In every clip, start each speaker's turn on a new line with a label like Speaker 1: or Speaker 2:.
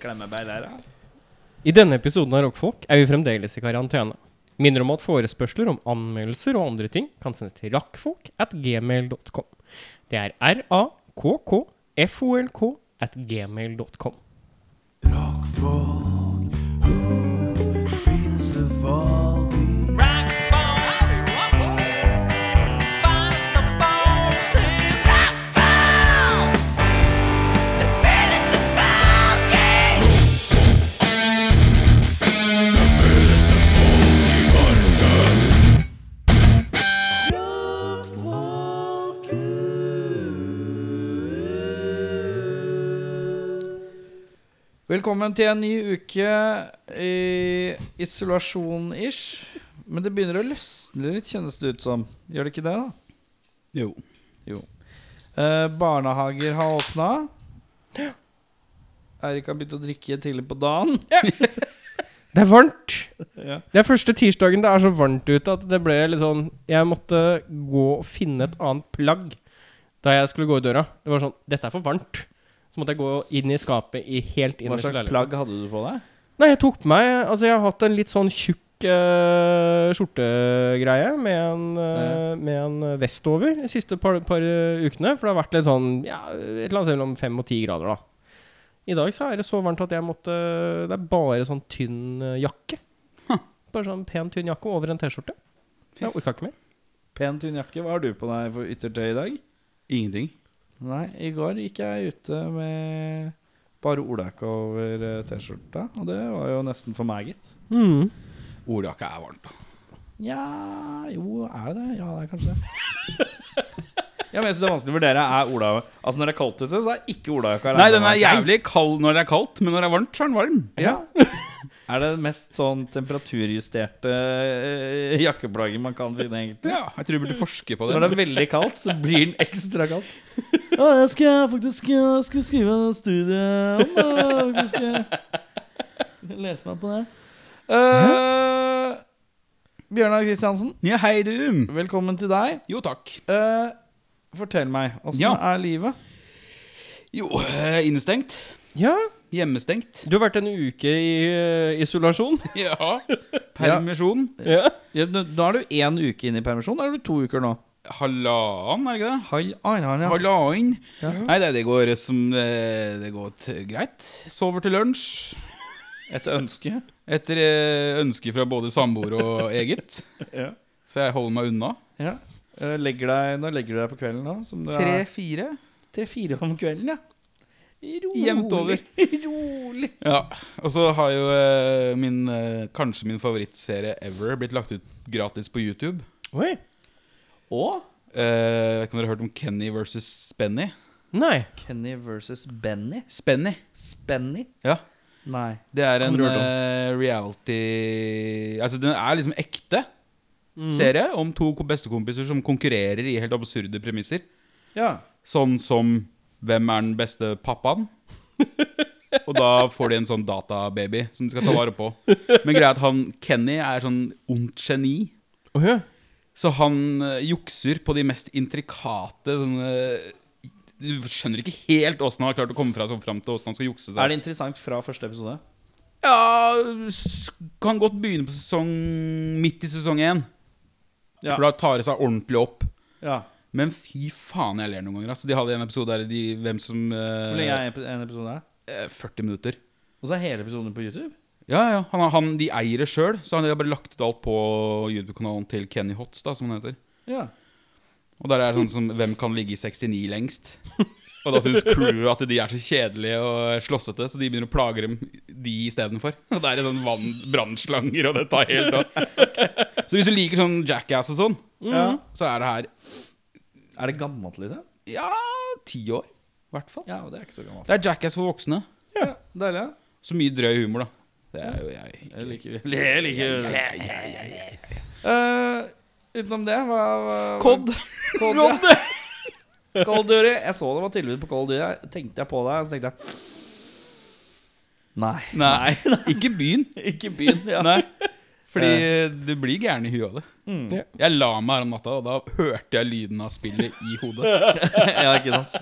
Speaker 1: Reklamebeil her, da.
Speaker 2: I denne episoden av Rockfolk er vi fremdeles i karantene. Minner om at forespørsler om anmeldelser og andre ting kan sendes til rakkfolk at gmail.com. Det er r-a-k-k-f-o-l-k at gmail.com.
Speaker 1: Velkommen til en ny uke i isolasjon-ish. Men det begynner å løsne litt, kjennes det ut som. Gjør det ikke det, da?
Speaker 3: Jo.
Speaker 1: Jo. Eh, barnehager har åpna. Eirik har begynt å drikke tidlig på dagen.
Speaker 2: Det er varmt!
Speaker 1: Ja.
Speaker 2: Det er første tirsdagen det er så varmt ute at det ble litt sånn Jeg måtte gå og finne et annet plagg da jeg skulle gå i døra. Det var sånn Dette er for varmt. Så måtte jeg gå inn i skapet i helt
Speaker 1: Hva
Speaker 2: innerste
Speaker 1: slags
Speaker 2: leilighet.
Speaker 1: plagg hadde du på deg?
Speaker 2: Nei, jeg tok på meg Altså, jeg har hatt en litt sånn tjukk eh, skjortegreie med en, eh, med en vest over de siste par, par eh, ukene. For det har vært litt sånn ja, et eller annet sted mellom fem og ti grader, da. I dag så er det så varmt at jeg måtte Det er bare sånn tynn eh, jakke. Bare sånn pen, tynn jakke over en T-skjorte. Jeg orka ikke mer.
Speaker 1: Pen, tynn jakke. Hva har du på deg for yttertøy i dag?
Speaker 3: Ingenting.
Speaker 1: Nei, i går gikk jeg ute med bare olakke over eh, T-skjorta. Og det var jo nesten for meg, gitt.
Speaker 2: Mm.
Speaker 3: Olaket er varmt, da.
Speaker 1: Ja Jo, er det det? Ja, det er kanskje det. ja, men jeg synes det er vanskelig å vurdere. Er Ola Altså Når det er kaldt ute, så er ikke olajakka
Speaker 3: Nei, den er jævlig kald når det er kaldt, men når det er varmt, så er den varm.
Speaker 1: Ja. er det det mest sånn temperaturjusterte eh, jakkeplagget man kan finne, egentlig?
Speaker 3: Ja, jeg tror du burde forske på det.
Speaker 1: Når det er veldig kaldt, så blir den ekstra kald. Ja, det skal jeg faktisk skrive en studie om. Faktisk. Lese meg på det. Eh, Bjørnar Kristiansen,
Speaker 3: Ja, hei, du.
Speaker 1: velkommen til deg.
Speaker 3: Jo, takk.
Speaker 1: Eh, fortell meg, åssen
Speaker 3: Ja.
Speaker 1: er livet?
Speaker 3: Jo, eh, innestengt.
Speaker 2: Ja,
Speaker 3: Hjemmestengt.
Speaker 2: du har vært en uke i eh, isolasjon.
Speaker 3: Ja. Permisjon.
Speaker 2: ja.
Speaker 1: Ja, nå nå er du én uke inn i permisjon, eller er du to uker nå?
Speaker 3: Halvannen, er det ikke det?
Speaker 1: Hal annen, ja.
Speaker 3: Halvannen.
Speaker 1: Ja.
Speaker 3: Nei, det, det går som eh, Det går t greit. Sover til lunsj.
Speaker 1: Et ønske.
Speaker 3: Etter eh, ønske fra både samboer og eget.
Speaker 1: Ja.
Speaker 3: Så jeg holder meg unna.
Speaker 1: Ja. Eh, legger deg, når legger du deg på kvelden da? Som du er-
Speaker 3: Tre-fire.
Speaker 1: Tre-fire om kvelden, ja. Rolig.
Speaker 3: Jevnt over.
Speaker 1: Rolig.
Speaker 3: Ja, og så har jo eh, min, eh, kanskje min favorittserie ever blitt lagt ut gratis på YouTube.
Speaker 2: Oi.
Speaker 1: Og
Speaker 3: Eh, vet ikke om dere har hørt om Kenny versus Spenny?
Speaker 2: Nei.
Speaker 1: Kenny versus Benny.
Speaker 3: Spenny,
Speaker 1: Spenny?
Speaker 3: ja.
Speaker 1: Nei.
Speaker 3: Det er en
Speaker 2: Aldri hørt om.
Speaker 3: eh, reality Altså, den er liksom ekte serie om to ko- bestekompiser som konkurrerer i helt absurde premisser.
Speaker 1: Ja.
Speaker 3: Sånn som Hvem er den beste pappaen? Og da får de en sånn datababy som de skal ta vare på. Men greia er at han Kenny er sånn ondt geni.
Speaker 2: Å ja.
Speaker 3: Så han eh, jukser på de mest intrikate sånne Du skjønner ikke helt åssen han har klart å komme fra sånn fram til åssen han skal jukse. seg.
Speaker 1: Er det interessant fra første episode?
Speaker 3: Ja, s- kan godt begynne på sesong midt i sesong én.
Speaker 1: Ja.
Speaker 3: For da tar det seg ordentlig opp.
Speaker 1: Ja.
Speaker 3: Men fy faen, jeg ler noen ganger. Altså, de hadde en episode der de, hvem som eh,
Speaker 1: Hvor lenge er en epi- en episode? her?
Speaker 3: eh, 40 minutter.
Speaker 1: Og så er hele episoden på YouTube?
Speaker 3: Ja, ja. Han, har- han, de eier det sjøl, så han har bare lagt ut alt på YouTube-kanalen til Kenny Hotz, da, som han heter.
Speaker 1: Ja.
Speaker 3: Og der er det sånn som Hvem kan ligge i 69 lengst? Og da syns crewet at de er så kjedelige og slåssete, så de begynner å plage dem de istedenfor. Og der er det sånn vann, brannslanger, og det tar helt av. Så hvis du liker sånn Jackass og sånn,
Speaker 1: ja.
Speaker 3: så er det her
Speaker 1: Er det gammelt, liksom?
Speaker 3: ja, ti år. I hvert fall.
Speaker 1: Ja, det er ikke så gammelt.
Speaker 3: Det er Jackass for voksne.
Speaker 1: Ja, Deilig. ja.
Speaker 3: Så mye drøy humor, da. Det er jo jeg. ikke-
Speaker 1: Det liker vi. Det liker vi.
Speaker 3: Jeg- jeg- jeg- jeg-
Speaker 1: Eh, utenom det, hva, hva
Speaker 3: Cod.
Speaker 1: Cod, ja. Cold Duty. Jeg så det var tilbud på Cold Duty. Jeg Tenkte jeg på deg, så tenkte jeg Nei.
Speaker 3: Nei, ikke begynn.
Speaker 1: Ikke begynn. Ja.
Speaker 3: Nei. Fordi du blir gæren i huet av det.
Speaker 1: Mm.
Speaker 2: Ja.
Speaker 3: Jeg la meg her om natta, og da hørte jeg lyden av spillet i hodet.
Speaker 1: ja, ikke sant?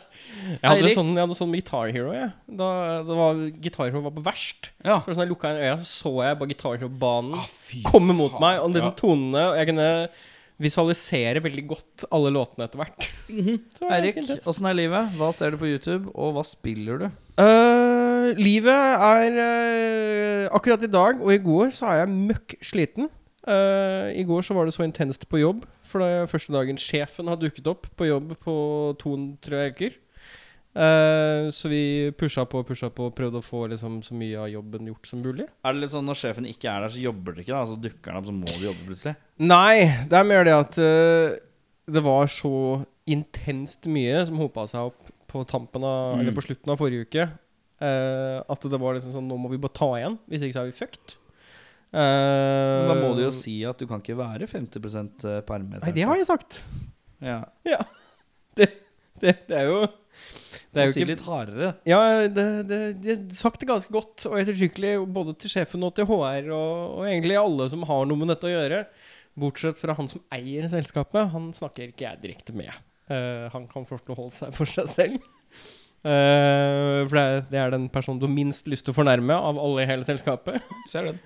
Speaker 2: Jeg hadde,
Speaker 1: Eirik?
Speaker 2: sånn, jeg hadde sånn med Guitar Hero. Jeg. Da, da var Guitar Hero var på verst.
Speaker 3: Ja.
Speaker 2: Så var det sånn jeg lukka øya, så så jeg bare Guitar Hero-banen
Speaker 3: Ah, fy
Speaker 2: komme mot
Speaker 3: faen.
Speaker 2: meg. Og liksom
Speaker 3: Ja.
Speaker 2: tonene Og jeg kunne visualisere veldig godt alle låtene etter hvert.
Speaker 3: Mhm.
Speaker 2: Så det var
Speaker 1: Eirik,
Speaker 2: ganske intenst.
Speaker 1: åssen er livet? Hva ser du på YouTube, og hva spiller du?
Speaker 2: Øh, livet er øh, Akkurat i dag og i går så er jeg møkk sliten. Øh, I går så var det så intenst på jobb, for det er første dagen sjefen har dukket opp på jobb på to-tre uker. Øh, så vi pusha på og pusha på og prøvde å få liksom, så mye av jobben gjort som mulig.
Speaker 1: Er det litt sånn Når sjefen ikke er der, så jobber dere ikke? da Så dukker han opp, så må du jobbe plutselig?
Speaker 2: Nei, det er mer det at øh, det var så intenst mye som hopa seg opp på tampen av,
Speaker 3: Mm.
Speaker 2: eller på slutten av forrige uke. eh, at det var liksom sånn Nå må vi bare ta igjen, hvis ikke så er vi fucked. Eh,
Speaker 1: Men da må du jo si at du kan ikke være 50 permet.
Speaker 2: Nei, det har jeg sagt.
Speaker 1: ja.
Speaker 2: Ja. Det, det, det er jo
Speaker 1: Du
Speaker 2: Det er
Speaker 1: må
Speaker 2: jo
Speaker 1: si
Speaker 2: ikke
Speaker 1: litt hardere.
Speaker 2: Ja, det, det, de har sagt det ganske godt og ettertrykkelig både til sjefen og til HR og, og egentlig alle som har noe med dette å gjøre. Bortsett fra han som eier selskapet. Han snakker ikke jeg direkte med. Eh, han kan få lov til å holde seg for seg selv. Eh, for det er, det er den personen du har minst lyst til å fornærme av alle i hele selskapet.
Speaker 3: Ser den.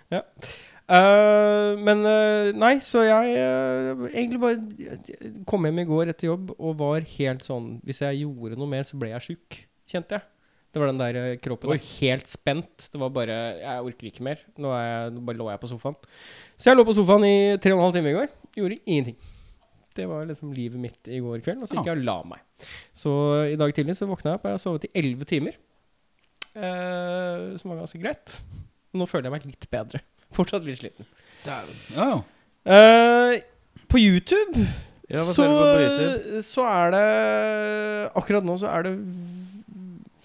Speaker 2: Eh, men eh, nei, så jeg eh, egentlig bare kom hjem i går etter jobb og var helt sånn Hvis jeg gjorde noe mer, så ble jeg sjuk, kjente jeg. Det var den der eh, kroppen var helt spent. Det var bare Jeg orker ikke mer. Nå, er jeg, nå bare lå jeg på sofaen. Så jeg lå på sofaen i tre og en halv time i går. Gjorde ingenting. Det var liksom livet mitt i går kveld. Og så gikk
Speaker 3: Ja.
Speaker 2: jeg og la meg. Så i dag tidlig så våkna jeg opp, og jeg har sovet i elleve timer. Eh, som var ganske greit. Nå føler jeg meg litt bedre. Fortsatt litt sliten.
Speaker 3: Ja, ja.
Speaker 2: Eh, på YouTube
Speaker 1: Ja, hva
Speaker 2: så,
Speaker 1: ser du på på YouTube?
Speaker 2: så er det Akkurat nå så er det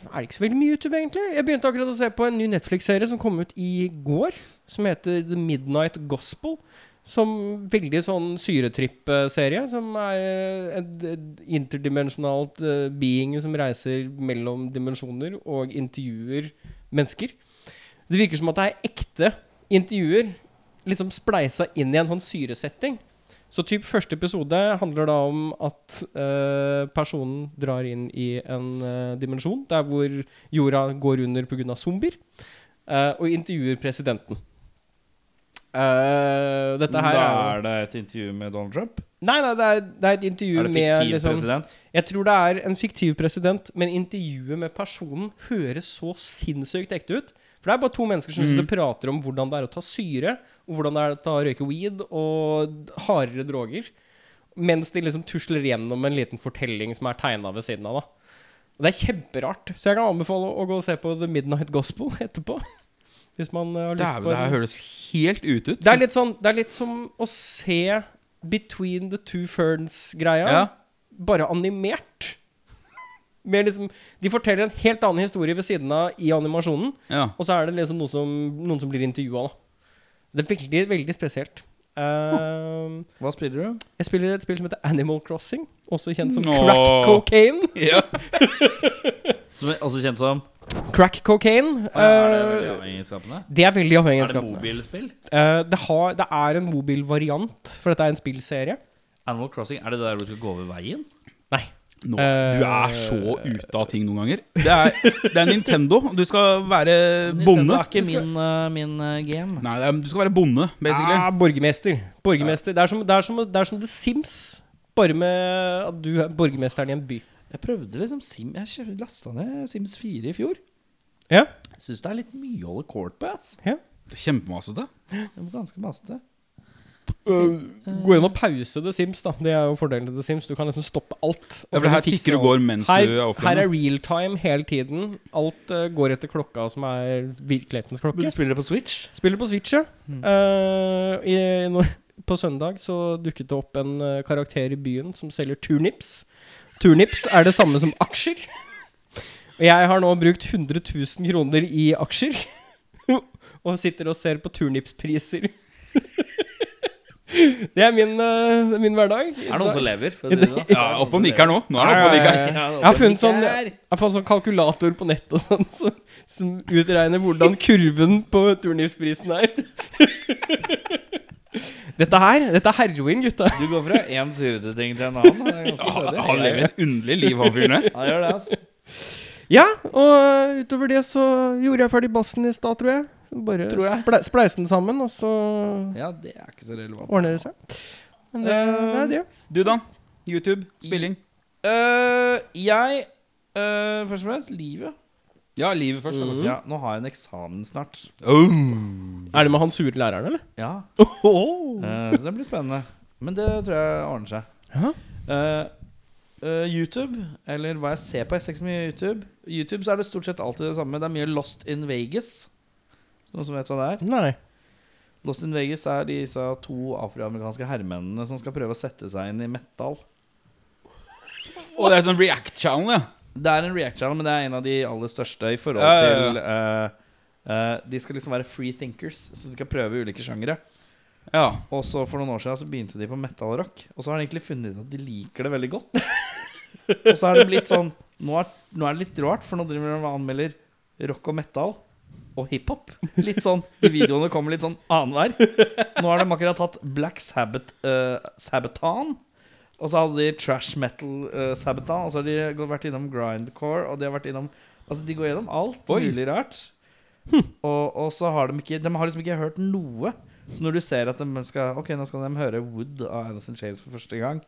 Speaker 2: Er det ikke så veldig mye YouTube, egentlig? Jeg begynte akkurat å se på en ny Netflix-serie som kom ut i går, som heter The Midnight Gospel. Som veldig sånn syretripp-serie. Som er et, et interdimensjonalt eh, being som reiser mellom dimensjoner og intervjuer mennesker. Det virker som at det er ekte intervjuer liksom spleisa inn i en sånn syresetting. Så typ første episode handler da om at eh, personen drar inn i en eh, dimensjon der hvor jorda går under pga. zombier, eh, og intervjuer presidenten. Eh, dette her
Speaker 1: da
Speaker 2: er, jo-
Speaker 1: er det et intervju med Donald Trump?
Speaker 2: Nei, nei, det er, det er et intervju
Speaker 1: Er det
Speaker 2: med
Speaker 1: fiktiv
Speaker 2: liksom,
Speaker 1: president?
Speaker 2: jeg tror det er en fiktiv president, men intervjuet med personen høres så sinnssykt ekte ut. For det er bare to mennesker som
Speaker 3: Mhm.
Speaker 2: sitter og prater om hvordan det er å ta syre, og hvordan det er å ta røyke weed og d- hardere droger, mens de liksom tusler gjennom en liten fortelling som er tegna ved siden av. da. Og det er kjemperart, så jeg kan anbefale å gå og se på The Midnight Gospel etterpå. Hvis man eh, har lyst
Speaker 3: Dæven,
Speaker 2: på
Speaker 3: det her
Speaker 2: en-
Speaker 3: høres helt ute ut.
Speaker 2: det er litt sånn Det er litt som å se Between the Two Ferns-greia
Speaker 3: Ja.
Speaker 2: bare animert. Mer liksom, de forteller en helt annen historie ved siden av i animasjonen,
Speaker 3: Ja.
Speaker 2: og så er det liksom noe som, noen som blir intervjua. Det er veldig, veldig spesielt. Ehm,
Speaker 1: Hva spiller du?
Speaker 2: jeg spiller et spill som heter Animal Crossing, også kjent som
Speaker 3: Nå.
Speaker 2: crack cocaine.
Speaker 3: ja.
Speaker 1: Som er også kjent som
Speaker 2: Crack cocaine
Speaker 1: Å ja, Er det veldig
Speaker 2: eh,
Speaker 1: avhengighetsskapende?
Speaker 2: det er veldig avhengig av
Speaker 1: Er det
Speaker 2: skapene.
Speaker 1: mobilspill?
Speaker 2: Eh, det, har- det er en mobilvariant, for dette er en spillserie.
Speaker 1: Animal Crossing, er det der hvor du skal gå over veien?
Speaker 2: Nei.
Speaker 3: Nå,
Speaker 2: Eh,
Speaker 3: du er så ute av ting noen ganger. Det er, det er Nintendo. Du skal være bonde.
Speaker 1: Det er ikke
Speaker 3: Du skal-
Speaker 1: min, eh, min eh, game.
Speaker 3: Nei, det er, du skal være bonde, basically.
Speaker 2: Ah, borgermester. borgermester. Det, er som, det, er som, det er som The Sims, bare med at du er borgermesteren i en by.
Speaker 1: Jeg prøvde liksom Sim Jeg kjø- lasta ned Sims 4 i fjor.
Speaker 2: Ja.
Speaker 1: Syns det er litt mye å holde kort på. ass
Speaker 3: Det er Kjempemasete.
Speaker 1: Det er ganske masete.
Speaker 2: Øh, Gå inn og pause The Sims, da. Det er jo fordelen til The Sims. Du kan liksom stoppe alt. og
Speaker 3: Ja,
Speaker 2: så
Speaker 3: for det
Speaker 2: kan
Speaker 3: her
Speaker 2: du fikse
Speaker 3: tikker og
Speaker 2: alt.
Speaker 3: går mens du er
Speaker 2: Her, her
Speaker 3: offline.
Speaker 2: er real time hele tiden. Alt eh, går etter klokka som er virkelighetens klokke.
Speaker 1: spiller det på Switch? Mm.
Speaker 2: Spiller på Switch, ja. Eh, i, nå- på søndag så dukket det opp en eh, karakter i byen som selger turnips. Turnips er det samme som aksjer. Og jeg har nå brukt 100 000 kroner i aksjer. Og sitter og ser på turnipspriser. det er min, eh, det er min hverdag.
Speaker 1: Er det noen som lever? for å si det sånn?
Speaker 3: Ja, opp og nikker nå. Nå er det opp og
Speaker 2: Ja, ja,
Speaker 3: nikker.
Speaker 2: ja.
Speaker 1: Ja,
Speaker 2: Jeg har funnet sånn,
Speaker 1: nikker.
Speaker 2: jeg har fått sånn kalkulator på nettet og sånn, som, som utregner hvordan kurven på turnipsprisen er. Dette her, dette er heroin, gutta.
Speaker 1: Du går fra én syrete ting til en annen. Det er ganske
Speaker 3: Han
Speaker 1: stødig.
Speaker 3: han lever et underlig liv, han fyren der.
Speaker 1: Han gjør det, ass.
Speaker 2: Ja, og utover det så gjorde jeg ferdig bassen i stad, tror jeg. Bare
Speaker 1: Tror jeg.
Speaker 2: sple- spleise den sammen, og så
Speaker 1: Ja, det er ikke så relevant.
Speaker 2: ordner det seg. Men det, det er det.
Speaker 3: Du, da? YouTube? Spilling?
Speaker 1: Øh, jeg øh, Først og fremst livet.
Speaker 3: Ja, livet først. da, kanskje.
Speaker 1: Ja, nå har jeg en eksamen snart.
Speaker 3: Oh.
Speaker 2: Er det med han sure læreren, eller?
Speaker 1: Ja,
Speaker 2: Oh.
Speaker 1: Eh, Så det blir spennende. Men det tror jeg ordner seg.
Speaker 2: Ja.
Speaker 1: Eh, eh, YouTube, eller hva jeg ser på. Jeg ser ikke så mye YouTube. YouTube så er det stort sett alltid det samme. Det er mye Lost in Vegas. Noen som vet hva det er?
Speaker 2: Nei.
Speaker 1: Lost in Vegas er disse to afroamerikanske herremennene som skal prøve å sette seg inn i metal.
Speaker 3: Og det er sånn React-channel, ja.
Speaker 1: Det er en react channel, men det er en av de aller største i forhold
Speaker 3: Ja, ja, ja.
Speaker 1: til eh, eh, De skal liksom være free thinkers, så de skal prøve ulike sjangere.
Speaker 3: ja.
Speaker 1: Og så for noen år siden så begynte de på metal og rock. Og så har de egentlig funnet ut at de liker det veldig godt. og så er det litt sånn nå er, nå er det litt rart, for nå driver de og anmelder rock og metal og hiphop. Litt sånn, De videoene kommer litt sånn annenhver. Nå har de akkurat hatt Black Sabbath eh, Sabaton. Og så hadde de trash metal eh, Sabaton. Og så har de gått- vært innom grindcore, og de har vært innom Altså, de går gjennom alt
Speaker 3: Oi.
Speaker 1: mulig rart. Og, og så har de ikke De har liksom ikke hørt noe. Så når du ser at de skal Ok, nå skal de høre Wood av Alice in Chains for første gang.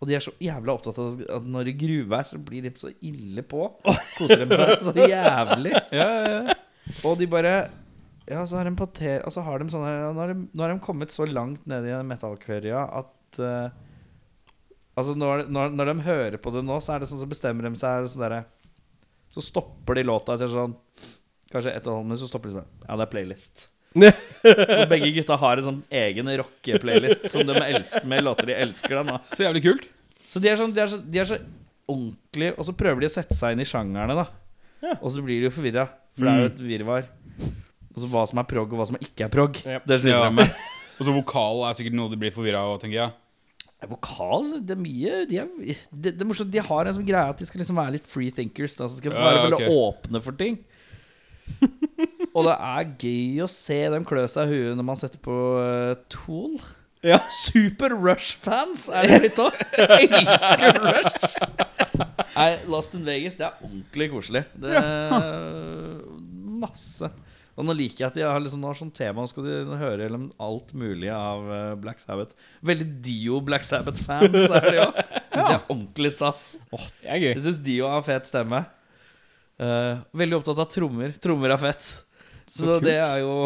Speaker 1: Og de er så jævla opptatt av at når det er gruvær, så blir de så ille på. Koser de seg så jævlig. Og de bare Ja, så har de pater... Og så har de sånne Nå har de, nå har de kommet så langt ned i metallkverja at eh, Altså, når, når, når de hører på det nå, så er det sånn så bestemmer de seg og sånn derre Så stopper de låta etter sånn Kanskje et og et halvt minutt, så stopper de sånn Ja, det er playlist. Og begge gutta har en sånn egen rocke-playlist som de elsker med låter de elsker. Da, nå.
Speaker 3: Så jævlig kult.
Speaker 1: Så de er, sånn, de, er så, de er så ordentlige, og så prøver de å sette seg inn i sjangerne, da.
Speaker 2: Ja.
Speaker 1: Og så blir de jo forvirra, for det er jo
Speaker 3: Mm.
Speaker 1: et virvar. Og så hva som er prog, og hva som ikke er prog.
Speaker 2: Yep.
Speaker 1: Det sliter
Speaker 3: Ja.
Speaker 1: de med.
Speaker 3: Og så vokal er sikkert noe de blir forvirra av, tenker jeg.
Speaker 1: Ja, Vokal så det er mye De, er, det, det er morsomt, de har en sånn greie at de skal liksom være litt free thinkers. Da, så skal de være
Speaker 3: Ja,
Speaker 1: veldig åpne for ting. og det er gøy å se dem klø seg i huet når man setter på eh, Tool.
Speaker 2: Ja.
Speaker 1: Super Rush-fans er det blitt òg. Elsker Rush. Nei, Lost in Vegas, det er ordentlig koselig. Det er masse. Og nå liker jeg at de har liksom, nå har sånn tema, nå skal de høre gjennom alt mulig av eh, Black Sabbath. Veldig Dio Black Sabbath-fans er de òg. Syns jeg er ordentlig stas.
Speaker 2: Det er gøy.
Speaker 1: Jeg syns Dio har fet stemme. Eh, veldig opptatt av trommer. Trommer er fett. Så,
Speaker 2: Så kult.
Speaker 1: det er jo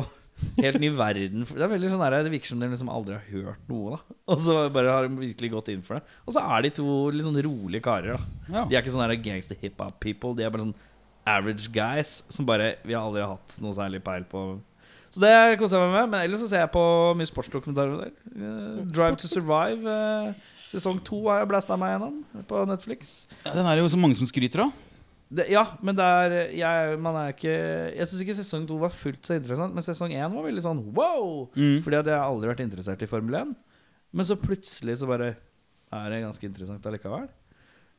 Speaker 1: helt ny verden. Det er veldig sånn der, det virker som de liksom aldri har hørt noe. da Og så bare har de virkelig gått inn for det. Og så er de to litt sånn rolige karer. da
Speaker 3: Ja.
Speaker 1: De er ikke sånne der gangster hip-hop people. De er bare sånn average guys som bare Vi har aldri hatt noe særlig peil på. Så det koser jeg meg med. Men ellers så ser jeg på mye sportsdokumentarer. Eh, Drive to Survive. eh, sesong to har jeg blæsta meg gjennom på Netflix.
Speaker 3: Ja, den er det jo så mange som skryter av.
Speaker 1: Det, ja, men det er Jeg, man er ikke Jeg syns ikke sesong to var fullt så interessant, men sesong én var veldig sånn wow!
Speaker 3: Mm.
Speaker 1: Fordi at jeg har aldri vært interessert i Formel 1. Men så plutselig så bare er det ganske interessant allikevel.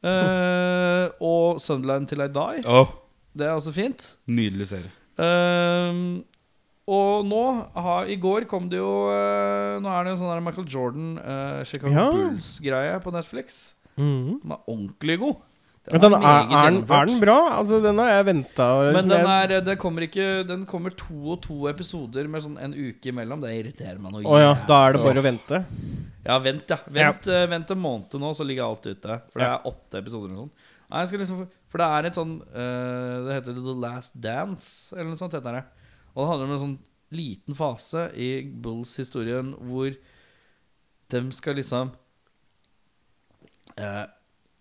Speaker 1: Eh, og 'Sunderland Till I Die'.
Speaker 3: Åh,
Speaker 1: Det er også fint.
Speaker 3: nydelig serie.
Speaker 1: Ehm, og nå, har, i går kom det jo eh, Nå er det jo sånn der Michael Jordan, eh, Chicago
Speaker 2: Ja.
Speaker 1: Bulls-greie på Netflix. Den er ordentlig god.
Speaker 2: Men Mm. Den er,
Speaker 1: meget
Speaker 2: er, den,
Speaker 1: gjennomført.
Speaker 2: er den bra? Altså, den har jeg liksom. venta
Speaker 1: Men den, er, det kommer ikke, den kommer to og to episoder med sånn en uke imellom. Det irriterer meg noe.
Speaker 2: Å ja,
Speaker 1: jævlig.
Speaker 2: da er det bare å vente.
Speaker 1: ja, vent, ja. Vent, eh, vent en måned til nå, så ligger alt ute. For det er åtte episoder og sånn. Nei, jeg skal liksom, for det er et sånn eh, Det heter The Last Dance, eller noe sånt. heter det. Og det handler om en sånn liten fase i Bulls-historien hvor de skal liksom eh,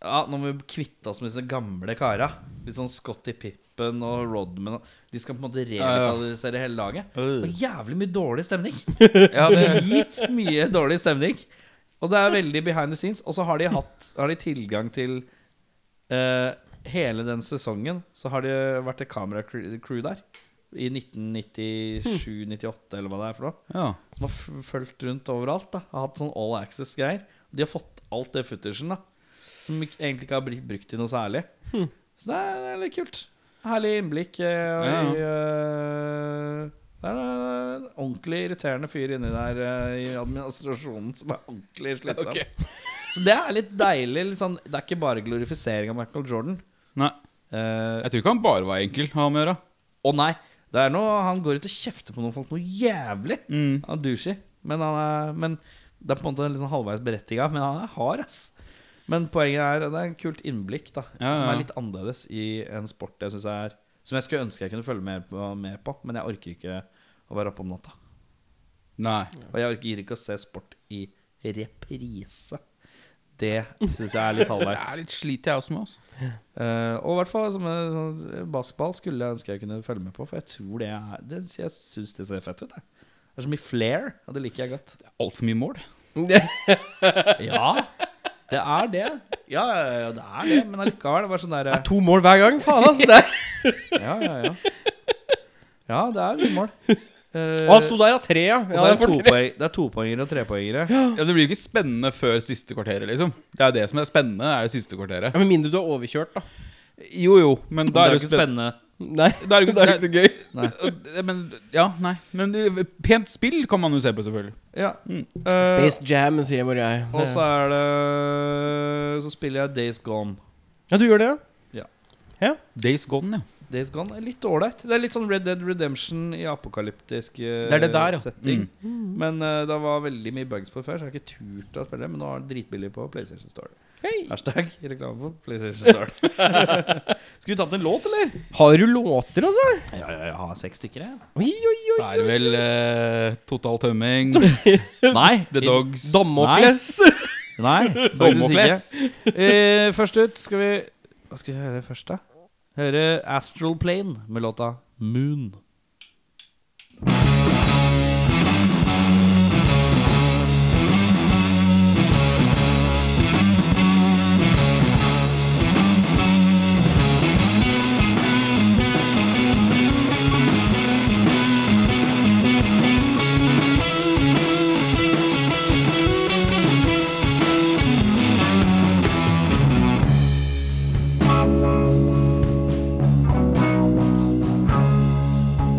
Speaker 1: Ja, nå må vi kvitte oss med disse gamle kara. Litt sånn Scotty Pippen og Rodman. og- De skal på en måte
Speaker 3: ja.
Speaker 1: revitalisere hele laget.
Speaker 3: Øh.
Speaker 1: Og jævlig mye dårlig stemning.
Speaker 3: Ja, det,
Speaker 1: Drit mye dårlig stemning. Og det er veldig behind the scenes. Og så har de hatt Har de tilgang til eh, hele den sesongen. Så har det vært et kameracrew der. I 1997-98, eller hva det er for noe.
Speaker 3: ja.
Speaker 1: Som har f- fulgt rundt overalt. da Har hatt sånn all access-greier. De har fått alt det footagen da som ikk- egentlig ikke har blitt brukt til noe særlig. Så det er, det er litt kult. Herlig innblikk. Eh, og,
Speaker 3: Ja, ja.
Speaker 1: i, eh, det er en ordentlig irriterende fyr inni der eh, i administrasjonen som er ordentlig slitsom.
Speaker 3: Ok.
Speaker 1: Så det er litt deilig. Litt sånn, det er ikke bare glorifisering av Michael Jordan.
Speaker 3: Nei,
Speaker 1: Eh,
Speaker 3: jeg tror ikke han bare var enkel å ha med å gjøre.
Speaker 1: Å nei, det er noe, han går ut og kjefter på noen folk noe jævlig.
Speaker 3: Mm.
Speaker 1: Han er douchey, men, han er, men det er på en måte liksom halvveis berettiga. Men han er hard, ass. Men poenget er det er en kult innblikk da
Speaker 3: Ja, ja,
Speaker 1: som
Speaker 3: ja.
Speaker 1: er litt annerledes i en sport jeg synes er Som jeg skulle ønske jeg kunne følge med på, med på men jeg orker ikke å være oppe om natta.
Speaker 3: Nei.
Speaker 1: Og jeg orker ikke å se sport i reprise. Det syns jeg er litt
Speaker 3: Jeg
Speaker 1: halvveis.
Speaker 3: er litt slit jeg også med altså. oss.
Speaker 1: Eh, og i hvert fall som, eh, sånn, basketball skulle jeg ønske jeg kunne følge med på, for jeg tror det er det, Jeg syns det ser fett ut. jeg. Det er så mye flair, og det liker jeg godt.
Speaker 3: Altfor mye mål.
Speaker 1: Ja, det er det. Ja, ja, ja, det er det, men allikevel. Det var sånn der eh,
Speaker 2: To mål hver gang, faen, ass! Det. er-
Speaker 1: Ja, ja, ja. Ja, det er mye mål. Eh,
Speaker 2: Og han sto der av tre, ja.
Speaker 1: og så er
Speaker 2: ja
Speaker 1: det,
Speaker 2: for
Speaker 1: to
Speaker 2: tre.
Speaker 1: poeng, det er topoengere og trepoengere.
Speaker 3: Ja, Det blir jo ikke spennende før siste kvarteret, liksom. Det er jo det som er spennende, er jo siste kvarteret.
Speaker 2: Ja, Med mindre du er overkjørt, da.
Speaker 3: Jo, jo, men
Speaker 1: Det
Speaker 3: da
Speaker 1: er
Speaker 3: er
Speaker 1: jo
Speaker 3: det
Speaker 1: ikke
Speaker 3: jo spennende.
Speaker 1: spennende.
Speaker 2: Nei.
Speaker 3: Da er det
Speaker 2: Det er
Speaker 3: ikke
Speaker 2: ikke gøy.
Speaker 3: spennende. Men, ja, nei. Men eh, pent spill kan man jo se på, selvfølgelig.
Speaker 1: Ja.
Speaker 3: Mm.
Speaker 1: Eh,
Speaker 2: Space Jam, sier mor jeg.
Speaker 1: og så er det Så spiller jeg Days Gone.
Speaker 2: Ja, du gjør det, ja?
Speaker 3: Days gone, ja.
Speaker 1: Days Gone er litt ålreit. Det er litt sånn Red Dead Redemption i apokalyptisk eh,
Speaker 3: Det er det der, ja.
Speaker 1: setting.
Speaker 3: Mm.
Speaker 1: Men eh, det var veldig mye bugs på det før, så jeg har ikke turt å spille det. Men nå er det dritbillig på PlayStation Store.
Speaker 2: Hei.
Speaker 1: Hashtag reklame for PlayStation Store. Skulle vi tatt en låt, eller?
Speaker 2: Har du låter, altså?
Speaker 1: Ja, ja, jeg har seks stykker, jeg.
Speaker 2: Oi, oi, oi.
Speaker 3: Da er det vel eh, total tømming,
Speaker 1: Nei.
Speaker 3: The Dogs
Speaker 2: Damokles.
Speaker 1: Nei, faktisk ikke.
Speaker 3: Damokles.
Speaker 1: Eh, først ut skal vi Hva skal vi høre først, da? Høre Astral Plane med låta Moon.
Speaker 4: Moon,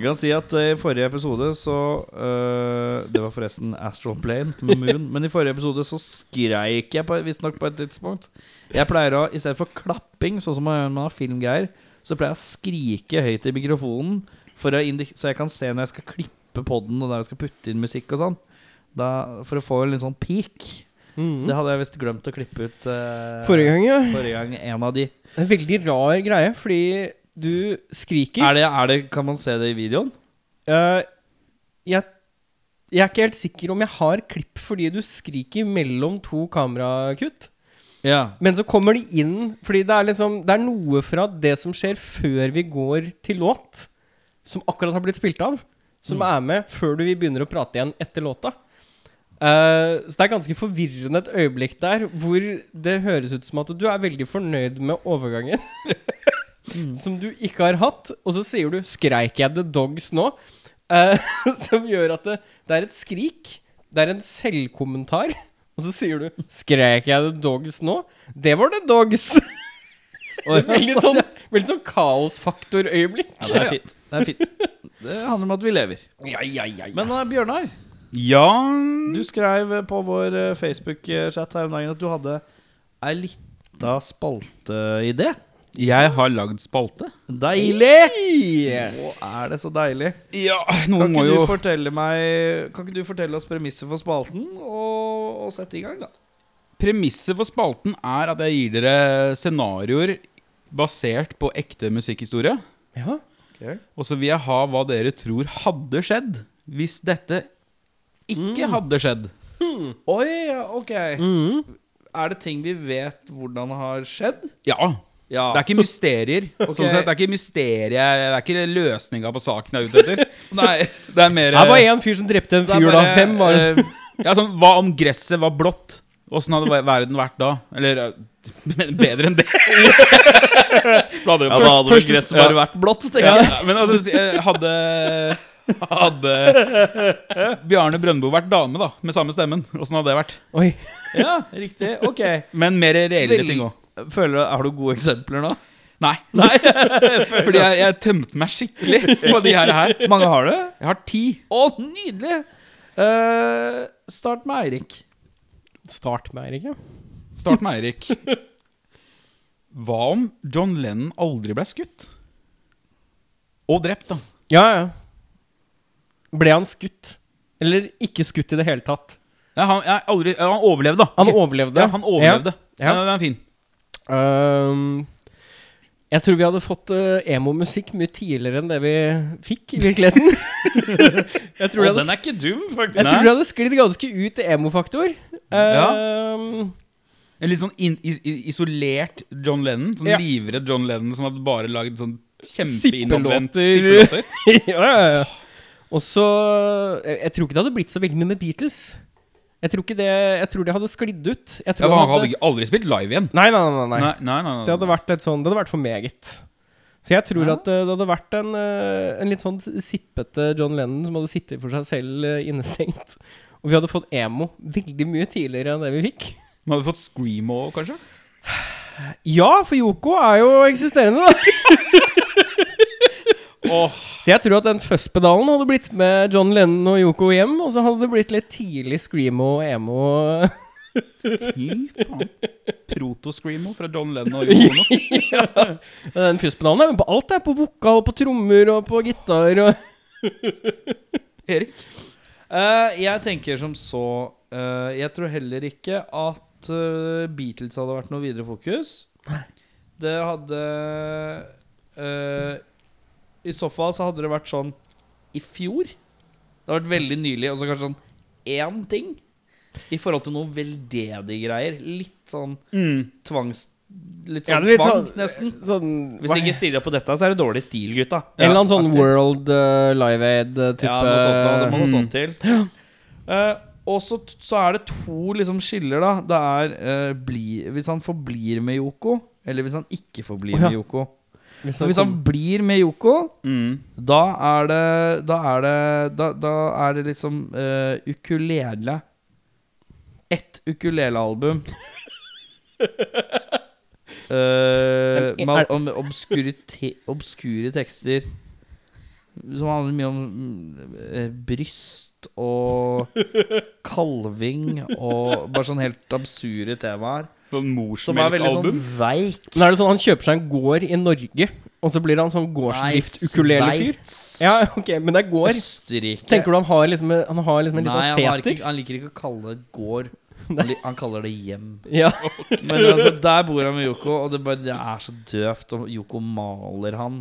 Speaker 1: Jeg kan si at eh, i forrige episode så eh, Det var forresten Astral Plane med Moon. Men i forrige episode så skreik jeg på- visstnok på et tidspunkt. Jeg pleier å, I stedet for klapping, sånn som man gjør når man har filmgreier, så pleier jeg å skrike høyt i mikrofonen, for å indi så jeg kan se når jeg skal klippe podden og der jeg skal putte inn musikk og sånn. Da, for å få en litt sånn peak. Det hadde jeg visst glemt å klippe ut eh,
Speaker 2: Mm. Forrige gang, ja.
Speaker 1: forrige gang. En av de.
Speaker 2: En veldig rar greie, fordi du skriker.
Speaker 1: Er det, er det, kan man se det i videoen?
Speaker 2: Eh, jeg, jeg er ikke helt sikker om jeg har klipp fordi du skriker mellom to kamerakutt.
Speaker 1: Ja.
Speaker 2: Men så kommer de inn Fordi det er liksom Det er noe fra det som skjer før vi går til låt, som akkurat har blitt spilt av,
Speaker 1: Mm.
Speaker 2: som er med før du vi begynner å prate igjen etter låta. Eh, så det er ganske forvirrende et øyeblikk der hvor det høres ut som at du er veldig fornøyd med overgangen.
Speaker 1: Mm.
Speaker 2: Som du ikke har hatt. Og så sier du 'skreik jeg the dogs nå?' Eh, som gjør at det, det er et skrik. Det er en selvkommentar. Og så sier du 'skreik jeg the dogs nå?' Det var the dogs! veldig sånn, veldig sånn kaosfaktorøyeblikk.
Speaker 1: Ja, det er fint. Det er fint. Det handler om at vi lever. Men eh, Bjørnar,
Speaker 3: Ja
Speaker 1: du skrev eh, på vår eh, Facebook-chat her om dagen at du hadde ei lita spalteidé.
Speaker 3: Jeg har lagd spalte.
Speaker 1: Deilig! Å, er det så deilig?
Speaker 3: Ja,
Speaker 1: Kan
Speaker 3: noen må
Speaker 1: ikke,
Speaker 3: jo
Speaker 1: du fortelle meg, kan ikke du fortelle oss premisset for spalten, og, og sette i gang, da?
Speaker 3: Premisset for spalten er at jeg gir dere scenarioer basert på ekte musikkhistorie.
Speaker 2: Ja.
Speaker 3: Og så vil jeg ha hva dere tror hadde skjedd hvis dette ikke
Speaker 1: Mm.
Speaker 3: hadde skjedd.
Speaker 1: Oi, ja, ok. Er det ting vi vet hvordan har skjedd?
Speaker 3: Ja.
Speaker 1: Ja.
Speaker 3: Det er ikke mysterier. Sånn sett, det er ikke mysteriet Det er ikke løsninga på saken jeg er ute etter.
Speaker 1: Nei.
Speaker 3: Det er mer
Speaker 2: Det var én fyr som drepte en
Speaker 1: Så det er
Speaker 2: fyr, da.
Speaker 1: bare,
Speaker 2: Hvem var det?
Speaker 1: eh,
Speaker 3: ja, sånn, Hva om gresset var blått? Åssen hadde ver- verden vært da? Eller eh, men bedre enn det. Da hadde
Speaker 1: Ja, da
Speaker 3: jo-
Speaker 1: hadde vel
Speaker 2: Først-
Speaker 1: gresset bare vært blått, tenker
Speaker 3: Ja,
Speaker 1: jeg.
Speaker 3: men altså, si- eh, hadde Hadde Bjarne Brøndbo vært dame, da, med samme stemmen, åssen hadde det vært?
Speaker 2: Oi.
Speaker 1: Ja, riktig. Ok.
Speaker 3: Men mer reelle
Speaker 1: Vel-
Speaker 3: ting òg.
Speaker 1: Føler, du- har du gode eksempler nå?
Speaker 3: Nei. Fordi jeg, jeg tømte meg skikkelig på de her. her.
Speaker 1: Mange har du?
Speaker 3: Jeg har ti.
Speaker 1: Å, nydelig! Eh, start med Eirik.
Speaker 2: Start med Eirik, ja.
Speaker 3: Start med Eirik. Hva om John Lennon aldri ble skutt? Og drept, da.
Speaker 2: Ja, ja. Ble han skutt? Eller ikke skutt i det hele tatt?
Speaker 3: Nei, han, jeg, aldri, ja, han overlevde, da.
Speaker 2: Han
Speaker 3: Ikke-
Speaker 2: overlevde.
Speaker 3: Ja, han overlevde.
Speaker 2: Ja, ja.
Speaker 3: Ja, den er fin.
Speaker 2: Øhm, Um, jeg tror vi hadde fått eh, emo-musikk mye tidligere enn det vi fikk i virkeligheten. jeg tror vi
Speaker 1: Å,
Speaker 2: hadde,
Speaker 1: er ikke dum, faktisk.
Speaker 2: jeg tror vi hadde sklidd ganske ut i emo-faktor. Um, Øhm,
Speaker 3: En litt sånn in, is, is- isolert John Lennon. Sånn
Speaker 2: Ja.
Speaker 3: livredd John Lennon som hadde bare lagd sånn
Speaker 2: Sippelåter.
Speaker 3: kjempeinnadvendt sippelåter.
Speaker 2: ja. ja, ja. Og så jeg, jeg tror ikke det hadde blitt så veldig mye med Beatles. Jeg tror, ikke det, jeg tror det hadde sklidd ut. Jeg
Speaker 3: Ja,
Speaker 2: tror
Speaker 3: for han hadde
Speaker 2: hadde-
Speaker 3: ikke- aldri spilt live igjen.
Speaker 2: Nei, nei, nei. nei.
Speaker 3: Nei, nei, nei, nei.
Speaker 2: Det hadde vært litt sånn Det hadde vært for meget. Så jeg tror
Speaker 3: Ja.
Speaker 2: at eh, det hadde vært en, eh, en litt sånn sippete John Lennon som hadde sittet for seg selv eh, innestengt. Og vi hadde fått emo veldig mye tidligere enn det vi fikk.
Speaker 3: Man hadde fått screamo, kanskje?
Speaker 2: Ja, for Yoko er jo eksisterende, da. Så jeg tror at den fuzzpedalen hadde blitt med John Lennon og Yoko hjem, og så hadde det blitt litt tidlig screamo og emo.
Speaker 3: Fy faen. Proto-screamo fra John Lennon og Jono.
Speaker 2: Men Den fuzzpedalen er jo på alt, det er på vokal, på trommer og på gitar
Speaker 1: Sånn
Speaker 2: og
Speaker 3: Erik?
Speaker 1: Eh, jeg tenker som så eh, Jeg tror heller ikke at eh, Beatles hadde vært noe videre fokus. Det hadde eh, I så fall så hadde det vært sånn i fjor. Det hadde vært veldig nylig, og så kanskje sånn én ting. I forhold til noen veldedige greier. Litt sånn
Speaker 3: Mm.
Speaker 1: tvangs... Litt
Speaker 2: Ja,
Speaker 1: sånn
Speaker 2: det er litt
Speaker 1: tvang,
Speaker 2: sånn-
Speaker 1: nesten.
Speaker 2: sånn
Speaker 1: Hvis ikke stirrer på dette, så er det dårlig stil, gutta.
Speaker 2: En eller annen sånn
Speaker 1: Aktig.
Speaker 2: World eh, Live Aid-type
Speaker 1: Ja, noe sånt da, det må noe
Speaker 3: Mm.
Speaker 1: sånt til. Eh, og så, så er det to liksom skiller, da. Det er eh, bli, hvis han forblir med Yoko, eller hvis han ikke forblir
Speaker 2: Å, ja.
Speaker 1: med Yoko.
Speaker 2: Hvis
Speaker 1: Så hvis han blir med Yoko,
Speaker 3: Mm.
Speaker 1: da er det Da er det, da, da er det liksom eh, ukulele. Ett ukulelealbum. eh,
Speaker 2: Men
Speaker 1: med,
Speaker 2: er-
Speaker 1: om obskure, te, obskure tekster som handler mye om mm, eh, bryst og kalving og bare sånn helt absure temaer.
Speaker 3: Sånn
Speaker 1: Som er veldig sånn
Speaker 3: morsmelkalbum.
Speaker 1: veik.
Speaker 2: Men er det sånn han kjøper seg en gård i Norge, og så blir han sånn gårdsdrift-ukulele-fyr?
Speaker 1: Sveits,
Speaker 2: Ja, ok, men det er gård.
Speaker 1: Østerrike
Speaker 2: Tenker du han har liksom, en- han har liksom en
Speaker 1: Nei,
Speaker 2: liten
Speaker 1: han, har
Speaker 2: seter?
Speaker 1: ikke, han liker ikke å kalle det gård. Han, li- han kaller det hjem.
Speaker 2: Ja.
Speaker 1: Men altså, der bor han med Yoko, og det, bare, det er så døvt. Og Yoko maler han.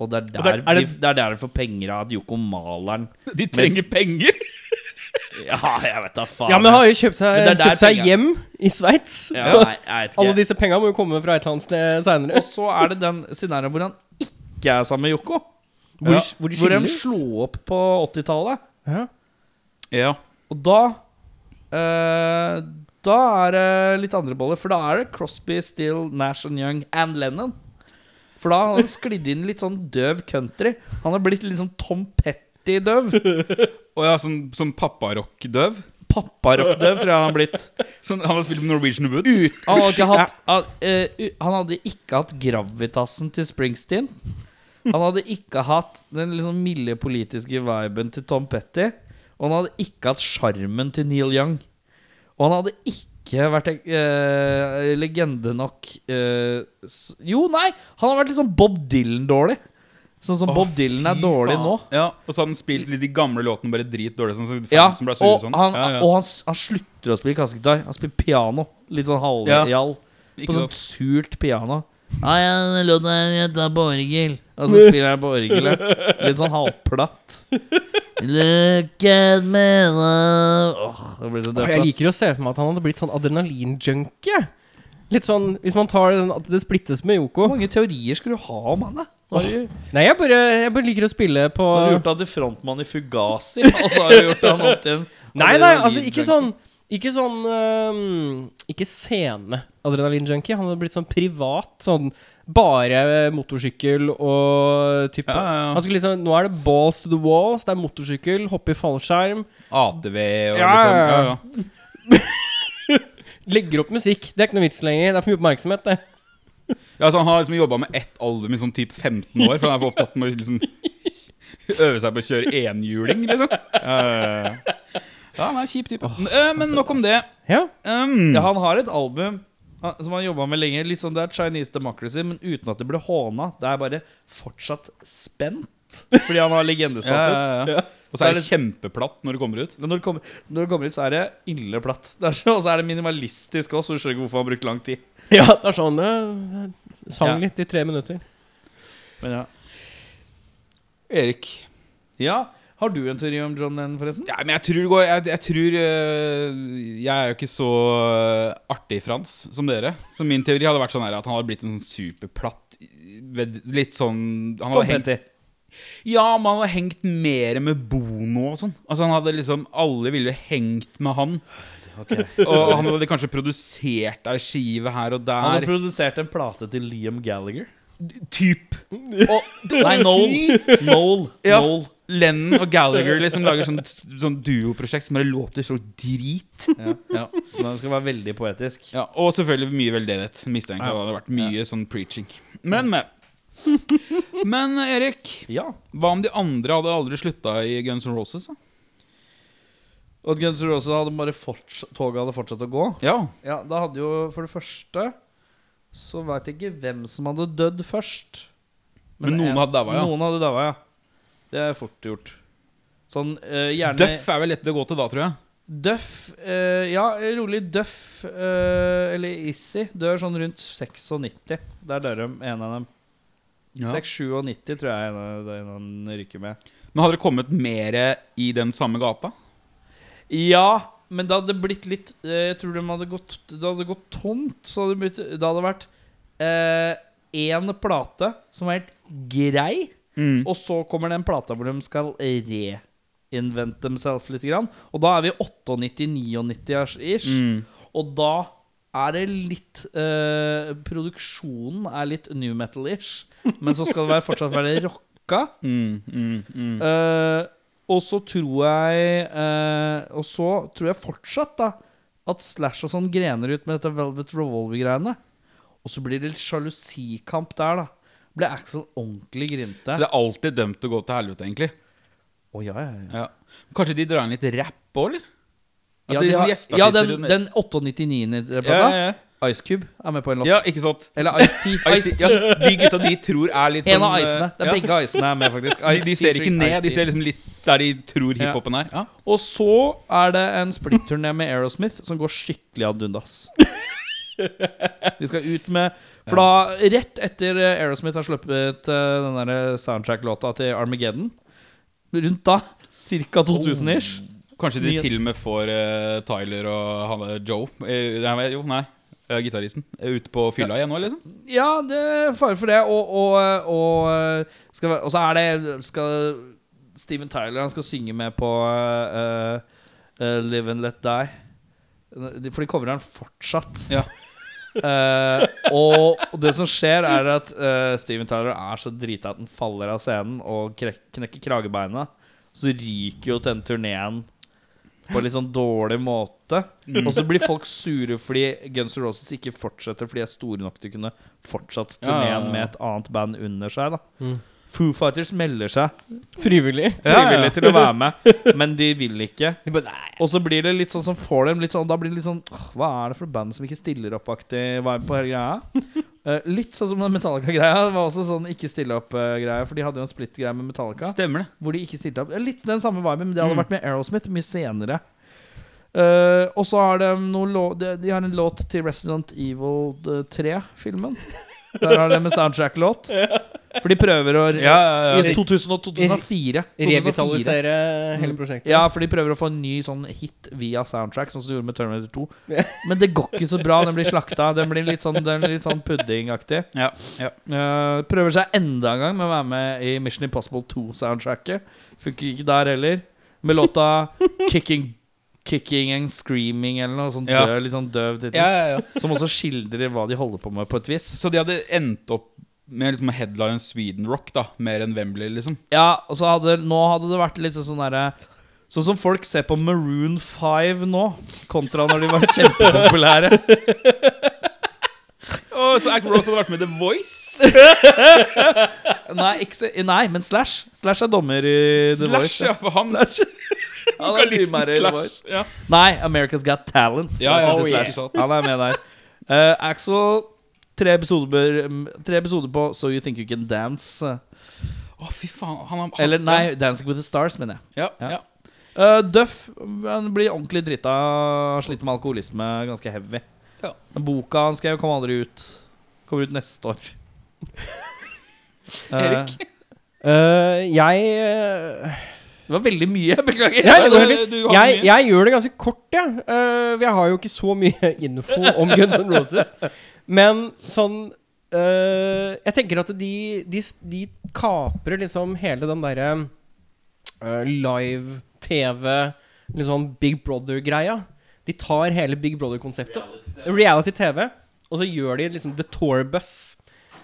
Speaker 1: Og det er der,
Speaker 2: Og der- er det-
Speaker 1: de, det er der de får penger av at Yoko maler han.
Speaker 3: De trenger penger!
Speaker 1: Ja, jeg vet da faen.
Speaker 2: ja, men han har jo kjøpt seg,
Speaker 1: Men det er der
Speaker 2: kjøpt seg
Speaker 1: penger-
Speaker 2: hjem i Sveits.
Speaker 1: Ja,
Speaker 2: så
Speaker 1: nei, jeg vet
Speaker 2: alle
Speaker 1: ikke.
Speaker 2: disse penga må jo komme fra et eller annet sted seinere.
Speaker 1: Og så er det den scenarioen hvor han ikke er sammen med Yoko.
Speaker 2: Hvor-
Speaker 1: Ja.
Speaker 2: hvor de
Speaker 1: hvor de
Speaker 2: skilles.
Speaker 1: slo opp på 80-tallet.
Speaker 2: Ja.
Speaker 3: Ja.
Speaker 1: Og da eh, Da er det litt andre boller, for da er det Crosby, Still, Nash and Young and Lennon. For da har han sklidd inn litt sånn døv country. Han har blitt litt sånn Tom Petty-døv.
Speaker 3: Og ja, sånn, sånn papparock-døv.
Speaker 1: Papparock-døv, tror jeg han har blitt.
Speaker 3: Sånn, han har spilt med Norwegian Wood.
Speaker 1: Ut, han, hadde ikke hatt, han, eh, u- han hadde ikke hatt gravitasen til Springsteen. Han hadde ikke hatt den liksom milde politiske viben til Tom Petty. Og han hadde ikke hatt sjarmen til Neil Young. Og han hadde ikke vært eh, legende nok eh, s Jo, nei! Han har vært litt sånn Bob Dylan-dårlig. Sånn som
Speaker 3: Å,
Speaker 1: Bob Dylan er
Speaker 3: fy
Speaker 1: dårlig
Speaker 3: faen.
Speaker 1: nå.
Speaker 3: Ja, Og så hadde han spilt litt de gamle låtene bare dritdårlig. Sånn, så
Speaker 1: Ja,
Speaker 3: fansen ble sure
Speaker 1: og,
Speaker 3: sånn.
Speaker 1: han,
Speaker 3: ja, ja.
Speaker 1: og han, s- han slutter å spille kassegitar. Han spiller piano. Litt sånn
Speaker 3: Ja.
Speaker 1: halvjall.
Speaker 3: Ikke
Speaker 1: På sånn sånt
Speaker 3: sant?
Speaker 1: surt piano. Ja, ja, den låten er jeg tar på orgel. Og så spiller jeg på orgelet. Litt sånn halvplatt. Look at me now Åh, Det blir så
Speaker 2: Og
Speaker 1: døft.
Speaker 2: Jeg
Speaker 1: ass.
Speaker 2: liker å se for meg at han hadde blitt sånn adrenalin-junkie. Litt sånn, Hvis man tar den at det splittes med
Speaker 1: Hvor
Speaker 2: Yoko
Speaker 1: mange teorier skulle du ha om han, da? Nå har du
Speaker 2: Nei, jeg bare, jeg bare liker å spille på
Speaker 1: nå har du gjort han til frontmann i Fugazi, og så har du gjort han om til en liksom.
Speaker 2: Nei, nei, altså
Speaker 1: adrenalin-junkie.
Speaker 2: ikke sånn Ikke sånn øhm, Ikke scene-adrenalin-junkie. Han hadde blitt sånn privat. Sånn bare motorsykkel og type
Speaker 3: Ja, ja, ja.
Speaker 2: Han skulle liksom Nå er det balls to the walls. Det er motorsykkel, hoppe i fallskjerm.
Speaker 1: Altså-
Speaker 3: ATV og
Speaker 2: Ja,
Speaker 3: liksom.
Speaker 2: ja,
Speaker 3: Ja,
Speaker 2: ja.
Speaker 3: ja.
Speaker 2: Legger opp musikk. Det er ikke noe vits lenger. Det er for mye oppmerksomhet, det.
Speaker 3: Ja, så Han har liksom jobba med ett album i sånn typ 15 år, for han er for opptatt med å liksom øve seg på å kjøre enhjuling, liksom. Ja, ja, ja. Ja, han er en kjip type. Eh, men nok om det.
Speaker 2: Ja.
Speaker 3: Um,
Speaker 1: Ja, han har et album han- som han jobba med lenge. Litt sånn Det er Chinese Democracy, men uten at det ble håna. Det er bare fortsatt spent, fordi han har legendestatus.
Speaker 3: Ja, ja,
Speaker 2: ja.
Speaker 3: Og så er det kjempeplatt når det kommer ut.
Speaker 1: Men når det, kommer, når det kommer ut, så er det ille platt. Det er så- Og så er det minimalistisk også, så du skjønner ikke hvorfor han har brukt lang tid.
Speaker 2: Ja, det er sånn øh, Sang
Speaker 1: Ja.
Speaker 2: litt i tre minutter.
Speaker 1: Men ja.
Speaker 3: Erik.
Speaker 1: ja, Har du en teori om John Lennon, forresten?
Speaker 3: Ja, men jeg tror det går Jeg, jeg tror øh, Jeg er jo ikke så øh, artig, Frans, som dere. Så min teori hadde vært sånn her at han hadde blitt en sånn superplatt ved- Litt sånn han
Speaker 1: Tom
Speaker 3: hadde hengt,
Speaker 1: Petty.
Speaker 3: Ja, men han hadde hengt mer med Bono og sånn. Altså han hadde liksom Alle ville jo hengt med han. Og han hadde kanskje produsert ei skive her og
Speaker 1: Han hadde
Speaker 3: der.
Speaker 1: produsert en plate til Liam Gallagher.
Speaker 3: Typ
Speaker 1: Og, nei, Noel. Noel.
Speaker 3: Ja.
Speaker 1: Noel.
Speaker 3: Lennon og Gallagher liksom lager sånn, sånn duoprosjekt som bare låter så drit.
Speaker 1: Ja.
Speaker 3: Ja.
Speaker 1: Så man skal være veldig poetisk.
Speaker 3: Ja, og selvfølgelig mye veldedighet. Mistenker jeg. Det hadde vært mye sånn preaching. Men med. Men Erik,
Speaker 1: Ja.
Speaker 3: hva om de andre hadde aldri slutta i Guns N' Roses? Da?
Speaker 1: Og at Guns N' Roses hadde bare fortsatt, toget hadde fortsatt å gå.
Speaker 3: Ja.
Speaker 1: Ja, da hadde jo for det første Så veit jeg ikke hvem som hadde dødd først.
Speaker 3: Men noen hadde daua, ja.
Speaker 1: Noen hadde daua, ja. Det er fort gjort. Sånn eh, gjerne
Speaker 3: Duff er vel lett å gå til da, tror jeg.
Speaker 1: Duff, eh, ja, rolig Duff eh, eller Issy dør sånn rundt 96. Der dør de, en av dem.
Speaker 3: Ja.
Speaker 1: 6-97 tror jeg en av- det er en han ryker med.
Speaker 3: Men hadde det kommet mer i den samme gata?
Speaker 1: Ja, men det hadde blitt litt eh, Jeg tror de hadde gått Det hadde gått tomt. Så hadde det, blitt, det hadde vært én plate som var helt grei.
Speaker 3: Og
Speaker 1: Og så kommer den plata hvor de skal reinvente themselves litt. Grann. Og da er vi 98-99-ish.
Speaker 3: Mm.
Speaker 1: Og da er det litt eh, Produksjonen er litt new metal-ish. Men så skal det være, fortsatt være rocka.
Speaker 3: Mm, mm, mm.
Speaker 1: Eh, og så tror jeg eh, Og så tror jeg fortsatt da at Slash og sånn grener ut med dette Velvet Revolver-greiene. Og så blir det litt sjalusikamp der, da. Ble Axel ordentlig grinte.
Speaker 3: Så det er alltid dømt til å gå til helvete, egentlig.
Speaker 1: Å, ja, ja, ja.
Speaker 3: Ja. Kanskje de drar inn litt rap òg, eller? At
Speaker 1: Ja,
Speaker 3: de
Speaker 1: de
Speaker 3: liksom
Speaker 1: har,
Speaker 3: gjesteartister
Speaker 1: ja, den,
Speaker 3: under-
Speaker 1: den 98-99-plata.
Speaker 3: Ja, ja,
Speaker 1: Ice Cube er med på en låt.
Speaker 3: ja. ja, ikke sant?
Speaker 1: Eller Ice-T.
Speaker 3: Ice, ja, de gutta de tror er litt sånn
Speaker 1: En av icene. Det er
Speaker 3: ja.
Speaker 1: Begge icene er med, faktisk.
Speaker 3: De, de
Speaker 1: Ice-T
Speaker 3: ser ikke
Speaker 1: featuring
Speaker 3: ned, de
Speaker 1: Ice-T.
Speaker 3: ser liksom litt der de tror hiphopen er. Ja.
Speaker 1: Og så er det en splitturné med Aerosmith som går skikkelig ad undas. De skal ut med For da, rett etter eh, Aerosmith har sluppet eh, den der soundtrack-låta til Armageddon, rundt da, ca. 2000-ish
Speaker 3: Kanskje de
Speaker 1: Nyhet.
Speaker 3: til og med får eh, Tyler og han der Joe eh, nei, Jo, nei. eh, Gitaristen. eh, Ut på fylla igjen nå, liksom?
Speaker 1: Ja, det er fare for det. Og, eh, og, og, skal, være- og så er det skal Steven Tyler han skal synge med på eh, eh, Live and Let Die. De- For de covrer den fortsatt.
Speaker 3: Ja.
Speaker 1: Eh, og og det som skjer, er at eh, Steven Tyler er så drita at han faller av scenen og krek, knekker kragebeina. Så ryker jo den turneen på en litt sånn dårlig måte.
Speaker 3: Mm.
Speaker 1: Og så blir folk sure fordi Guns N' Roses ikke fortsetter fordi de er store nok til å kunne fortsatt
Speaker 3: Ja, ja, ja.
Speaker 1: turneen med et annet band under seg. da
Speaker 2: Mm.
Speaker 1: Foo Fighters melder seg
Speaker 2: Frivillig.
Speaker 3: Ja, ja, ja.
Speaker 1: frivillig til å være med, men de vil ikke.
Speaker 2: De bare, nei.
Speaker 1: Og så blir det litt sånn som får dem litt sånn Da blir det litt sånn «Åh, Hva er det for band som ikke stiller opp-aktig vibe på hele greia? Eh, litt sånn som den Metallica-greia. Det var også sånn ikke stille opp-greie. For de hadde jo en splitt-greie med Metallica.
Speaker 3: Stemmer det.
Speaker 1: Hvor de ikke stilte opp Eh, Litt den samme viben, men det hadde vært med Aerosmith mye senere. Eh, og så har de noen lå de, de har en låt til Resident Evil 3-filmen. Der har de en soundtrack-låt. For de prøver å
Speaker 3: Ja, ja, ja.
Speaker 1: I 2000 og 2004. 2004.
Speaker 2: Revitalisere hele
Speaker 1: Mm.
Speaker 2: prosjektet.
Speaker 1: Ja, for de prøver å få en ny sånn hit via soundtrack, sånn som de gjorde med Terminator 2. Men det går ikke så bra. Den blir slakta. Den blir litt sånn, den blir litt sånn puddingaktig.
Speaker 3: Ja, ja.
Speaker 1: Eh, prøver seg enda en gang med å være med i Mission Impossible 2-soundtracket. Funker ikke der heller. Med låta 'Kicking Kicking and Screaming' eller noe sånn
Speaker 3: Ja.
Speaker 1: døv, litt sånn døv tittel.
Speaker 3: ja, ja, ja.
Speaker 1: Som også skildrer hva de holder på med, på et vis.
Speaker 3: Så de hadde endt opp med liksom headline Sweden Rock, da. Mer enn Wembley, liksom.
Speaker 1: Ja, og så hadde, nå hadde det vært litt sånn sånn derre Sånn som folk ser på Maroon 5 nå, kontra når de var kjempepopulære.
Speaker 3: Oh, så Act Rose hadde vært med The Voice?
Speaker 1: Nei, ikke, se- nei, men Slash. Slash er dommer i The Voice.
Speaker 3: Slash, ja, for han
Speaker 1: Slash. Han er
Speaker 3: vokalisten
Speaker 1: mye mer i The Voice.
Speaker 3: Slash. Ja.
Speaker 1: Nei, America's Got Talent.
Speaker 3: Ja, ja,
Speaker 1: Der sitter
Speaker 3: oh, yeah.
Speaker 1: Slash. Han er med der. Eh, Axel, tre episoder, tre episoder på So You Think You Can Dance.
Speaker 3: Å, fy faen. Han, han,
Speaker 1: Eller nei, Dancing With The Stars, mener jeg.
Speaker 3: Ja,
Speaker 1: Ja.
Speaker 3: ja.
Speaker 1: Eh, Duff han blir ordentlig drita. Sliter med alkoholisme ganske heavy.
Speaker 3: Ja.
Speaker 1: Men boka han skrev, kom aldri ut. Kommer ut neste år. Eh,
Speaker 3: Erik?
Speaker 2: Eh, jeg eh,
Speaker 1: det var veldig mye, jeg beklager.
Speaker 2: Ja, det
Speaker 3: Nei,
Speaker 2: går
Speaker 3: det-
Speaker 2: helt
Speaker 3: du
Speaker 2: fint.
Speaker 3: hadde
Speaker 2: jeg,
Speaker 3: mye.
Speaker 2: jeg gjør det ganske kort, jeg. Ja. Eh, jeg har jo ikke så mye info om Guns N' Roses. Men sånn eh, Jeg tenker at de, de, de kaprer liksom hele den derre eh, live-TV, litt sånn Big Brother-greia. De tar hele Big Brother-konseptet, reality-TV, og så gjør de liksom The Tour Bus.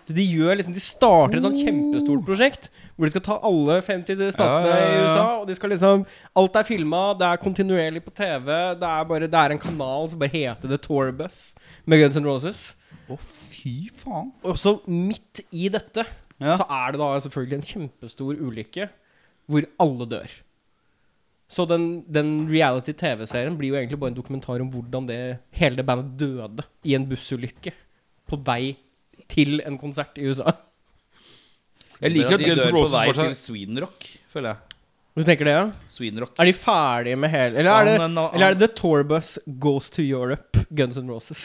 Speaker 2: Så De gjør liksom De starter et sånt kjempestort prosjekt hvor de skal ta alle 50 statene
Speaker 3: Ja, ja, ja,
Speaker 2: i
Speaker 3: ja.
Speaker 2: USA. Og de skal liksom Alt er filma, det er kontinuerlig på TV. Det er bare Det er en kanal som bare heter The Tour Bus med Guns N' Roses.
Speaker 3: Å, fy faen.
Speaker 2: Og så midt i dette
Speaker 3: Ja.
Speaker 2: så er det da selvfølgelig en kjempestor ulykke hvor alle dør. Så den, den reality-TV-serien blir jo egentlig bare en dokumentar om hvordan det, hele det bandet døde i en bussulykke på vei til en konsert i USA.
Speaker 3: Jeg liker at
Speaker 1: de
Speaker 3: Guns N'
Speaker 1: dør på
Speaker 3: Roses
Speaker 1: vei til
Speaker 3: fortsatt
Speaker 1: Sweden Rock, føler jeg.
Speaker 2: Du tenker det, ja?
Speaker 1: Sweden Rock.
Speaker 2: Er de ferdige med hele Eller er det,
Speaker 1: Han, han-
Speaker 2: eller er det The Tour Bus Goes to Europe, Guns N' Roses?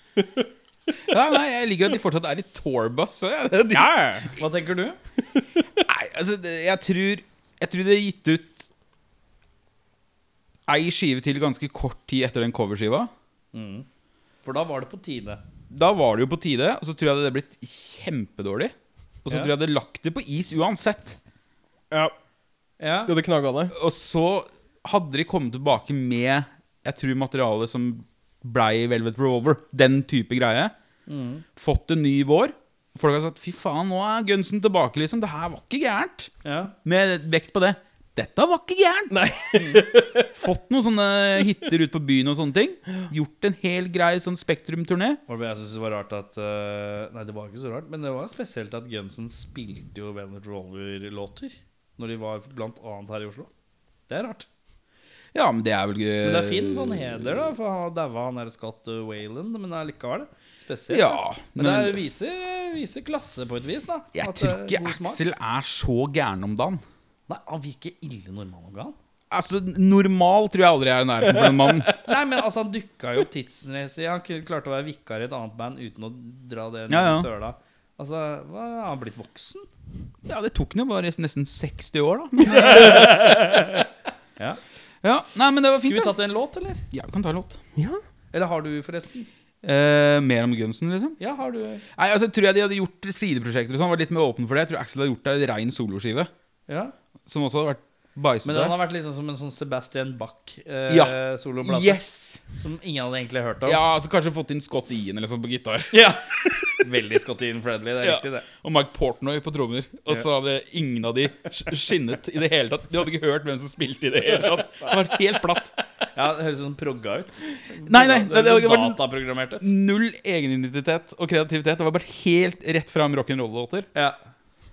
Speaker 3: ja, nei, Jeg liker at de fortsatt er i tourbus. så Ja, det- de-
Speaker 1: Hva tenker du?
Speaker 3: Nei, altså, det- jeg tror Jeg tror det er gitt ut ei skive til ganske kort tid etter den coverskiva.
Speaker 1: For da var det på tide.
Speaker 3: Da var det jo på tide, og så tror jeg det hadde blitt kjempedårlig. Og så
Speaker 1: Ja.
Speaker 3: tror jeg det hadde lagt det på is uansett.
Speaker 1: Ja.
Speaker 2: Du hadde knagga det?
Speaker 3: Og så hadde de kommet tilbake med Jeg tror materialet som blei Velvet Revolver. Den type greie.
Speaker 1: Mm.
Speaker 3: Fått en ny vår. Folk har sagt 'fy faen, nå er Gunsen tilbake', liksom. Det her var ikke gærent.
Speaker 1: ja.
Speaker 3: Med vekt på det. Dette var ikke gærent! Mm.
Speaker 2: Nei.
Speaker 3: Fått noen sånne hiter ut på byen og sånne ting. Gjort en hel grei sånn Spektrum-turné.
Speaker 1: Var det bare Jeg synes det var rart at eh, Nei, det var ikke så rart, men det var spesielt at Gunsen spilte jo Velvet Rover-låter når de var blant annet her i Oslo. Det er rart.
Speaker 3: Ja, men det er vel eh, ikke
Speaker 1: Men det er fin sånn heder, da, for han daua han der Scott Wayland, men allikevel. Spesielt.
Speaker 3: Ja,
Speaker 1: da. men,
Speaker 3: men-
Speaker 1: det er- viser, viser klasse på et vis, da.
Speaker 3: Jeg
Speaker 1: At det er
Speaker 3: tror ikke
Speaker 1: god smak.
Speaker 3: Axel er så gæren om dagen.
Speaker 1: Nei, han virker ille normal om gangen.
Speaker 3: Altså, Normal tror jeg aldri er i nærheten for en mann.
Speaker 1: Nei, men altså, han dukka jo opp tidsmessig. Han kl- klarte å være vikar i et annet band uten å dra det ned
Speaker 3: Ja, ja.
Speaker 1: i søla. Altså, hva, har han blitt voksen?
Speaker 3: Ja, det tok han jo bare nesten 60 år, da.
Speaker 1: Ja.
Speaker 3: Ja, Nei, men det var
Speaker 1: Skulle
Speaker 3: fint,
Speaker 1: vi
Speaker 3: da.
Speaker 1: tatt en låt, eller?
Speaker 3: Ja, vi kan ta en låt.
Speaker 2: Ja.
Speaker 1: Eller har du, forresten?
Speaker 3: Eh, mer om Gunsen, liksom?
Speaker 1: Ja, har du
Speaker 3: Nei, altså, jeg tror jeg de hadde gjort sideprosjekter og sånn. Var litt mer åpen for det. Jeg tror Axel hadde gjort ei rein soloskive.
Speaker 1: Ja.
Speaker 3: Som også hadde vært
Speaker 1: Men den
Speaker 3: bæsjete.
Speaker 1: har vært liksom som en sånn Sebastian
Speaker 3: Ja.
Speaker 1: Bach-soloplate.
Speaker 3: Yes!
Speaker 1: Som ingen hadde egentlig hørt om.
Speaker 3: Ja, altså kanskje fått inn Scott Ian eller sånn på gitar.
Speaker 1: Veldig Scottin Friendly, det er
Speaker 3: Ja.
Speaker 1: riktig, det.
Speaker 3: Og Mike Portnoy på trommer. Og så hadde ingen av de sk- skinnet i det hele tatt. De hadde ikke hørt hvem som spilte i det hele tatt. Det var helt platt.
Speaker 1: Ja, Det høres sånn progga ut.
Speaker 3: Nei, nei,
Speaker 1: det,
Speaker 3: det- det
Speaker 1: høres
Speaker 3: var-
Speaker 1: sånn dataprogrammert ut.
Speaker 3: Null egenidentitet og kreativitet. Det var bare helt rett fram rock'n'roll-låter.
Speaker 1: Ja,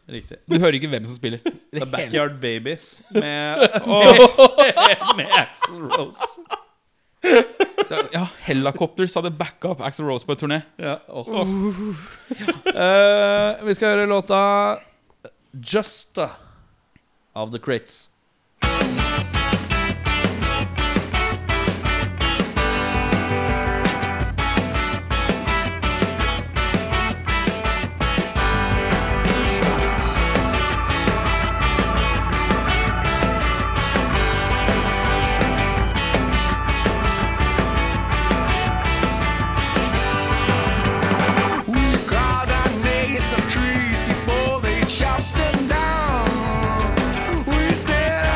Speaker 1: riktig.
Speaker 3: Du hører ikke hvem som spiller.
Speaker 1: Det er
Speaker 3: hele-
Speaker 1: Backyard Babies med, med Axl Rose.
Speaker 3: Da- Ja, Helicopters hadde backa opp Axel Rose på et turné.
Speaker 1: Ja, åh. Uh. Eh, vi skal høre låta Just av The Crits.
Speaker 4: We cried our names of trees before they chopped them down. We said
Speaker 5: Oh,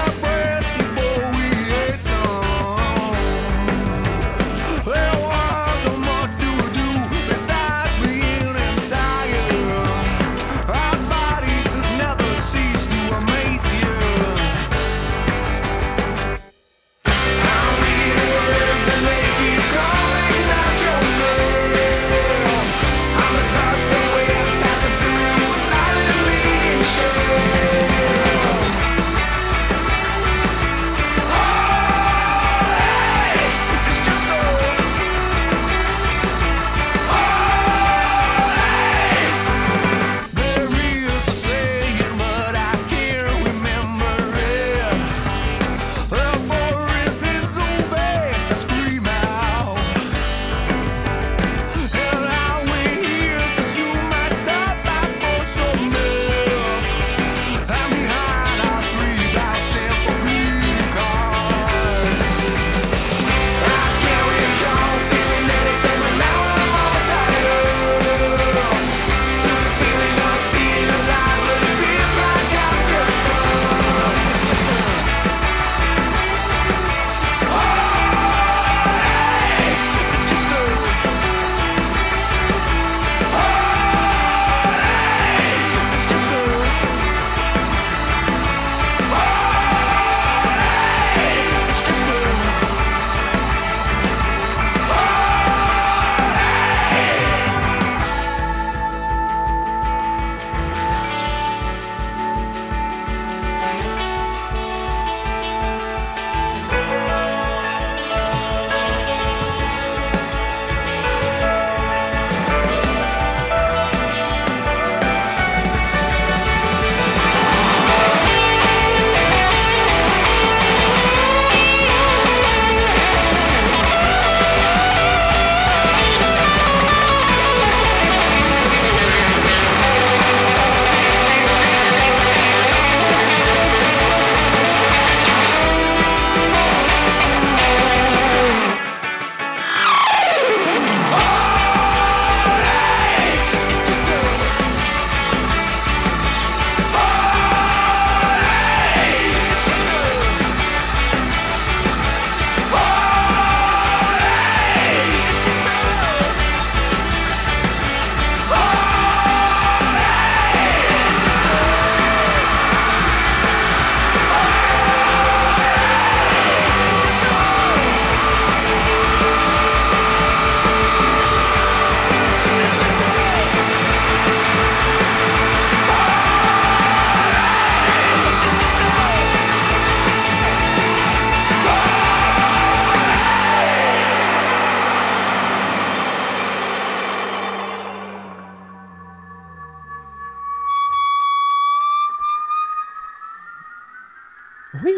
Speaker 2: Oi!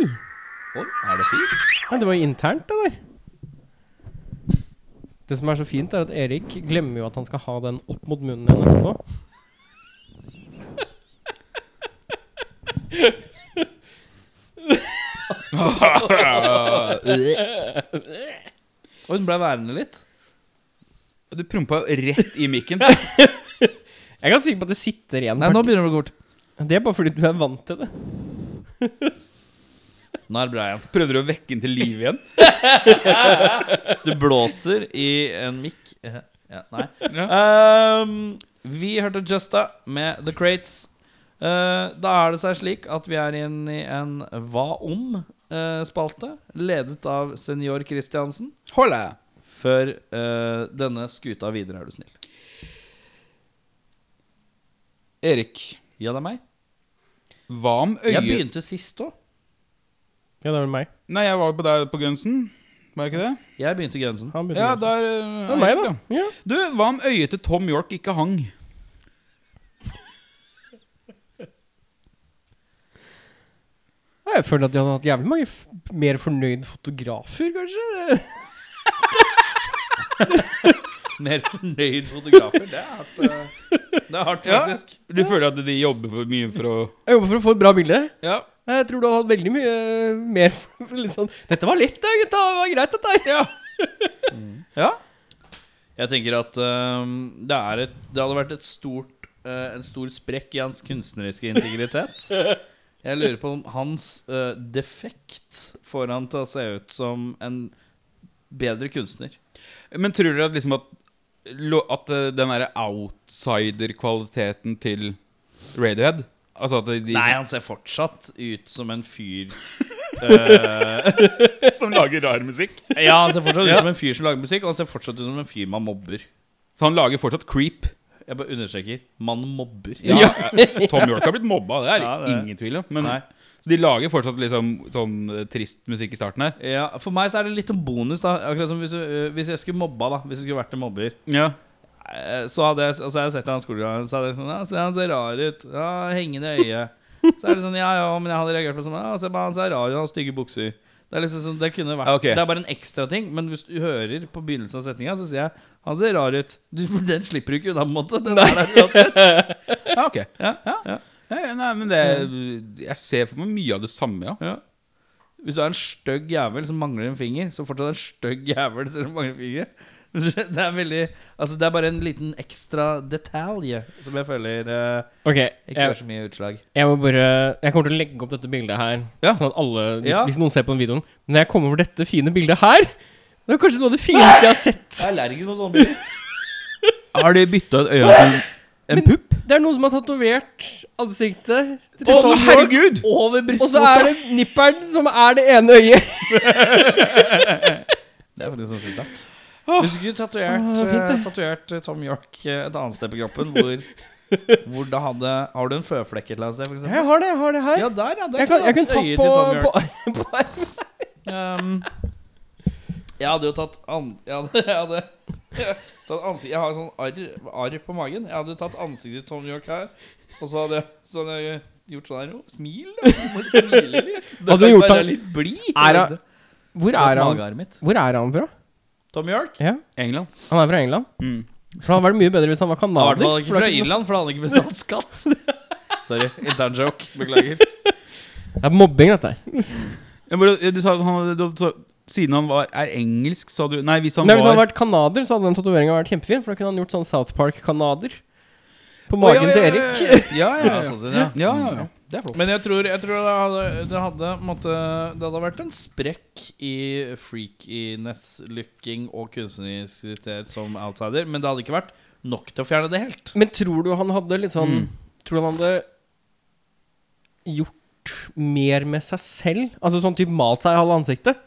Speaker 3: Oi, er det fis?
Speaker 2: Nei, det var jo internt, det der. Det som er så fint, er at Erik glemmer jo at han skal ha den opp mot munnen igjen etterpå.
Speaker 1: Og hun ble værende litt.
Speaker 3: Du prompa jo rett i mikken.
Speaker 2: Jeg er ganske sikker på at det sitter igjen.
Speaker 1: Nei, nå begynner det å gå fort.
Speaker 2: Det er bare fordi du er vant til det.
Speaker 1: Nå er det bra igjen.
Speaker 3: Prøvde du å vekke den til liv igjen?
Speaker 1: Så du blåser i en mikk. Eh, Ja, nei. Ehm, vi hørte Justa med The Crates. Eh, da er det seg slik at vi er inne i en Hva om-spalte, ledet av senior Kristiansen.
Speaker 3: Hola.
Speaker 1: Før eh, denne skuta videre, er du snill.
Speaker 3: Erik,
Speaker 1: Ja, det er meg.
Speaker 3: hva om øyet...
Speaker 1: Jeg begynte sist òg.
Speaker 2: Ja, det er vel meg.
Speaker 3: Nei, jeg var jo på deg på Gunsen. Var jeg ikke det?
Speaker 1: Jeg begynte Gunsen.
Speaker 2: Han begynner
Speaker 3: Ja,
Speaker 2: også.
Speaker 3: der eh,
Speaker 2: det er meg, da. Ja.
Speaker 3: Du, hva om øyet til Tom York ikke hang?
Speaker 2: Ja, Jeg føler at de hadde hatt jævlig mange f mer fornøyd fotografer, kanskje.
Speaker 1: Mer fornøyd fotografer. Det er hardt, eh, det er hardt
Speaker 3: Ja.
Speaker 1: faktisk.
Speaker 3: Du føler at de jobber for mye for å
Speaker 2: Jeg jobber for å få et bra bilde.
Speaker 3: Ja.
Speaker 2: Jeg tror du hadde hatt veldig mye eh, mer for- for litt sånn Dette var lett, da, gutta. Det var greit, dette her.
Speaker 3: ja.
Speaker 1: Jeg tenker at ehm, det, er et, det hadde vært et stort, eh, en stor sprekk i hans kunstneriske integritet. Jeg lurer på om hans eh, defekt får han til å se ut som en bedre kunstner.
Speaker 3: Men tror dere at liksom at, lo- at eh, den derre outsider-kvaliteten til Radiohead Altså at de
Speaker 1: Nei, han ser fortsatt ut som en fyr eh,
Speaker 3: som lager rar musikk?
Speaker 1: Ja, han ser fortsatt ut som en fyr som lager musikk, og han ser fortsatt ut som en fyr man mobber.
Speaker 3: Så han lager fortsatt creep.
Speaker 1: Jeg bare understreker man mobber.
Speaker 3: Ja. Tom York har blitt mobba, det er
Speaker 1: Ja, det er-
Speaker 3: ingen tvil om. Men,
Speaker 1: Nei.
Speaker 3: så de lager fortsatt liksom sånn eh, trist musikk i starten her.
Speaker 1: Ja, For meg så er det litt en bonus. da Akkurat som Hvis, eh, hvis jeg skulle mobba, da Hvis jeg skulle vært en mobber,
Speaker 3: Ja.
Speaker 1: Eh, Så hadde jeg, altså jeg hadde sett han skolegangen, så hadde jeg sånn ja, se, Han ser rar ut. Ja, hengende øye. Så er det sånn, ja, ja, men jeg hadde reagert på sånn ja, se, men Han ser rar ut, han har stygge bukser. Det er liksom sånn, det kunne vært
Speaker 3: Ja, ok.
Speaker 1: Det er bare en ekstra ting, men hvis du hører på begynnelsen av setninga, så sier jeg han ser rar ut. Du, for den slipper du ikke unna, på en måte. Den er der uansett.
Speaker 3: ja, ok.
Speaker 1: Ja, ja.
Speaker 3: Nei, nei, men det Jeg ser for meg mye av det samme, ja.
Speaker 1: Ja. Hvis du er en stygg jævel som mangler en finger, så fortsatt en stygg jævel selv om mangler en finger. Det er veldig Altså, det er bare en liten ekstra detalj som jeg føler eh,
Speaker 2: Ok,
Speaker 1: ikke gjør
Speaker 2: jeg,
Speaker 1: så mye utslag.
Speaker 2: jeg må bare Jeg kommer til å legge opp dette bildet her,
Speaker 3: Ja.
Speaker 2: sånn at alle hvis,
Speaker 1: Ja.
Speaker 2: hvis noen ser på den videoen Men når jeg kommer over dette fine bildet her Det er kanskje noe av det fineste jeg har sett.
Speaker 1: Jeg er allergisk mot sånne bilder.
Speaker 3: Har de bytta et øye til en,
Speaker 2: Men-
Speaker 3: pupp?
Speaker 2: Det er noen som har tatovert ansiktet til
Speaker 3: Å,
Speaker 2: Tom York,
Speaker 3: herregud!
Speaker 1: Over
Speaker 2: Og så er det nipperen som er det ene øyet.
Speaker 1: Det er faktisk sånn ganske sterkt.
Speaker 2: Åh.
Speaker 1: Hvis du skulle tatovert,
Speaker 2: Åh, det er
Speaker 1: eh,
Speaker 2: fint, det.
Speaker 1: tatovert eh, Tom York eh, et annet sted på kroppen, hvor, hvor da hadde Har du en føflekk et eller annet sted, for
Speaker 2: Jeg
Speaker 1: eksempel?
Speaker 2: har det, jeg har det her.
Speaker 1: Ja, der, ja. Der
Speaker 2: jeg kan, jeg kan
Speaker 1: kunne du
Speaker 2: ta
Speaker 1: hatt øyet
Speaker 2: på,
Speaker 1: til Tom York.
Speaker 2: på, på armen.
Speaker 1: Ehm, jeg hadde jo tatt an... Jeg hadde, jeg hadde jeg, tatt ansikt, jeg har sånn arr arr på magen. Jeg hadde tatt ansiktet til Tom York her, og så hadde jeg, så hadde jeg gjort sånn her jo, Smil, da. Du må smile litt.
Speaker 2: Hadde du gjort
Speaker 1: Bare
Speaker 2: han-
Speaker 1: litt blid.
Speaker 2: Er han- Hvor er han,
Speaker 1: Magearret mitt.
Speaker 2: hvor er han fra?
Speaker 1: Tom York?
Speaker 2: Ja,
Speaker 3: England.
Speaker 2: Han er fra England.
Speaker 3: Mm.
Speaker 2: For det hadde vært mye bedre hvis han var
Speaker 1: Han var i hvert fall
Speaker 2: canadier.
Speaker 1: ikke
Speaker 2: for det
Speaker 1: fra
Speaker 2: er ikke noe-
Speaker 1: Irland, for han hadde ikke betalt skatt. Sorry. Intern joke. Beklager.
Speaker 2: Det er mobbing, dette her.
Speaker 3: Ja, men du- du sa at han hadde du sa- Siden han var, er engelsk, sa du Nei, hvis han
Speaker 2: Nei,
Speaker 3: var
Speaker 2: Hvis han hadde vært canadier, så hadde den tatoveringa vært kjempefin. For da kunne han gjort sånn South Park-canader på
Speaker 3: Å, ja,
Speaker 2: magen
Speaker 3: ja,
Speaker 2: til
Speaker 3: ja,
Speaker 2: Erik.
Speaker 3: Ja, ja, ja.
Speaker 1: Ja, sånn sett, ja.
Speaker 3: ja, ja, ja. Det er flott.
Speaker 1: Men jeg tror, jeg tror det, hadde, det, hadde, på en måte, det hadde vært en sprekk i freakiness-looking og kunstneriskhet som outsider, men det hadde ikke vært nok til å fjerne det helt.
Speaker 2: Men tror du han hadde litt sånn
Speaker 3: Mm.
Speaker 2: Tror du han hadde gjort mer med seg selv? Altså sånn type malt seg i halve ansiktet?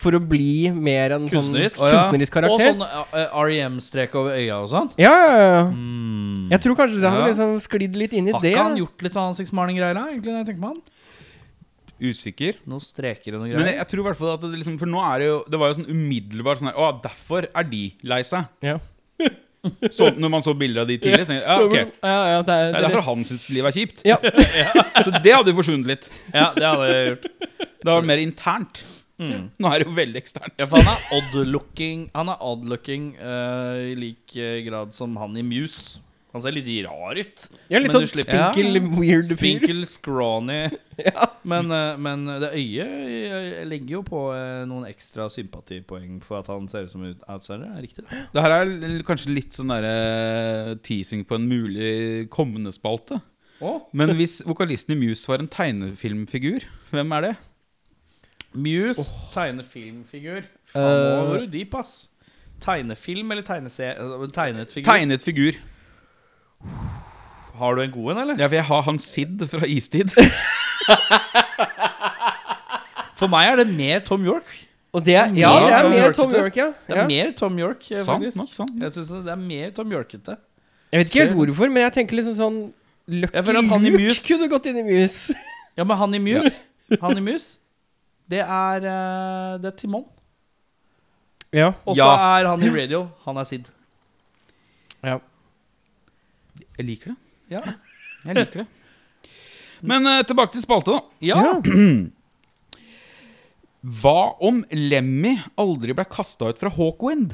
Speaker 2: For å bli mer en sånn
Speaker 1: Kunstnerisk?
Speaker 3: Å, ja.
Speaker 2: kunstnerisk
Speaker 1: Og
Speaker 2: karakter?
Speaker 1: sånn eh, REM-strek over øya og sånn.
Speaker 2: Ja, ja, ja.
Speaker 1: Mm.
Speaker 2: Jeg tror kanskje det hadde
Speaker 3: Ja.
Speaker 2: liksom sklidd litt inn i
Speaker 1: Har
Speaker 2: det.
Speaker 1: ikke han gjort litt sånn ansiktsmaling-greier da, egentlig? når jeg tenker meg om?
Speaker 3: Usikker.
Speaker 1: Noen streker og noen
Speaker 3: Men
Speaker 1: greier.
Speaker 3: jeg, jeg tror i hvert fall at det liksom For nå er det jo Det var jo sånn umiddelbart sånn her Å, derfor er de lei seg.
Speaker 2: Ja.
Speaker 3: Så, når man så bilder av de tidlig, tenkte jeg ja,
Speaker 2: Så- sånn-
Speaker 3: ok.
Speaker 2: ja, ja, det er,
Speaker 3: Det er derfor han syns livet er kjipt.
Speaker 2: Ja.
Speaker 3: Så det hadde jo forsvunnet litt.
Speaker 6: Ja, det hadde jeg gjort.
Speaker 3: Det var mer internt.
Speaker 6: Mm.
Speaker 3: Nå er det jo veldig eksternt.
Speaker 1: Ja, for han er odd-looking Han er odd-looking eh, i lik eh, grad som han i Muse. Han ser litt rar ut.
Speaker 2: ja, litt
Speaker 1: Men
Speaker 2: sånn
Speaker 1: du slipper-
Speaker 2: spinkel, weird fyr.
Speaker 1: Spinkel, scrawny. Men, eh, men det øyet eh, legger jo på eh, noen ekstra sympatipoeng for at han ser ut som en outsider. Er det riktig? det?
Speaker 3: Det her er l- kanskje litt sånn derre teasing på en mulig kommende spalte.
Speaker 1: Å?
Speaker 3: Men hvis vokalisten i Muse var en tegnefilmfigur, hvem er det?
Speaker 1: Muse Eh, tegner filmfigur. Faen, nå var du dyp, ass. Tegnefilm eller tegnese... altså, Tegnet figur?
Speaker 3: Tegnet figur.
Speaker 1: Har du en god en, eller?
Speaker 3: Ja, for jeg har han Sid fra Istid.
Speaker 1: For meg er det mer Tom York.
Speaker 2: Og det er, ja,
Speaker 1: Mer
Speaker 2: det er
Speaker 1: Tom Yorkete.
Speaker 2: mer Tom York, ja.
Speaker 1: Det er
Speaker 2: ja.
Speaker 1: mer Tom York, eh,
Speaker 3: Sant
Speaker 1: faktisk.
Speaker 3: nok, sant nok.
Speaker 1: Jeg synes det er mer Tom Yorkete.
Speaker 2: Jeg vet ikke helt hvorfor, men jeg tenker liksom sånn
Speaker 1: Jeg
Speaker 2: Lucky
Speaker 1: føler at han i
Speaker 2: Luke
Speaker 1: Muse-
Speaker 2: kunne gått inn i Muse.
Speaker 1: Ja, men han i Muse Han i Muse Det er, eh, det er Timon
Speaker 2: Ja.
Speaker 1: Og så
Speaker 3: Ja.
Speaker 1: er han i Radio Han er Sid
Speaker 3: Jeg liker det.
Speaker 1: Ja,
Speaker 3: Jeg liker det. Men eh, tilbake til spalte, da. Hva om Lemmy aldri ble kasta ut fra Hawkwind?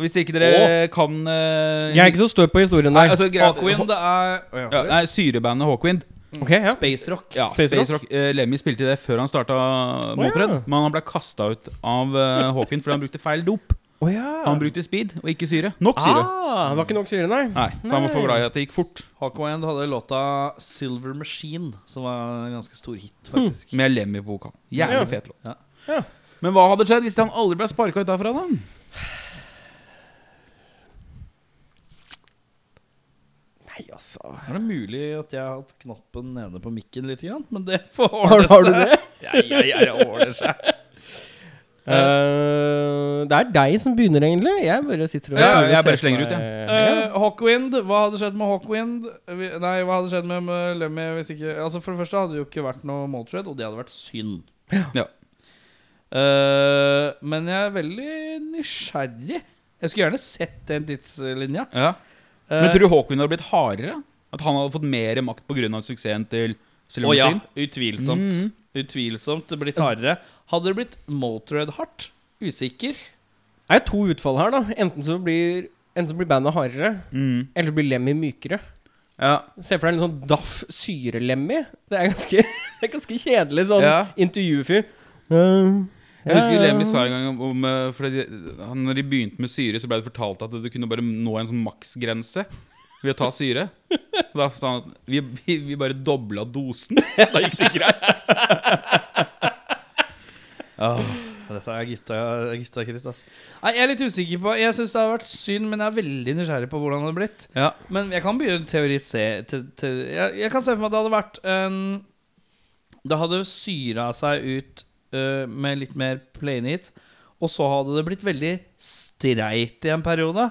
Speaker 3: Hvis ikke dere kan eh,
Speaker 2: Jeg er ikke så stø på historien
Speaker 3: Nei,
Speaker 2: der.
Speaker 3: altså, greit,
Speaker 1: Aquin det er Å, ja,
Speaker 3: Ja,
Speaker 1: sorry.
Speaker 3: nei, syrebandet Hawkwind.
Speaker 2: Ok, ja.
Speaker 1: Space Rock
Speaker 3: Ja,
Speaker 2: Space
Speaker 3: Space, Rock. Eh, Lemmy spilte det før han starta Motörhead,
Speaker 2: ja.
Speaker 3: men han ble kasta ut av eh, Hawkwind fordi han brukte feil dop.
Speaker 2: Å ja.
Speaker 3: Han brukte speed og ikke syre. Nok syre.
Speaker 2: Ah, det var ikke nok syre, nei.
Speaker 3: Nei, Så han var for glad i at det gikk fort.
Speaker 1: Aquin hadde låta Silver Machine Som var en ganske stor hit
Speaker 2: Hmm.
Speaker 1: faktisk
Speaker 3: Med Lemmy på vokal. Jævlig
Speaker 2: Ja.
Speaker 3: fet låt.
Speaker 1: Ja.
Speaker 2: Ja.
Speaker 3: Men hva hadde skjedd hvis han aldri ble sparka ut derfra, da?
Speaker 2: Nei, altså.
Speaker 1: Er det mulig at jeg har hatt knappen nede på mikken litt grann Men det får
Speaker 2: Har,
Speaker 1: ordne
Speaker 2: har du
Speaker 1: seg.
Speaker 2: det?
Speaker 1: Ja, ja, ja, det ordner seg
Speaker 2: Eh, det er deg som begynner, egentlig. Jeg bare sitter og
Speaker 3: Ja,
Speaker 2: prøver å
Speaker 3: jeg
Speaker 2: se
Speaker 3: bare
Speaker 2: på
Speaker 3: slenger ut,
Speaker 2: meg-
Speaker 1: Eh, Hawkwind, hva hadde skjedd med Hawkwind? Vi- Nei, hva hadde skjedd med, med Lemmy hvis ikke Altså For det første hadde det jo ikke vært noe Motörhead, og det hadde vært synd.
Speaker 3: Ja.
Speaker 1: Eh, men jeg er veldig nysgjerrig. Jeg skulle gjerne sett den tidslinja.
Speaker 3: Ja.
Speaker 1: Eh,
Speaker 3: Men tror du Hawkwind hadde blitt hardere? At han hadde fått mer makt pga. suksessen til
Speaker 1: å
Speaker 3: Silver
Speaker 1: ja,
Speaker 3: Machine?
Speaker 1: utvilsomt.
Speaker 3: Mhm.
Speaker 1: Utvilsomt det blitt hardere. Hadde det blitt Motörhead hardt? Usikker.
Speaker 2: Det er jo to utfall her, da. Enten så blir, enten så blir bandet hardere,
Speaker 3: Mm.
Speaker 2: eller så blir Lemmy mykere.
Speaker 3: Ja.
Speaker 2: Se for deg en sånn daff syrelemmy. Det er ganske, det er ganske kjedelig sånn
Speaker 3: Ja.
Speaker 2: intervjufyr. Uh,
Speaker 3: Jeg husker Lemmy sa en gang om, om eh, fordi han, Når de begynte med syre, så ble det fortalt at du kunne bare nå en sånn maksgrense ved å ta syre. Så da sa han at vi, vi, vi bare dobla dosen. Da gikk det greit.
Speaker 1: Ah, Dette er gutta- guttakritt, ass. Nei, jeg er litt usikker på Jeg syns det har vært synd, men jeg er veldig nysgjerrig på hvordan det har blitt.
Speaker 3: Ja.
Speaker 1: Men jeg kan begynne å teorisere te, te, jeg, jeg kan se for meg at det hadde vært en Det hadde syra seg ut eh, med litt mer plain hit, og så hadde det blitt veldig streit i en periode.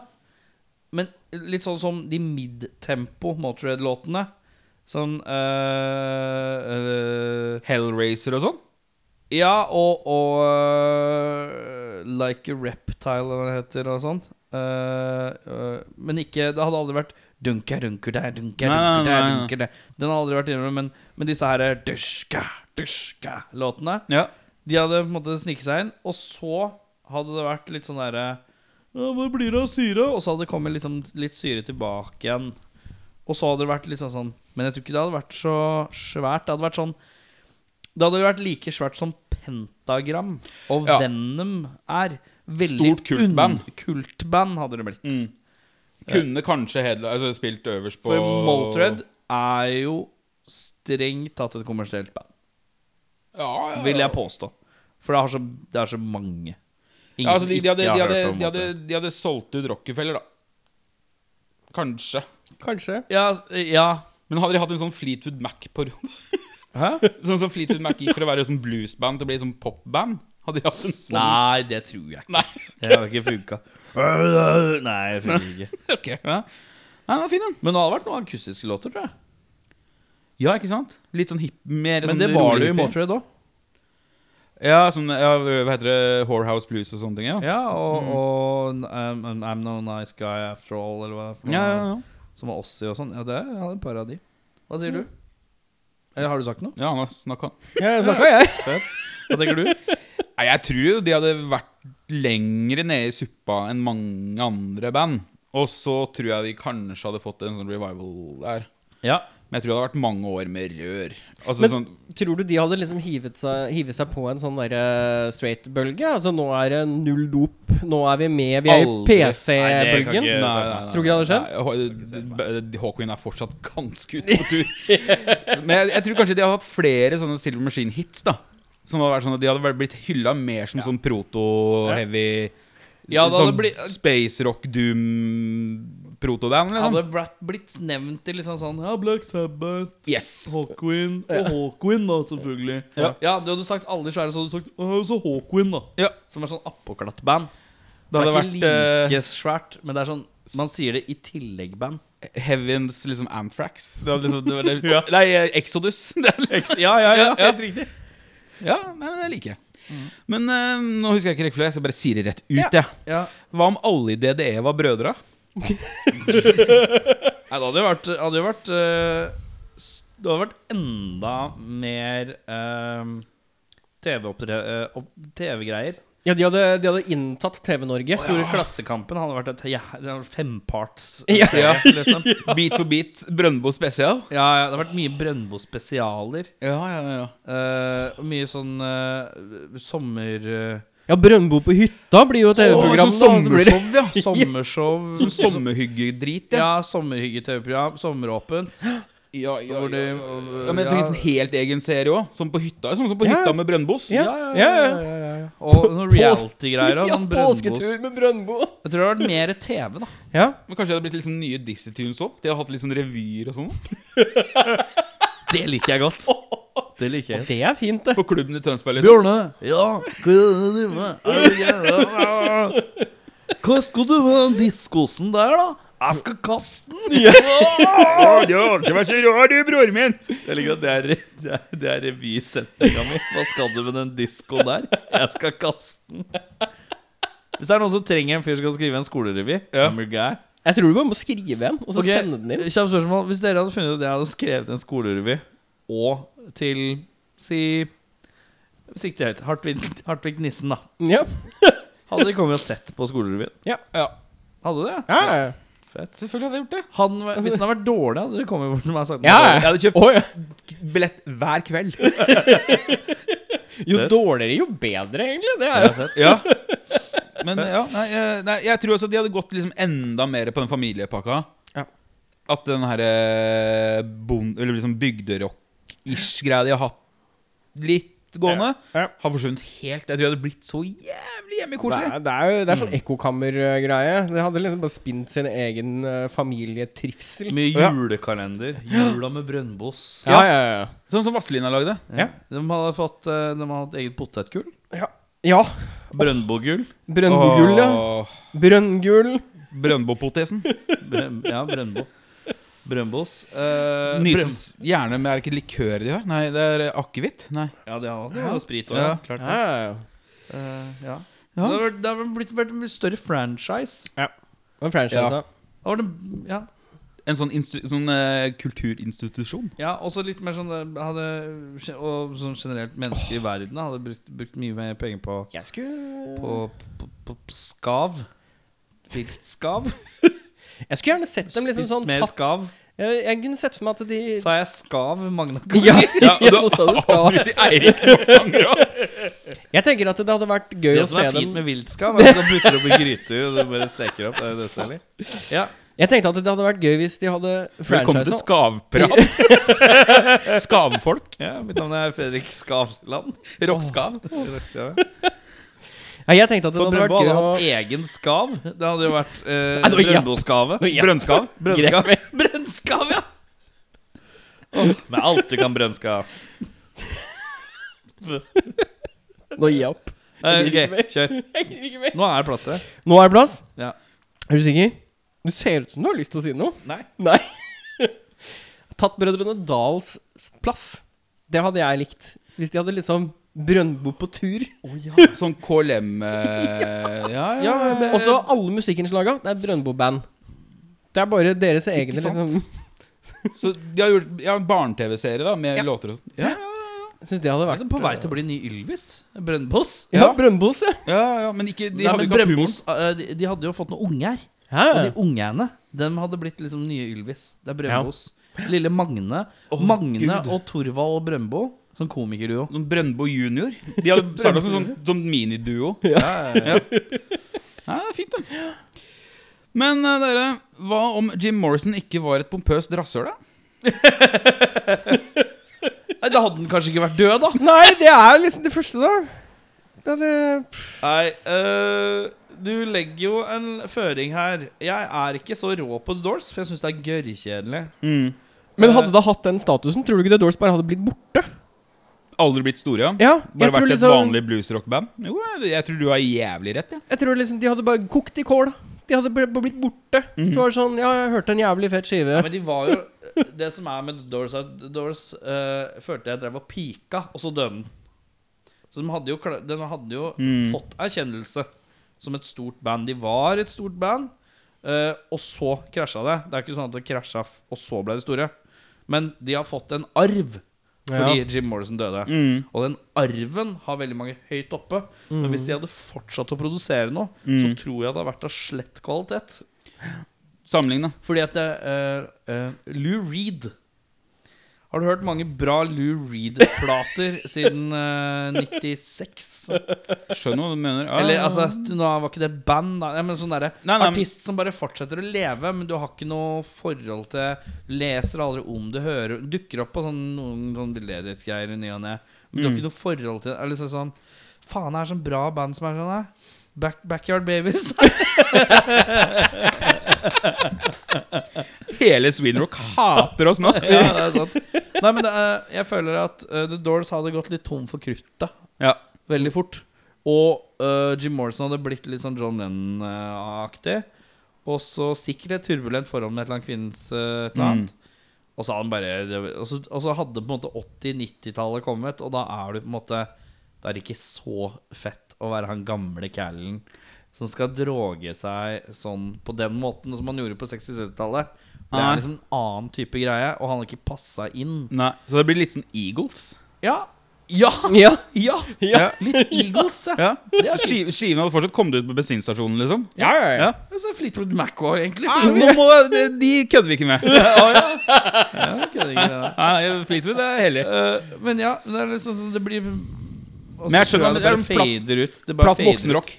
Speaker 1: Men litt sånn som de midtempo Motorhead-låtene. Sånn eh, eh,
Speaker 3: Hellraiser og sånn.
Speaker 1: ja, og, og øh, Like a Reptile, eller hva det heter, og sånn. Øh, øh, men ikke Det hadde aldri vært Dunka, dunker der, dunka,
Speaker 3: Nei,
Speaker 1: dunker der,
Speaker 3: nei, nei.
Speaker 1: dunker der. Den hadde aldri vært innom, men, men disse her er Duska, duska låtene
Speaker 3: Ja.
Speaker 1: De hadde på en måte sniket seg inn, og så hadde det vært litt sånn derre ja, Hva blir det av syre? Og så hadde det kommet liksom litt syre tilbake igjen. Og så hadde det vært litt sånn sånn Men jeg tror ikke det hadde vært så svært. Det hadde vært sånn Det hadde vært like svært som Pentagram og
Speaker 3: Ja.
Speaker 1: Venom er.
Speaker 3: Stort kultband.
Speaker 1: unn- kultband hadde det blitt.
Speaker 3: Mm. Kunne kanskje Hedla altså, spilt øverst på
Speaker 1: For Motörhead er jo strengt tatt et kommersielt band,
Speaker 3: ja, ja, ja.
Speaker 1: vil jeg påstå. For det, har så, det er så mange. Ingen
Speaker 3: Ja, altså,
Speaker 1: som
Speaker 3: de, de,
Speaker 1: ikke
Speaker 3: hadde,
Speaker 1: har
Speaker 3: de,
Speaker 1: hørt
Speaker 3: hadde,
Speaker 1: om
Speaker 3: de, hadde,
Speaker 1: Motörhead.
Speaker 3: de hadde solgt ut Rockefeller, da. Kanskje.
Speaker 2: Kanskje.
Speaker 1: Ja, s- ja.
Speaker 3: Men hadde de hatt en sånn Fleetwood Mac-periode? Sånn som Fleetwood Mac gikk fra å være sånn bluesband til å bli sånn popband? Hadde de hatt en sånn?
Speaker 1: Nei, det tror jeg ikke.
Speaker 3: Nei.
Speaker 1: Det har ikke funka. Nei, det funker ikke.
Speaker 3: Ok, ja. Nei, den er fin, den.
Speaker 1: Men det hadde vært noen akustiske låter, tror jeg.
Speaker 3: Ja, ikke sant? Litt sånn hipp, mer
Speaker 1: Men
Speaker 3: sånn
Speaker 1: det var
Speaker 3: rolig
Speaker 1: det jo i
Speaker 3: hippie.
Speaker 1: Motörhead òg.
Speaker 3: Ja, sånn, ja, hva heter det? Whorehouse Blues og sånne ting, ja.
Speaker 1: Ja, og,
Speaker 3: Mm.
Speaker 1: og um, um, I'm no nice guy after all, eller hva det er for
Speaker 3: Ja,
Speaker 1: noe,
Speaker 3: ja, Mm. ja.
Speaker 1: Som var Ossi og sånn. Ja, det er ja, det er et par av de. Hva sier du? Eller har du sagt noe?
Speaker 3: ja nå snakka han.
Speaker 2: Ja, jeg snakka, jeg.
Speaker 1: Hva tenker du?
Speaker 3: Nei, jeg tror jo de hadde vært lengre nede i suppa enn mange andre band. Og så tror jeg de kanskje hadde fått en sånn revival der.
Speaker 1: Ja.
Speaker 3: Men jeg tror det hadde vært mange år med rør. Altså
Speaker 2: Men-
Speaker 3: sånn
Speaker 2: Tror du de hadde liksom hivet seg, hivet seg på en sånn derre straight-bølge? Altså nå er det null dop, nå er vi med, vi er i
Speaker 3: Aldri.
Speaker 2: PC-bølgen.
Speaker 1: Nei, det kan ikke-
Speaker 2: Tror du ikke det hadde skjedd?
Speaker 3: Nei, Hå- d- Hawkwind er fortsatt ganske ute på tur. Men jeg, jeg tror kanskje de hadde hatt flere sånne Silver Machine-hits. da Som hadde vært sånn at De hadde vært- blitt hylla mer som sånn proto-heavy
Speaker 1: Ja, det hadde
Speaker 3: Sånn
Speaker 1: blitt-
Speaker 3: space rock doom protoband, liksom.
Speaker 1: Hadde Brat blitt nevnt i liksom sånn Ja, Black Sabbath,
Speaker 3: Yes!
Speaker 1: Hawkwind Og Hawkwind, da, selvfølgelig.
Speaker 3: Ja.
Speaker 1: Du hadde sagt alle de svære, så hadde du sagt «Å, så Hawkwind, da.
Speaker 3: Ja.
Speaker 1: Som er sånn appåklatt-band.
Speaker 3: Det hadde
Speaker 1: er
Speaker 3: vært
Speaker 1: ikke
Speaker 3: eh,
Speaker 1: like svært, men det er sånn Man sier det i tillegg-band.
Speaker 3: Heavens liksom Anthrax. Det hadde liksom, det var det, Nei, eh, Exodus. Det er liksom,
Speaker 1: Ja, ja, ja,
Speaker 3: Ja.
Speaker 1: helt riktig.
Speaker 3: ja, nei, det liker jeg. Men eh, nå husker jeg ikke rekkefølgen, så jeg bare sier det rett ut. jeg.
Speaker 1: Mm. Ja.
Speaker 3: Hva om alle i DDE var brødre?
Speaker 1: Nei, det hadde jo vært, hadde jo vært eh, s- Det hadde vært enda mer eh, TV-opptre... eh, opp- TV-greier.
Speaker 2: Ja, de hadde, de hadde inntatt TV-Norge.
Speaker 1: Store Klassekampen hadde vært et ja, det hadde vært femparts
Speaker 2: Ja.
Speaker 1: serie, liksom.
Speaker 3: Beat for beat, Brøndbo spesial.
Speaker 1: Ja, ja, det har vært mye Brøndbo-spesialer.
Speaker 3: Ja, ja, ja.
Speaker 1: eh, og mye sånn eh, sommer... eh,
Speaker 2: Ja, Brøndbo på hytta blir jo et TV-program. da, så sånn blir det-
Speaker 3: sommershow, ja.
Speaker 1: sommershow.
Speaker 3: Som sommerhyggedrit, ja.
Speaker 1: Ja, sommerhygge-TV-program. Sommeråpent.
Speaker 3: Ja, ja,
Speaker 1: Hvor de-
Speaker 3: Ja, men jeg tenker sånn helt egen serie òg. Som på hytta, sånn som på
Speaker 2: Ja.
Speaker 3: hytta med Brøndbos.
Speaker 2: Ja, ja, ja.
Speaker 1: Og noen
Speaker 2: På-
Speaker 1: reality-greier. og
Speaker 2: Ja,
Speaker 1: noen
Speaker 2: påsketur
Speaker 1: Brøndbos.
Speaker 2: med Brøndbo.
Speaker 1: Jeg tror det har vært mer TV, da.
Speaker 2: Ja.
Speaker 3: Men kanskje det hadde blitt liksom nye Dizzie Tunes òg? De hadde hatt litt sånn revyer og sånn.
Speaker 1: Det liker jeg godt. Det liker jeg.
Speaker 2: Det er fint, det.
Speaker 3: På klubben i Tønsberg. Liksom.
Speaker 1: Bjørne! Ja? Hva er det du driver med? Hva skal du med den diskosen der, da? Jeg skal kaste den!
Speaker 3: Ja, det har alltid vært så rar, du, broren min.
Speaker 1: Jeg liker at det er, det er, det er revysetninga mi. Hva skal du med den disko der? Jeg skal kaste den. Hvis det er noen som trenger en fyr som kan skrive en skolerevy
Speaker 3: Ja.
Speaker 1: I'm your guy.
Speaker 2: Jeg tror du bare må skrive en, og så
Speaker 1: Ok,
Speaker 2: sende den inn.
Speaker 1: Kjapt spørsmål. Hvis dere hadde funnet ut at jeg hadde skrevet en skolerevy, og til si Sikte høyt. Hartvig, Hartvig Nissen, da.
Speaker 2: Ja.
Speaker 1: Hadde de kommet og sett på skolerevyen?
Speaker 3: Ja,
Speaker 1: Hadde de?
Speaker 2: Ja, ja, ja.
Speaker 3: selvfølgelig hadde jeg gjort det.
Speaker 1: Han, hvis den hadde vært dårlig, hadde de kommet bort til meg og sagt
Speaker 2: Ja, ja.
Speaker 3: Jeg hadde kjøpt
Speaker 2: Å, ja.
Speaker 3: billett hver kveld.
Speaker 2: Jo dårligere, jo bedre, egentlig. Det er jo
Speaker 3: Ja. Men ja, nei, eh, nei, jeg tror også de hadde gått liksom enda mer på den familiepakka.
Speaker 2: Ja.
Speaker 3: At den her eh, bon- Eller liksom bygderock-ish-greia de har hatt litt gående,
Speaker 2: Ja. Ja.
Speaker 3: har forsvunnet helt. Jeg tror det hadde blitt så jævlig
Speaker 2: Det
Speaker 3: hjemmekoselig.
Speaker 2: er, det er, jo- det er sånn ekkokammergreie. Det hadde liksom bare spint sin egen eh, familietrivsel.
Speaker 1: Mye
Speaker 3: Ja.
Speaker 1: julekalender. Jula med Brønnbos.
Speaker 2: Ja, ja, ja.
Speaker 3: Sånn som Vazelina lagde.
Speaker 2: Ja.
Speaker 1: De hadde fått eh, De hadde hatt eget potetgull.
Speaker 2: Ja.
Speaker 1: Brønnbogull.
Speaker 2: Brøndbogull, ja.
Speaker 3: Åh,
Speaker 2: Brønngull.
Speaker 3: Brønnbopotesen.
Speaker 1: Brøn- Ja, Brønnbo. Brønnbos. Eh, brønn-
Speaker 3: Nytes gjerne med Er det ikke likør de har? Nei, det er eh, akevitt. Nei.
Speaker 1: Ja, det hadde ja. sprit òg.
Speaker 3: Ja.
Speaker 1: Klart det.
Speaker 2: Ja, ja, ja.
Speaker 1: Eh, ja.
Speaker 3: Ja.
Speaker 1: Det har vært- det har blitt vært en større franchise.
Speaker 2: Og en altså. franchise,
Speaker 3: Ja.
Speaker 2: ja.
Speaker 1: Det var det- Ja,
Speaker 3: En sånn, instu- sånn eh, kulturinstitusjon.
Speaker 1: ja også litt mer sånn eh, hadde, Og sånn generelt mennesker i verden hadde brukt, brukt mye mer penger på
Speaker 2: Jeg skulle
Speaker 1: på, på, på, på skav. Viltskav.
Speaker 2: Jeg skulle gjerne sett dem liksom
Speaker 1: Spist
Speaker 2: sånn
Speaker 1: mer
Speaker 2: tatt
Speaker 1: skav.
Speaker 2: jeg, jeg kunne sett for meg at de
Speaker 1: Sa jeg skav, Magna?
Speaker 2: Ja, ja,
Speaker 3: og du
Speaker 2: nå sa du skal.
Speaker 3: Avbryter Eirik noen ganger òg.
Speaker 2: Jeg tenker at det hadde vært gøy
Speaker 1: Det
Speaker 2: å
Speaker 1: som
Speaker 2: se
Speaker 1: er fint
Speaker 2: dem
Speaker 1: med viltskav, er at du putter opp i gryte og det bare steker opp. Det er jo dødsdeilig. Ja.
Speaker 2: Jeg tenkte at det hadde vært gøy hvis de hadde
Speaker 3: Velkommen til
Speaker 2: franchise.
Speaker 3: skavprat. Skavfolk.
Speaker 1: ja, mitt navn er Fredrik Skavland.
Speaker 3: Rockskav.
Speaker 1: For
Speaker 2: Ja, jeg tenkte at det hadde
Speaker 1: Brøndbo
Speaker 2: vært gøy
Speaker 1: hadde
Speaker 2: å
Speaker 1: hatt egen skav. Det hadde jo vært eh,
Speaker 2: Nei, nå, ja.
Speaker 1: Brøndboskavet.
Speaker 2: Nå, ja.
Speaker 3: Brønnskav.
Speaker 1: Brønnskav. Brønnskav, ja! Åh, med alt du kan brønnskav.
Speaker 2: Nå gir jeg opp.
Speaker 1: Eh, ok, kjør.
Speaker 2: Jeg gir ikke mer.
Speaker 1: Nå er det plass til det.
Speaker 2: Nå er det plass?
Speaker 1: Ja.
Speaker 2: Er du sikker? Du ser ut som du har lyst til å si noe.
Speaker 1: Nei.
Speaker 2: Nei. Tatt Brødrene Dals plass. Det hadde jeg likt. Hvis de hadde liksom Brøndbo på tur.
Speaker 3: Sånn KLM eh, Ja, ja. det-
Speaker 2: Og så alle musikkinnslaga. Det er Brøndbo-band. Det er bare deres egne,
Speaker 1: Ikke sant?
Speaker 2: liksom.
Speaker 3: Så de har gjort ja, barne-TV-serie da med
Speaker 2: Ja.
Speaker 3: låter og sånn. Ja,
Speaker 2: Syns det hadde
Speaker 1: Det er
Speaker 2: vært
Speaker 1: som på vei til å bli ny Ylvis. Brønnbos.
Speaker 2: Ja,
Speaker 3: Ja.
Speaker 2: Brøndbos, ja.
Speaker 3: ja, ja, men ikke de
Speaker 1: Nei,
Speaker 3: hadde
Speaker 1: men
Speaker 3: ikke hatt humoren.
Speaker 1: Brønnbos eh, de, de hadde jo fått noen unger. Og de ungene dem hadde blitt liksom nye Ylvis. Det er Brønnbos. Lille Magne. Magne
Speaker 3: Gud.
Speaker 1: og Torvald og Brøndbo som komikerduo.
Speaker 3: Noen Sånn Brøndbo junior. De hadde starta som sånn, sånn miniduo. Ja. Ja, det er fint, da. Men eh, dere, hva om Jim Morrison ikke var et pompøst rasshøl, da?
Speaker 1: Nei, Da hadde den kanskje ikke vært død, da.
Speaker 2: Nei, det er liksom det første, da. Ja, det,
Speaker 1: Nei, øh, du legger jo en føring her. Jeg er ikke så rå på The Doors, for jeg syns det er gørrkjedelig.
Speaker 2: men hadde det hatt den statusen, tror du ikke The Doors bare hadde blitt borte?
Speaker 3: Aldri blitt store, ja?
Speaker 2: Ja,
Speaker 3: Bare
Speaker 2: tror
Speaker 3: vært et
Speaker 2: liksom-
Speaker 3: vanlig bluesrockband? Jo, jeg- jeg tror du har jævlig rett, jeg.
Speaker 2: Jeg tror liksom de hadde bare kokt i kål. De hadde bare blitt borte. Så var det sånn Ja, jeg hørte en jævlig fet skive.
Speaker 1: Men de var jo Det som er med The Doors, er at The Doors øh, følte jeg drev og pika, og så døde den. Så de hadde jo, kla- den hadde jo
Speaker 3: Mm.
Speaker 1: fått erkjennelse som et stort band. De var et stort band, øh, og så krasja det. Det er ikke sånn at det krasja, f- og så ble de store. Men de har fått en arv fordi
Speaker 2: Ja.
Speaker 1: Jim Morrison døde.
Speaker 3: Mm.
Speaker 1: Og den arven har veldig mange høyt oppe. Men hvis de hadde fortsatt å produsere noe, så tror jeg det har vært av slett kvalitet.
Speaker 3: Sammenlign, da.
Speaker 1: Fordi at det, eh, eh, Lou Reed Har du hørt mange bra Lou Reed-plater siden eh, 96?
Speaker 3: Skjønner hva du mener. Ja,
Speaker 1: Eller
Speaker 3: ja,
Speaker 1: altså, nå var ikke det band, da. Nei, men sånn derre
Speaker 3: Ah. Nei, nei, men-
Speaker 1: artist som bare fortsetter å leve, men du har ikke noe forhold til Leser aldri om det, hører Dukker opp på sånn, noen sånn veldedighetsgreier i ny og ne. Men du
Speaker 3: Mm.
Speaker 1: har ikke noe forhold til det. Eller sånn sånn, Faen, det er sånn bra band som er sånn, da. Back, backyard Babies.
Speaker 3: ja. Hele Swinrock hater oss nå.
Speaker 1: ja, det er sant. Nei, men det er, jeg føler at eh, The Doors hadde gått litt tom for kruttet
Speaker 3: Ja.
Speaker 1: veldig fort. Og eh, Jim Morrison hadde blitt litt sånn John Lennon-aktig. Og så sikkert et turbulent forhold med et eller annet kvinnes eh, et
Speaker 3: Mm.
Speaker 1: eller annet. Og så hadde han bare det- og så, og så hadde på en måte 80-90-tallet kommet, og da er du på en måte Da er det ikke så fett å være han gamle callen som skal droge seg sånn på den måten som han gjorde på 60-70-tallet. Det
Speaker 3: Nei.
Speaker 1: er liksom en annen type greie, og han har ikke passa inn.
Speaker 3: Nei, så det blir litt sånn Eagles.
Speaker 1: Ja! Ja!
Speaker 2: Ja.
Speaker 1: Ja!
Speaker 3: Ja.
Speaker 1: Litt Eagles, ja.
Speaker 3: Ja.
Speaker 1: Det er fint.
Speaker 3: Ski- Skiven hadde fortsatt kommet ut på bensinstasjonen, liksom.
Speaker 2: Ja, ja, ja.
Speaker 3: Ja.
Speaker 1: Det er så Fleetwood Mac var egentlig.
Speaker 3: Ah, nå må, de, de kødder vi ikke med.
Speaker 1: Ja, kødder ikke med det.
Speaker 3: Nei, Fleetwood er hellig.
Speaker 1: Eh, men ja, det er liksom sånn det blir Men
Speaker 3: Men jeg skjønner at
Speaker 1: det
Speaker 3: det er
Speaker 1: bare
Speaker 3: en platt-
Speaker 1: fader ut. Det bare
Speaker 3: Platt
Speaker 1: fader ut.
Speaker 3: voksenrock.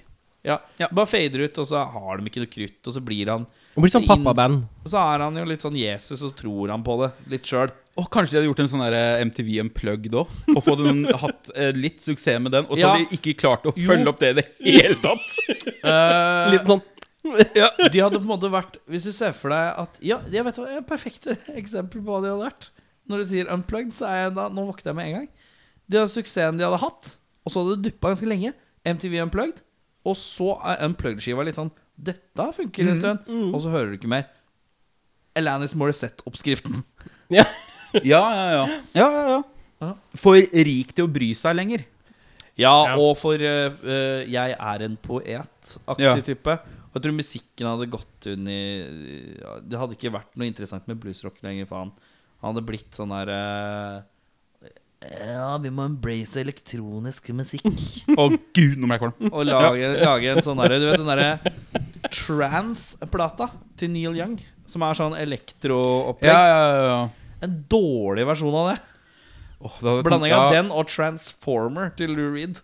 Speaker 1: Ja,
Speaker 3: Ja.
Speaker 1: Bare fader ut, og så har de ikke noe krutt, og så blir han
Speaker 2: Det blir sånn pappaband.
Speaker 1: Og så er han jo litt sånn Jesus, og tror han på det litt sjøl.
Speaker 3: Og kanskje de hadde gjort en sånn der eh, MTV Unplugged òg. Og fått en, hatt eh, litt suksess med den, og så
Speaker 1: Ja.
Speaker 3: hadde de ikke klart å følge opp det i det hele tatt.
Speaker 1: Eh,
Speaker 2: Litt sånn
Speaker 1: De hadde på en måte vært Hvis du ser for deg at Ja, jeg vet hva et perfekt eksempel på hva de hadde vært. Når du sier unplugged, så er jeg da Nå våkner jeg med en gang. Det var suksessen de hadde hatt, og så hadde det duppa ganske lenge. MTV Unplugged. Og så er unplugged-skiva litt sånn Dette funker en stund, og så hører du ikke mer. Alanis Morissette-oppskriften.
Speaker 2: Ja.
Speaker 3: Ja, ja, ja. ja, ja, ja. For rik til å bry seg lenger.
Speaker 1: Ja,
Speaker 2: Ja.
Speaker 1: og for eh, eh, jeg er en poet-aktig
Speaker 3: Ja.
Speaker 1: type. Og jeg tror musikken hadde gått inn i ja, Det hadde ikke vært noe interessant med bluesrock lenger, faen. Han hadde blitt sånn der eh, Ja, vi må embrace elektronisk musikk.
Speaker 3: Å gud, nå ble jeg kvalm.
Speaker 1: Og lage, lage en sånn derre Du vet den derre trans-plata til Neil Young? Som er sånn elektroopplegg.
Speaker 3: Ja, ja, ja, ja.
Speaker 1: En dårlig versjon av det.
Speaker 3: Åh, det hadde-
Speaker 1: Blanding av
Speaker 3: ja.
Speaker 1: den og Transformer til Lou Reed.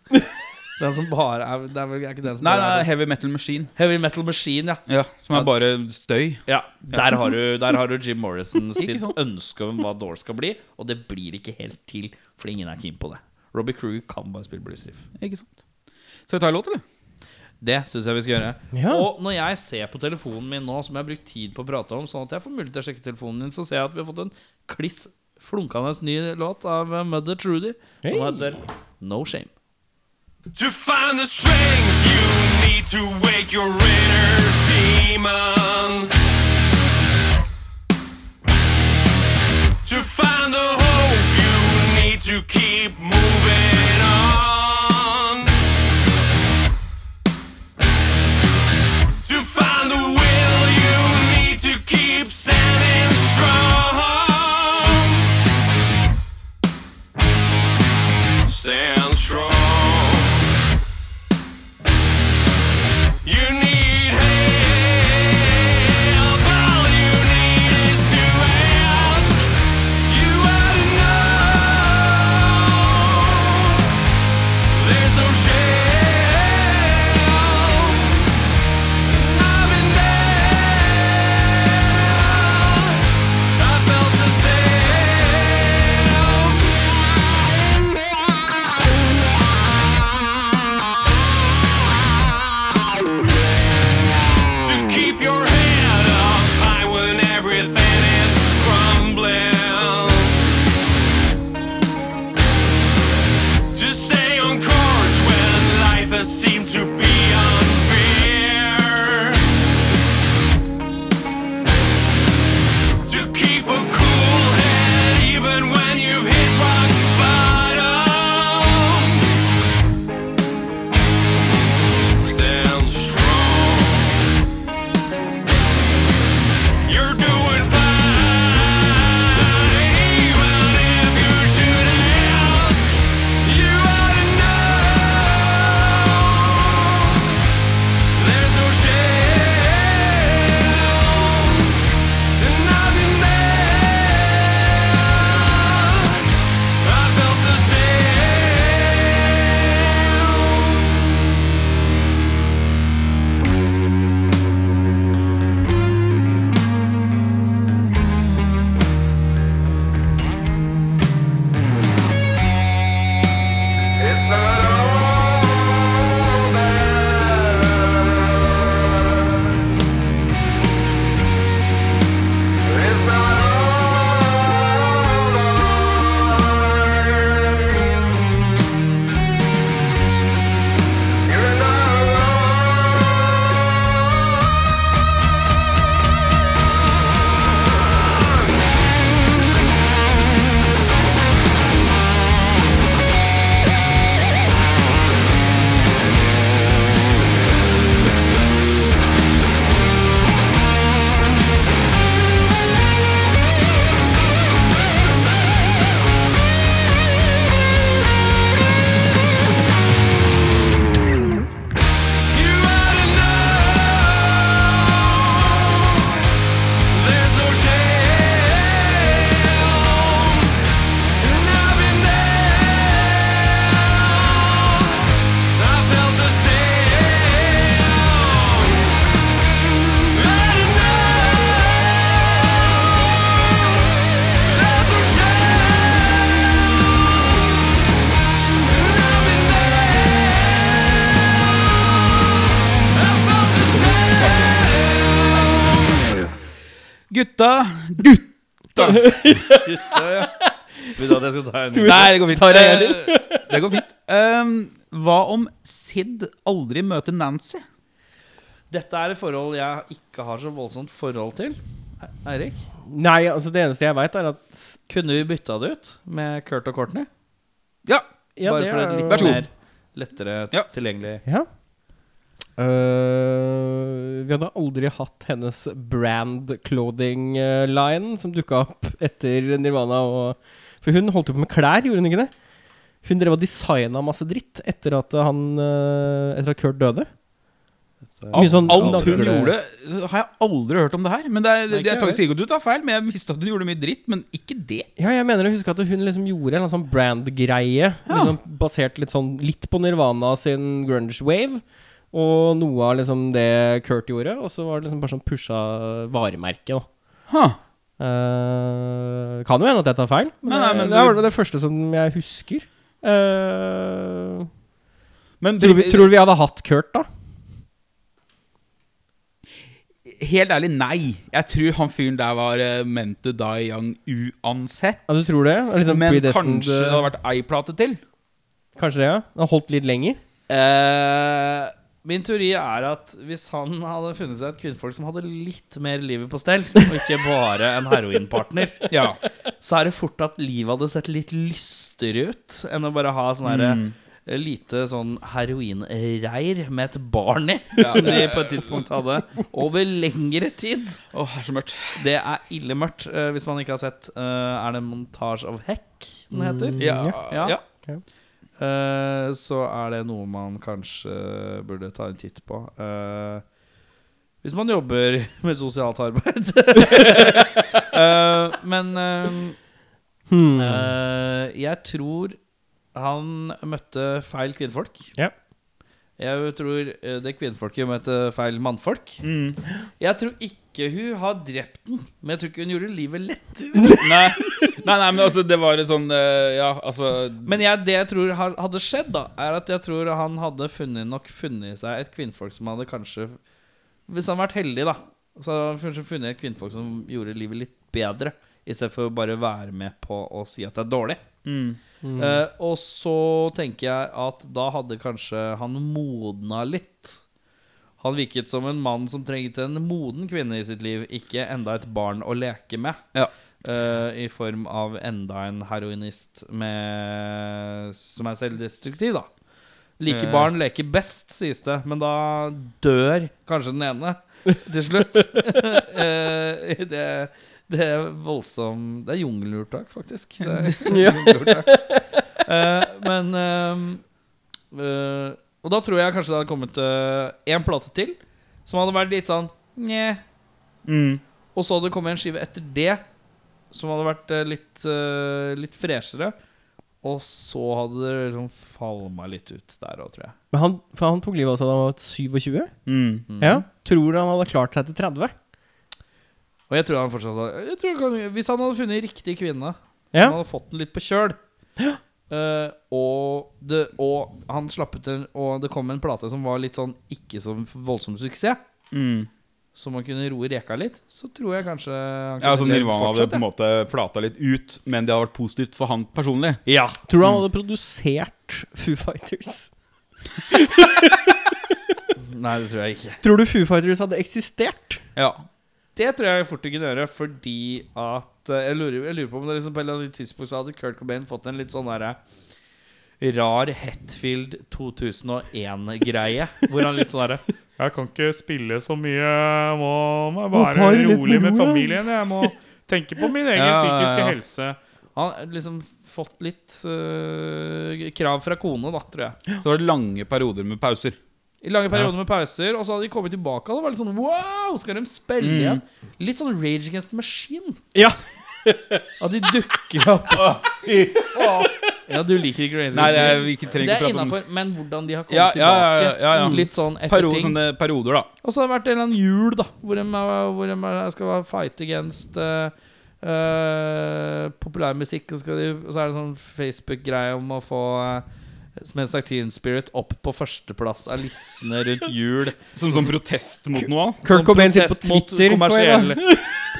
Speaker 1: Den som bare er Det er vel er ikke den som
Speaker 3: Nei,
Speaker 1: bare
Speaker 3: nei,
Speaker 1: er sånn-
Speaker 3: Heavy Metal Machine.
Speaker 1: Heavy Metal Machine, ja.
Speaker 3: Ja, Som er bare støy.
Speaker 1: ja der, har du, der har du Jim Morrison sitt
Speaker 3: sant?
Speaker 1: ønske om hva Doors skal bli, og det blir ikke helt til, for ingen er keen på det. Robbie Crew kan bare spille bluesriff.
Speaker 3: Ikke sant. Skal vi ta en låt, eller?
Speaker 1: Det syns jeg vi skal gjøre.
Speaker 2: Ja.
Speaker 1: Og når jeg ser på telefonen min nå, som jeg har brukt tid på å prate om, sånn at jeg får mulighet til å sjekke telefonen din, så ser jeg at vi har fått en kliss flunkende ny låt av eh, Mother Trudy, som
Speaker 2: Hey.
Speaker 1: heter No Shame.
Speaker 4: To find the strength you need to wake your inner demons. To find the hope you need to keep moving on.
Speaker 3: Gutta! Gutta!
Speaker 1: Gutta, ja. Vil du at jeg skal ta en?
Speaker 3: Nei, det går fint.
Speaker 2: Tar jeg en
Speaker 3: Eh, det går fint. Ehm, hva om Sid aldri møter Nancy?
Speaker 1: Dette er et forhold jeg ikke har så voldsomt forhold til. E- Eirik,
Speaker 2: Nei, altså det eneste jeg veit, er at
Speaker 1: kunne vi bytta det ut med Kurt og Courtney?
Speaker 3: Ja.
Speaker 2: ja,
Speaker 1: Bare
Speaker 2: det
Speaker 1: for
Speaker 2: er
Speaker 1: et
Speaker 2: jo-
Speaker 1: litt
Speaker 3: Vær så god.
Speaker 1: mer lettere
Speaker 3: Ja.
Speaker 1: tilgjengelig
Speaker 2: Ja. Eh, vi hadde aldri hatt hennes brand clothing eh, line som dukka opp etter Nirvana. Og, for hun holdt jo på med klær, gjorde hun ikke det? Hun drev og designa masse dritt etter at, han, eh, etter at Kurt døde. Mye
Speaker 3: Alt,
Speaker 2: sånn
Speaker 3: alt hun
Speaker 2: nagle-
Speaker 3: gjorde, så har jeg aldri hørt om det her. Men det er,
Speaker 2: Nei, ikke
Speaker 3: jeg tar
Speaker 2: jeg
Speaker 3: ikke sikkert du tar feil, men jeg visste at hun gjorde mye dritt, men ikke det.
Speaker 2: Ja, jeg mener å huske at hun liksom gjorde en eller annen sånn brand-greie. Liksom basert litt sånn litt på Nirvana sin grunge wave. Og noe av liksom det Kurt gjorde. Og så var det liksom bare sånn pusha varemerket, da.
Speaker 3: Huh.
Speaker 2: Eh, kan jo hende at jeg tar feil, men,
Speaker 3: Nei, nei, men
Speaker 2: det, det
Speaker 3: du-
Speaker 2: var det første som jeg husker. Eh,
Speaker 3: Men
Speaker 2: tror, vi, tror vi hadde hatt Kurt, da?
Speaker 3: Helt ærlig, nei. Jeg tror han fyren der var eh, meant to die young uansett.
Speaker 2: Ja, du tror det? Det er Liksom
Speaker 3: Men
Speaker 2: predestined, eh.
Speaker 3: kanskje det hadde vært ei plate til.
Speaker 2: Kanskje det, ja? Den har holdt litt lenger?
Speaker 1: Eh, min teori er at hvis han hadde funnet seg et kvinnfolk som hadde litt mer livet på stell, og ikke bare en heroinpartner,
Speaker 3: Ja.
Speaker 1: så er det fort at livet hadde sett litt lystigere ut enn å bare ha sånn herre
Speaker 3: Mm.
Speaker 1: Lite sånn heroinreir med et barn i, som de på et tidspunkt hadde. Over lengre tid.
Speaker 3: Åh, det er så mørkt.
Speaker 1: Det er ille mørkt, eh, hvis man ikke har sett eh, Er det Montage of Heck den heter?
Speaker 2: Mm.
Speaker 3: Ja. ja.
Speaker 1: Ja. Eh, så er det noe man kanskje burde ta en titt på. Eh, hvis man jobber med sosialt arbeid. Eh, men
Speaker 2: Hmm.
Speaker 1: eh, eh, jeg tror han møtte feil kvinnfolk.
Speaker 2: Ja.
Speaker 1: Jeg tror eh, det kvinnfolket møtte feil mannfolk.
Speaker 3: Mm.
Speaker 1: Jeg tror ikke hun har drept den, men jeg tror ikke hun gjorde livet lettere.
Speaker 3: Nei. nei, nei, men altså, det var et sånn eh, Ja, altså
Speaker 1: Men jeg, det jeg tror har- hadde skjedd, da er at jeg tror han hadde funnet, nok funnet seg et kvinnfolk som hadde kanskje Hvis han hadde vært heldig, da, så hadde han kanskje funnet et kvinnfolk som gjorde livet litt bedre. I stedet for å bare være med på å si at det er dårlig.
Speaker 3: mm.
Speaker 2: Mm.
Speaker 1: Eh, og så tenker jeg at da hadde kanskje han modna litt. Han virket som en mann som trengte en moden kvinne i sitt liv, ikke enda et barn å leke med.
Speaker 3: Ja.
Speaker 1: Eh, I form av enda en heroinist med, som er selvdestruktiv, da. Like
Speaker 3: Eh.
Speaker 1: barn leker best, sies det, men da dør kanskje den ene til slutt. Eh, det, det er voldsom Det er jungellurtak, faktisk. Det er jungelurtak. Eh, men ehm, eh, Og da tror jeg kanskje det hadde kommet én plate til som hadde vært litt sånn Nje.
Speaker 3: Mm.
Speaker 1: Og så hadde det kommet en skive etter det som hadde vært eh, litt, eh, litt freshere. Og så hadde det liksom falma litt ut der òg, tror jeg.
Speaker 2: Men han, for han tok livet av seg da han var 27?
Speaker 3: Mm.
Speaker 1: Mm.
Speaker 2: Ja. Tror du han hadde klart seg til 30?
Speaker 1: Og jeg tror han fortsatt hadde jeg tror han, kan- Hvis han hadde funnet riktig kvinne,
Speaker 2: Ja.
Speaker 1: han hadde fått den litt på kjøl eh, og, det, og han slapp ut den, og det kom en plate som var litt sånn ikke så voldsom suksess,
Speaker 3: Mm.
Speaker 1: så man kunne roe reka litt, så tror jeg kanskje han
Speaker 3: Ja, altså
Speaker 1: levd
Speaker 3: Nirvana hadde
Speaker 1: fortsatt,
Speaker 3: på en måte flata litt ut, men det hadde vært positivt for han personlig.
Speaker 1: ja.
Speaker 2: Tror du han hadde produsert Foo Fighters?
Speaker 1: Nei, det tror jeg ikke.
Speaker 2: Tror du Foo Fighters hadde eksistert?
Speaker 3: Ja.
Speaker 1: Det tror jeg fort du kunne gjøre, fordi at eh, Jeg lurer, jeg lurer på om det liksom på et eller annet tidspunkt så hadde Kurt Cobain fått en litt sånn derre rar Hetfield 2001-greie. Hvor han litt sånn derre Jeg kan ikke spille så mye, jeg må, må
Speaker 2: ta
Speaker 1: være
Speaker 2: det litt
Speaker 1: rolig med
Speaker 2: med ro, ja.»
Speaker 1: familien. Jeg må tenke på min egen
Speaker 3: Ja, ja,
Speaker 1: psykiske
Speaker 3: ja.
Speaker 1: helse. Han har liksom fått litt eh, krav fra kone, da, tror jeg.
Speaker 3: Så var det lange perioder med pauser.
Speaker 1: I lange perioder med pauser, og så hadde de kommet tilbake. Og det var litt sånn wow, skal de spille
Speaker 3: Mm.
Speaker 1: igjen? Litt sånn Rage Against the Machine.
Speaker 2: Ja.
Speaker 1: At de dukker opp. Ja, du liker ikke Rage Against
Speaker 3: Nei,
Speaker 1: the
Speaker 3: det er,
Speaker 1: Machine.
Speaker 3: vi ikke trenger
Speaker 1: Det
Speaker 3: ikke
Speaker 1: er
Speaker 3: prate om
Speaker 1: innafor, men hvordan de har kommet
Speaker 3: Ja, ja, ja,
Speaker 1: tilbake.
Speaker 3: ja, ja, ja.
Speaker 1: Litt sånn etter
Speaker 3: Perio,
Speaker 1: ting.
Speaker 3: sånne perioder, da.
Speaker 1: Og så har det vært en eller annen jul, da, hvor de, er- hvor de er- skal være fight against eh, eh, populærmusikk. Og, skal de, og så er det sånn Facebook-greie om å få eh, som en slags Teen Spirit opp på førsteplass av listene rundt jul.
Speaker 3: Som sånn protest mot noe.
Speaker 2: Kurt
Speaker 1: Som
Speaker 2: Cobain sitter
Speaker 1: protest
Speaker 2: på
Speaker 1: mot
Speaker 2: Twitter,
Speaker 1: kommersiell-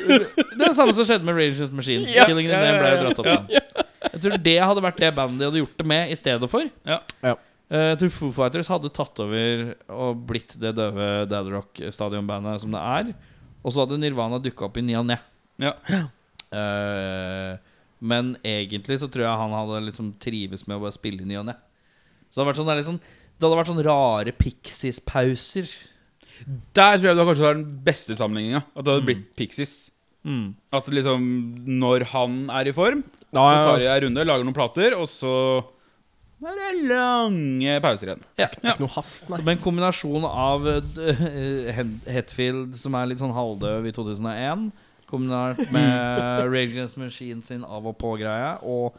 Speaker 1: Det er det samme som skjedde med Rage Against the Machine.
Speaker 3: Ja,
Speaker 1: Killing in the
Speaker 3: ja, ja,
Speaker 1: Name ble jo
Speaker 3: ja.
Speaker 1: dratt opp sånn. Jeg tror det hadde vært det bandet de hadde gjort det med i stedet for.
Speaker 3: Ja.
Speaker 2: Ja.
Speaker 1: Eh, Jeg tror Foo Fighters hadde tatt over og blitt det døve Dad Rock-stadionbandet som det er. Og så hadde Nirvana dukka opp i ny og ne.
Speaker 3: Ja.
Speaker 1: Eh, men egentlig så tror jeg han hadde liksom trives med å bare spille i ny og ne. Så det hadde vært sånn, det er litt sånn, det hadde vært sånn rare Pixies-pauser.
Speaker 3: Der tror jeg du har kanskje har den beste sammenligninga. At det hadde blitt Pixies.
Speaker 1: Mm.
Speaker 3: At det liksom Når han er i form,
Speaker 2: Ja,
Speaker 3: så tar
Speaker 2: ja.
Speaker 3: de en runde, lager noen plater, og så er det lange pauser igjen.
Speaker 1: Ja.
Speaker 3: Ja.
Speaker 2: Noe hast, nei.
Speaker 1: Som en kombinasjon av eh, Hen- Hetfield, som er litt sånn halvdøv i 2001, kombinert med Rage Against the Machine sin av og på-greie, og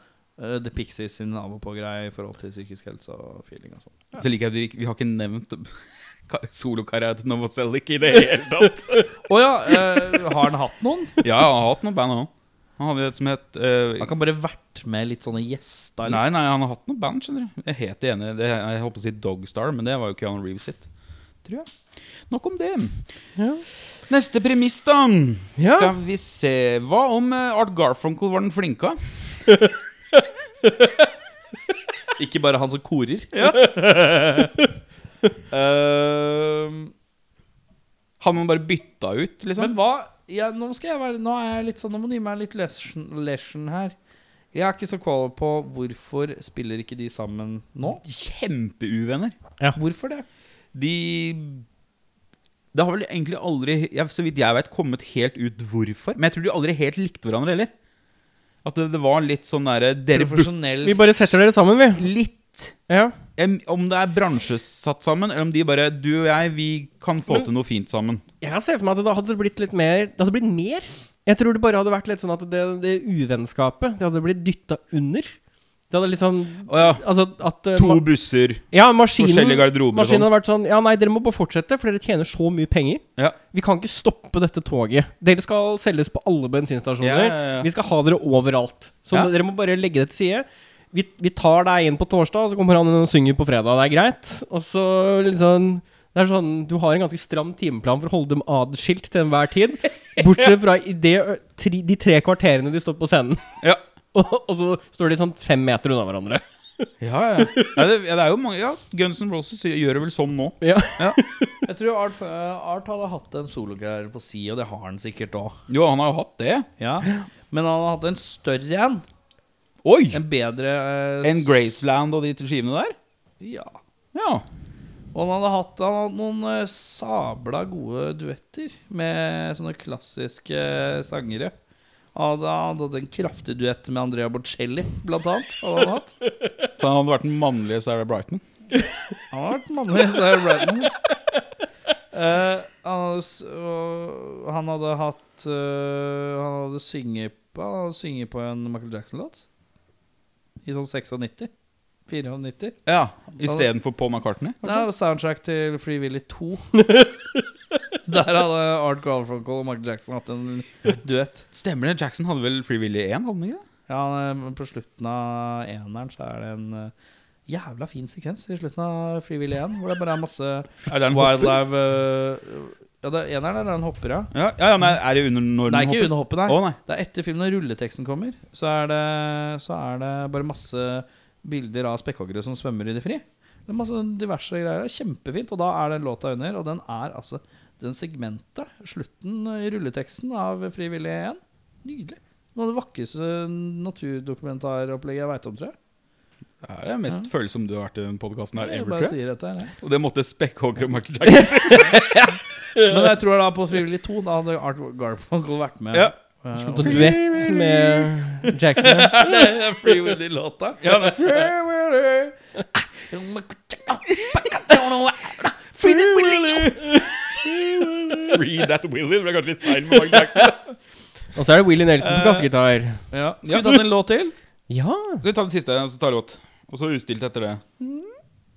Speaker 1: eh, The Pixies sin av og på-greie i forhold til psykisk helse og feeling og sånn.
Speaker 3: Så liker jeg at vi, ikke- vi har ikke nevnt ka- solokarrieren til Novoselic i det hele tatt.
Speaker 1: Å ja, eh, har han hatt noen?
Speaker 3: ja, han har hatt noen band, han òg. Han hadde et som het eh,
Speaker 1: Han kan bare vært med litt sånne gjester.
Speaker 3: Nei, nei, han har hatt noen band, skjønner du. Jeg er helt enig. Det, jeg holdt på å si Dogstar, men det var jo Keanu Reeves sitt. Tror jeg. Nok om det.
Speaker 2: Ja.
Speaker 3: Neste premiss, da.
Speaker 2: Ja.
Speaker 3: Skal vi se Hva om eh, Art Garfunkel var den flinka?
Speaker 1: Ikke bare han som korer. Eh,
Speaker 3: Han man bare bytta ut,
Speaker 1: Men
Speaker 3: liksom?
Speaker 1: hva ja, nå, skal jeg være, nå er jeg litt sånn Nå må du gi meg litt lesson, lesson her. Jeg er ikke så kål på hvorfor spiller ikke de sammen nå.
Speaker 3: Kjempeuvenner.
Speaker 1: Hvorfor det?
Speaker 3: De Det har vel egentlig aldri, ja, så vidt jeg vet, kommet helt ut hvorfor. Men jeg tror de aldri helt likte hverandre heller. At det, det var litt sånn derre Dere burde
Speaker 1: Profesjonell
Speaker 2: Vi bare setter dere sammen, vi.
Speaker 3: litt
Speaker 2: Ja.
Speaker 3: Em, Om det er bransjesatt sammen, eller om de bare Du og jeg, vi kan få
Speaker 2: Men-
Speaker 3: til noe fint sammen.
Speaker 2: Jeg kan se for meg at det hadde blitt litt mer Det hadde blitt mer. Jeg tror det bare hadde vært litt sånn at det, det uvennskapet Det hadde blitt dytta under. Det hadde liksom
Speaker 3: Å ja.
Speaker 2: Altså at eh,
Speaker 3: To
Speaker 2: ma-
Speaker 3: busser,
Speaker 2: ja, maskinen,
Speaker 3: forskjellige garderober og
Speaker 2: Maskinen
Speaker 3: sånn.
Speaker 2: hadde vært sånn Ja, nei, dere må bare fortsette, for dere tjener så mye penger.
Speaker 3: Ja.
Speaker 2: Vi kan ikke stoppe dette toget. Dere skal selges på alle bensinstasjoner.
Speaker 3: Ja, ja, ja.
Speaker 2: Vi skal ha dere overalt. Så
Speaker 3: Ja.
Speaker 2: dere må bare legge det til side. Vi, vi tar deg inn på torsdag, så kommer han inn og synger på fredag. Det er greit. Og så liksom det er sånn, Du har en ganske stram timeplan for å holde dem adskilt til enhver tid. Bortsett fra i det, ø- tri, de tre kvarterene de står på scenen.
Speaker 3: Ja.
Speaker 2: Og, og så står de sånn fem meter unna hverandre.
Speaker 3: Ja, ja. Nei, det, ja, det er jo mange Ja, Guns N' Roses gjør det vel sånn nå.
Speaker 2: Ja.
Speaker 1: Jeg tror Art, eh, Art hadde hatt en sologreier på si, og det har han sikkert òg.
Speaker 3: Jo, han har jo hatt det.
Speaker 1: Ja. Men han hadde hatt en større en.
Speaker 3: Oi!
Speaker 1: En bedre eh,
Speaker 3: Enn Graceland og de skivene der?
Speaker 1: Ja.
Speaker 3: Ja.
Speaker 1: Og han hadde hatt han hadde noen eh, sabla gode duetter med sånne klassiske eh, sangere. Han hadde, han hadde hatt en kraftig duett med Andrea Bocelli, blant annet. Hadde han hatt.
Speaker 3: Så han hadde vært den mannlige Sarah Brighton.
Speaker 1: Han har vært mannlig, sa Brighton. Eh, han, hadde, s- og han hadde hatt eh, Han hadde synget på, han hadde synget på en Michael Jackson-låt. I sånn 96. 94.
Speaker 3: Ja, Istedenfor Paul McCartney.
Speaker 1: Nei, det var soundtrack til Free Willy 2. Der hadde Art Garfunkel og Mark Jackson hatt en duett.
Speaker 3: Stemmer det. Jackson hadde vel Free Willy 1? Hadde han ikke det?
Speaker 1: Ja, men På slutten av eneren så er det en eh, jævla fin sekvens i slutten av Free Willy 1, hvor det bare er masse
Speaker 3: Er det en hopper?
Speaker 1: wildlife eh, Ja, det er eneren der er en hopper, ja.
Speaker 3: Ja, ja, ja, nei, er det under når
Speaker 1: Nei,
Speaker 3: den
Speaker 1: ikke under hoppet,
Speaker 3: Å,
Speaker 1: nei.
Speaker 3: nei.
Speaker 1: Det er etter filmen når rulleteksten kommer, så er det, så er det bare masse bilder av spekkhoggere som svømmer i det fri. Det er masse diverse greier. Det er Kjempefint. Og da er den låta under, og den er altså den segmentet, slutten i rulleteksten av Fri vilje 1. Nydelig. Noe av det vakreste naturdokumentaropplegget jeg veit om, tror jeg.
Speaker 3: Det er det mest følsomme du har vært i den podkasten her
Speaker 1: jeg
Speaker 3: ever,
Speaker 1: bare
Speaker 3: tror jeg.
Speaker 1: sier dette her, jeg.
Speaker 3: Og det måtte spekkhogger og Michael Jackson.
Speaker 1: Men jeg tror da på Frivillig 2 da hadde Art Garfunkel vært med.
Speaker 3: Ja.
Speaker 1: Eh,
Speaker 2: Skulle
Speaker 1: og-
Speaker 2: ta duett med Jackson.
Speaker 1: Ja, det er Free Willy-låta. Ja, men-
Speaker 3: Free That Willy. Det ble kanskje litt feil med Michael Jackson.
Speaker 2: Og så er det Willy Nelson på kassegitar.
Speaker 1: Ja. Skal vi tatt en låt til?
Speaker 2: Ja.
Speaker 3: Så vi tar det siste, og så tar det godt. Og så utstilt etter det.
Speaker 1: Mm.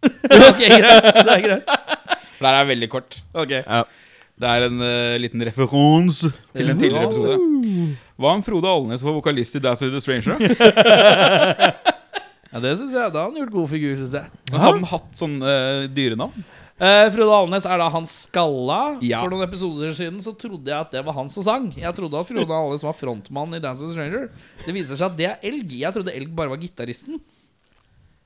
Speaker 1: ok, greit. Det er greit.
Speaker 3: For det her er veldig kort.
Speaker 2: Ja.
Speaker 3: Det er en eh, liten referanse til en tidligere episode. Hva om Frode Alnes var vokalist i Dazz with the Stranger? da?
Speaker 1: Ja, det synes jeg. Da har han gjort god figur, synes jeg.
Speaker 3: Hadde han hatt sånn eh, dyrenavn?
Speaker 1: Eh, Frode Alnes er da han skalla.
Speaker 3: Ja.
Speaker 1: For noen episoder siden så trodde jeg at det var han som sang. Jeg trodde at Frode Alnes var frontmann i Dance with a Stranger. Det viser seg at det er Elg. Jeg trodde Elg bare var gitaristen.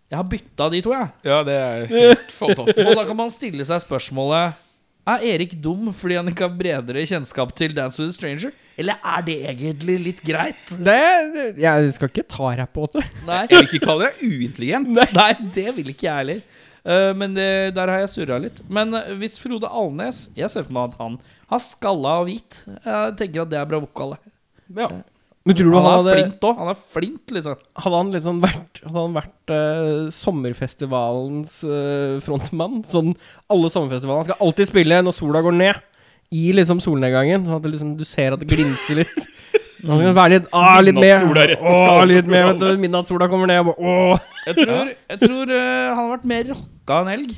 Speaker 1: Jeg har bytta de to, jeg.
Speaker 3: Ja, det er helt fantastisk.
Speaker 1: Og da kan man stille seg spørsmålet Er Erik dum fordi han ikke har bredere kjennskap til Dance with a Stranger? Eller er det egentlig litt greit?
Speaker 2: Det, det- jeg skal ikke ta rap på det.
Speaker 1: Nei,
Speaker 3: Ikke kaller deg uintelligent.
Speaker 1: Nei det vil ikke jeg heller. Eh, men det, der har jeg surra litt. Men eh, hvis Frode Alnes Jeg ser for meg at han har skalla og hvit. Jeg tenker at det er bra vokale.
Speaker 3: Ja.
Speaker 2: Men tror du
Speaker 1: Han
Speaker 2: han
Speaker 1: er
Speaker 2: hadde,
Speaker 1: flint òg. Han er flint, liksom.
Speaker 2: hadde han liksom vært, hadde han vært eh, sommerfestivalens eh, frontmann? Sånn alle sommerfestivalene Han skal alltid spille når sola går ned. I liksom solnedgangen, sånn at det liksom, du ser at det glinser litt. Han skal være litt, ah, litt med.
Speaker 3: Midnattssola rett på
Speaker 2: Åh,
Speaker 3: skallen,
Speaker 2: litt med vet
Speaker 3: Frode
Speaker 2: du,
Speaker 3: Alnes.
Speaker 2: Midnattssola kommer ned, og bare åh.
Speaker 1: Jeg tror, jeg tror eh, han har vært mer rocka enn elg.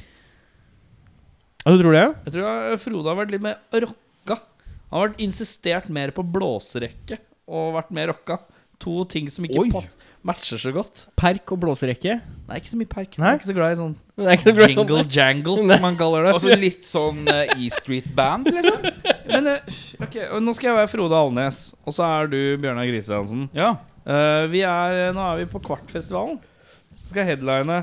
Speaker 2: Ja, du tror det?
Speaker 1: Jeg tror eh, Frode har vært litt mer rocka. Han har vært insistert mer på blåserekke og vært mer rocka. To ting som ikke
Speaker 3: Oi.
Speaker 1: pa- matcher så godt.
Speaker 2: Perk og blåserekke.
Speaker 1: Nei, ikke så mye perk. Jeg
Speaker 2: Nei.
Speaker 1: er ikke så glad i sånn
Speaker 2: Men Det er ikke så bra sånn.
Speaker 1: jingle jangle,
Speaker 2: Nei.
Speaker 1: som man kaller det.
Speaker 3: Altså litt sånn eh, E Street Band, liksom.
Speaker 1: Men eh, ok, og nå skal jeg være Frode Alnes, og så er du Bjørnar Kristiansen.
Speaker 3: Ja.
Speaker 1: Eh, vi er, nå er vi på Kvartfestivalen. Så skal jeg headline.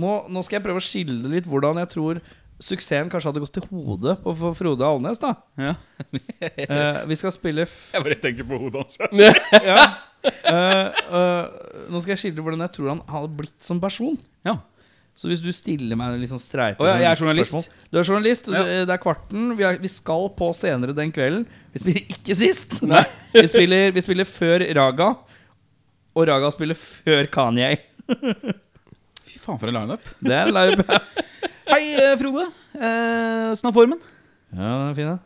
Speaker 1: Nå, nå skal jeg prøve å skildre litt hvordan jeg tror suksessen kanskje hadde gått til hodet på for Frode Alnes. da
Speaker 3: Ja.
Speaker 1: Eh, Vi skal spille f
Speaker 3: Jeg bare tenker på hodet hans.
Speaker 1: ja. Eh, eh, Nå skal jeg skildre hvordan jeg tror han hadde blitt som person.
Speaker 3: Ja.
Speaker 1: Så hvis du stiller meg litt sånn streite
Speaker 3: Å ja, jeg er journalist.
Speaker 1: spørsmål. Du er journalist, og
Speaker 3: Ja.
Speaker 1: du- det er kvarten. Vi, er, vi skal på senere den kvelden. Vi spiller ikke sist. Vi, spiller, vi spiller før Raga, og Raga spiller før Kanye.
Speaker 3: Fy faen, for en lineup.
Speaker 1: Det er live.
Speaker 3: Hei, eh, Frode. Eh, Åssen er formen?
Speaker 1: Ja, den er fin, den.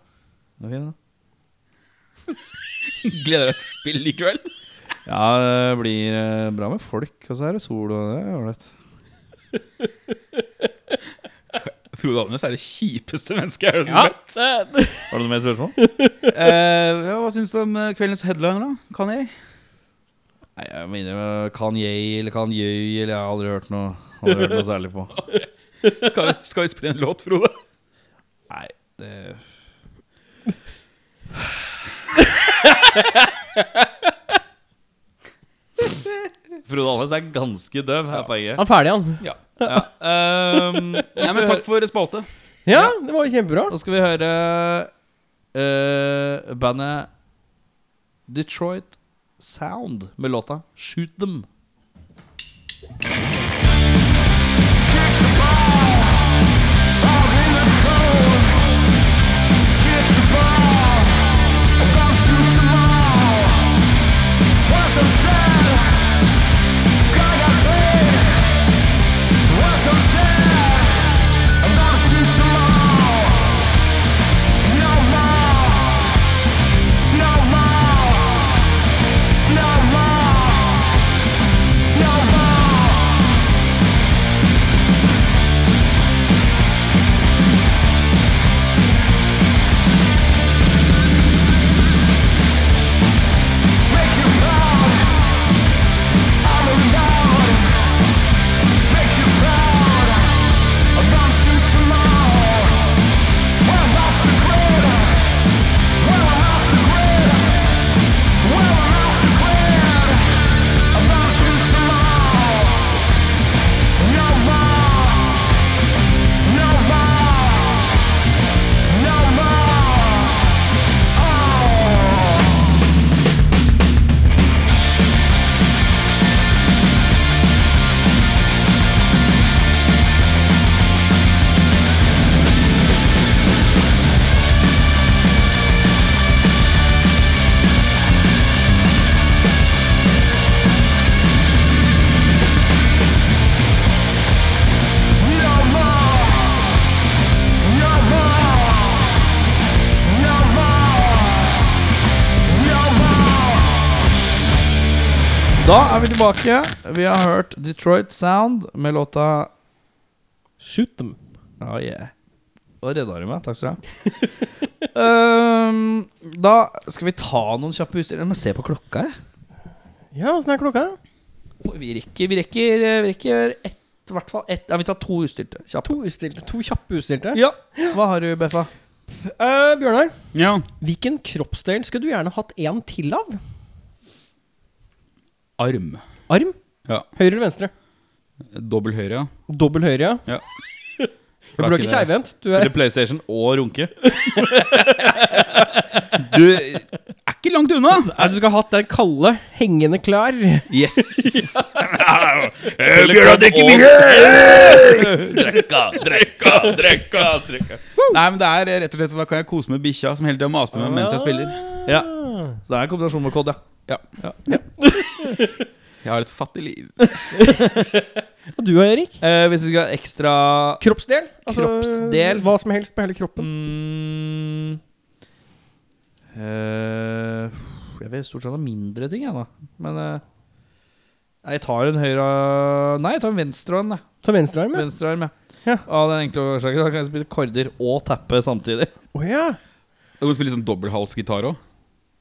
Speaker 1: Den er fin, den.
Speaker 3: Gleder deg til spill i kveld.
Speaker 1: Ja, det blir eh, bra med folk, og så er det sol, og det er ålreit.
Speaker 3: Frode Alnes er det kjipeste mennesket jeg har
Speaker 2: Ja.
Speaker 3: møtt.
Speaker 2: det-
Speaker 1: Har du noe mer spørsmål?
Speaker 3: Eh, ja, hva syns du om eh, kveldens headliner, da? Kan jeg?
Speaker 1: Nei, jeg må innrømme Kanye eller Kanye eller Jeg har aldri hørt noe, aldri hørt noe særlig på.
Speaker 3: Skal, skal vi spille en låt, Frode?
Speaker 1: Nei, det Frode Alnes er ganske døv, er poenget.
Speaker 2: Han er ferdig, han.
Speaker 1: Ja. Ehm,
Speaker 3: Nei, men Takk for spalte.
Speaker 2: Ja, det var jo kjempebra.
Speaker 1: nå skal vi høre eh, bandet Detroit Sound med låta 'Shoot Them'. Da er vi tilbake. Vi har hørt Detroit Sound med låta
Speaker 2: Shoot them.
Speaker 1: Oh yeah. Og redda du meg. Takk skal du ha. Ehm, da skal vi ta noen kjappe utstillinger. Men se på klokka, jeg.
Speaker 2: Ja, åssen er klokka?
Speaker 1: eh, Vi rekker, vi rekker, vi rekker ett ett, i hvert fall ett. Ja, vi tar to utstylte. Kjapt.
Speaker 2: To, utstilte, to kjappe utstilte.
Speaker 1: Ja. Hva har du, Beffa?
Speaker 2: Eh, Bjørnar,
Speaker 3: Ja.
Speaker 2: hvilken kroppsdel skulle du gjerne hatt en til av?
Speaker 3: Arm.
Speaker 2: Arm?
Speaker 3: Ja.
Speaker 2: Høyre eller venstre?
Speaker 3: Dobbel høyre, ja.
Speaker 2: Dobbel høyre,
Speaker 3: Ja.
Speaker 2: For du er ikke keivhendt. Du er
Speaker 1: Spille PlayStation og runke.
Speaker 3: Du er ikke langt unna!
Speaker 2: Nei, du skal ha hatt den kalde, hengende klar.
Speaker 3: Yes!
Speaker 1: Eh, Bjørnar drikker
Speaker 3: Drekka, drekka, drekka, drekka. Nei, men det er rett og slett hva kan jeg kose med bikkja, som hele tida maser på meg mens jeg spiller.
Speaker 1: Ja.
Speaker 2: Ah.
Speaker 1: Så det er en kombinasjon med kod, ja.
Speaker 3: Ja. Jeg har et fattig liv.
Speaker 2: Og du og Erik?
Speaker 1: Eh, hvis vi skal ha ekstra
Speaker 2: Kroppsdel? Altså,
Speaker 1: Kroppsdel.
Speaker 2: Hva som helst på hele kroppen.
Speaker 1: mm, eh, Jeg vil stort sett ha mindre ting, jeg, da. Men eh, nei, jeg tar en høyre Nei, jeg tar en venstre hånd, jeg.
Speaker 2: Ta venstrearm, ja.
Speaker 1: Venstre arm, ja.
Speaker 2: Ja.
Speaker 1: Av den enkle årsaken. Da kan jeg spille korder og tappe samtidig.
Speaker 2: Å ja.
Speaker 3: Du kan spille sånn dobbelthalsgitar òg.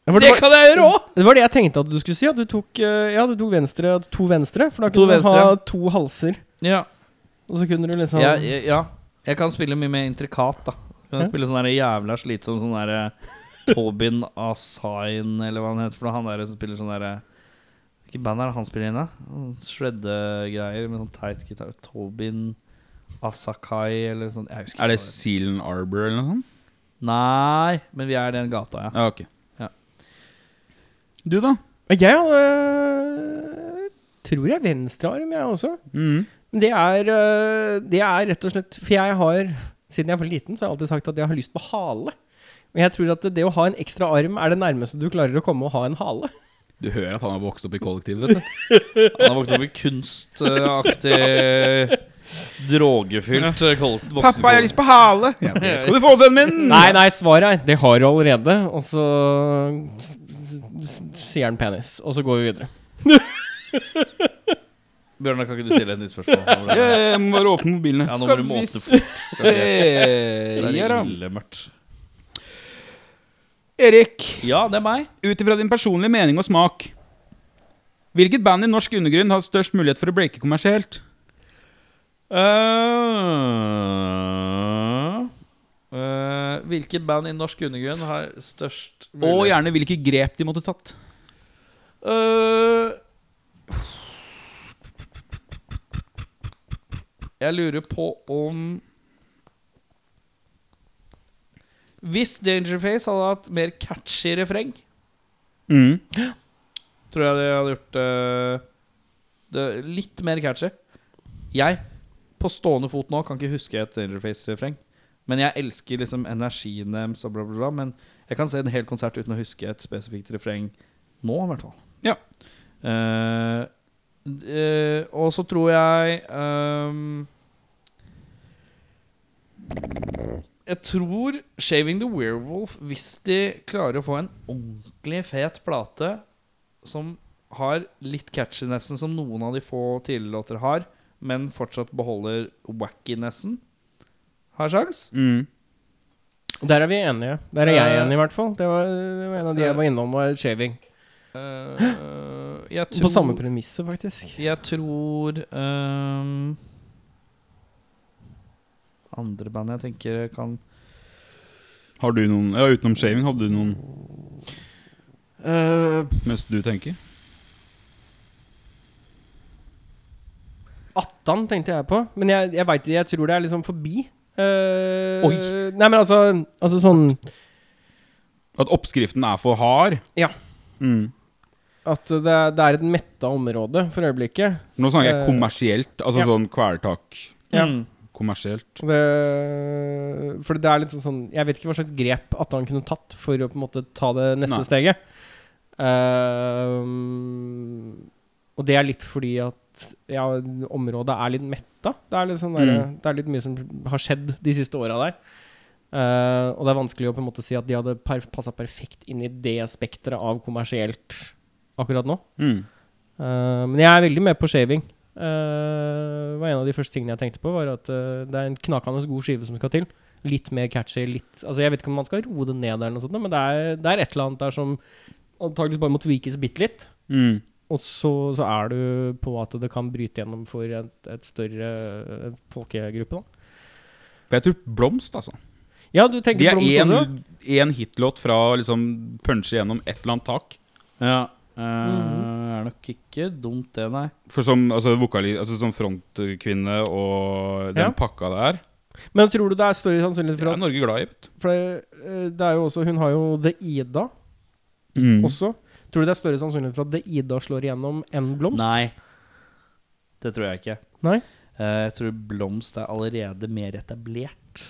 Speaker 2: Ja, for
Speaker 1: Det
Speaker 2: det, var,
Speaker 1: kan jeg gjøre òg!
Speaker 2: det var det jeg tenkte at du skulle si. At du tok, eh, ja, du tok venstre, at to venstre. For da
Speaker 1: To
Speaker 2: kunne du
Speaker 1: venstre, ja.
Speaker 2: ha to halser.
Speaker 1: Ja.
Speaker 2: Og så kunne du liksom
Speaker 1: Ja, ja, ja. Jeg kan spille mye mer intrikat, da. Jeg kan
Speaker 2: Ja.
Speaker 1: spille sånn der jævla slitsom sånn derre Tobin Asain, eller hva han heter for noe. Han der som spiller sånn derre Hvilket band er det han spiller inn, da? Sånn Shredde-greier med sånn teit gitar. Tobin Asakai, eller sånn Jeg husker
Speaker 3: Er det
Speaker 1: hva det
Speaker 3: Sealen Arbor eller noe sånt?
Speaker 1: Nei, men vi er i den gata, ja.
Speaker 3: Ja, ok.
Speaker 1: Ja.
Speaker 3: Du, da?
Speaker 2: Jeg hadde eh, Tror jeg venstrearm, jeg også.
Speaker 3: Mm.
Speaker 2: Men Det er, øh, det er rett og slett For jeg har, siden jeg var liten, så har jeg alltid sagt at jeg har lyst på hale. Men jeg tror at det å ha en ekstra arm er det nærmeste du klarer å komme å ha en hale.
Speaker 3: Du hører at han har vokst opp i kollektiv, vet du.
Speaker 1: Han har vokst opp i kunstaktig drogefylt eh, koll- voksen-
Speaker 3: på hale! Ja, det skal du få, sønnen min!
Speaker 2: Nei, nei, svaret er det har du allerede. Og så s- s- sier han penis, og så går vi videre.
Speaker 1: Bjørnar, kan ikke du stille et nytt spørsmål? Hvordan er det?
Speaker 3: Jeg jeg må bare åpne mobilen. her.
Speaker 1: Ja, nå må
Speaker 3: Skal
Speaker 1: du
Speaker 3: vi
Speaker 1: måte fort.
Speaker 3: se
Speaker 1: Det
Speaker 3: her,
Speaker 1: er
Speaker 3: da.
Speaker 1: ille mørkt.
Speaker 3: Erik,
Speaker 1: Ja, det er meg.
Speaker 3: ut ifra din personlige mening og smak Hvilket band i norsk undergrunn har størst mulighet for å breake kommersielt?
Speaker 1: Eh, Uh, eh, hvilket band i norsk undergrunn har størst
Speaker 3: Og
Speaker 1: mulighet?
Speaker 3: gjerne hvilke grep de måtte tatt.
Speaker 1: Øh, jeg lurer på om Hvis Dangerface hadde hatt mer catchy refreng,
Speaker 3: Mm.
Speaker 1: tror jeg det hadde gjort eh, det litt mer catchy. Jeg, på stående fot nå, kan ikke huske et Dangerface-refreng. Men jeg elsker liksom energien deres og bla, bla, bla. Men jeg kan se en hel konsert uten å huske et spesifikt refreng nå, i hvert fall.
Speaker 3: Ja.
Speaker 1: Eh, d- eh, og så tror jeg ehm, Jeg tror 'Shaving the Werewolf', hvis de klarer å få en ordentlig fet plate som har litt catchinessen som noen av de få tidligere låter har, men fortsatt beholder wackinessen, har sjans.
Speaker 3: Mm.
Speaker 2: Der er vi enige. Der er jeg
Speaker 1: Eh,
Speaker 2: enig, i hvert fall. Det var, det var en av de jeg var innom, var shaving.
Speaker 1: Eh, jeg tror,
Speaker 2: På samme premisset, faktisk.
Speaker 1: Jeg tror ehm, Andre band jeg tenker kan
Speaker 3: Har du noen Ja, utenom shaving, hadde du noen
Speaker 2: Eh,
Speaker 3: mens du tenker?
Speaker 2: Attan tenkte jeg på, men jeg, jeg veit ikke. Jeg tror det er liksom forbi. Eh,
Speaker 1: Oi.
Speaker 2: Nei, men altså, altså sånn
Speaker 3: At oppskriften er for hard?
Speaker 2: Ja.
Speaker 3: Mm.
Speaker 2: At det er, det er et metta område for øyeblikket.
Speaker 3: Nå snakker jeg
Speaker 2: Eh,
Speaker 3: kommersielt, altså
Speaker 2: ja.
Speaker 3: sånn kvelertak.
Speaker 2: Ja.
Speaker 1: Mm.
Speaker 3: Kommersielt.
Speaker 2: Og Det, for det er litt sånn, sånn Jeg vet ikke hva slags grep at han kunne tatt for å på en måte ta det neste
Speaker 3: Nei.
Speaker 2: steget. Ehm, og det er litt fordi at ja, området er litt metta. Det er litt, sånn der,
Speaker 3: Mm.
Speaker 2: det er litt mye som har skjedd de siste åra der. Eh, og det er vanskelig å på en måte si at de hadde per, passa perfekt inn i det spekteret av kommersielt akkurat nå.
Speaker 3: Mm.
Speaker 2: Eh, men jeg er veldig med på shaving. Eh, var en av de første tingene jeg tenkte på, var at eh, det er en knakende god skive som skal til. Litt mer catchy, litt Altså, jeg vet ikke om man skal roe det ned, eller noe sånt, men det er, det er et eller annet der som antakeligvis bare må tweakes bitte litt.
Speaker 3: Mm.
Speaker 2: Og så, så er du på at det kan bryte gjennom for et, et større eh, folkegruppe, da.
Speaker 3: For jeg tror Blomst, altså.
Speaker 2: Ja, du tenker
Speaker 3: De er
Speaker 2: Blomst også?
Speaker 3: én- én hitlåt fra å liksom punche gjennom et eller annet tak.
Speaker 1: Ja. eh, Er nok ikke dumt, det, nei.
Speaker 3: For som, altså, vokali, altså, som frontkvinne og den
Speaker 2: Ja.
Speaker 3: pakka der,
Speaker 2: Men tror du det er større sannsynlighet
Speaker 3: det
Speaker 2: for
Speaker 3: er
Speaker 2: at
Speaker 3: Norge glad i. Vet.
Speaker 2: For det, eh, det er jo også Hun har jo The Ida
Speaker 3: du.
Speaker 2: også. Tror du det er større sannsynlighet for at The Ida slår igjennom enn Blomst?
Speaker 1: Nei. Det tror jeg ikke.
Speaker 2: Nei?
Speaker 1: Eh, jeg tror Blomst er allerede mer etablert.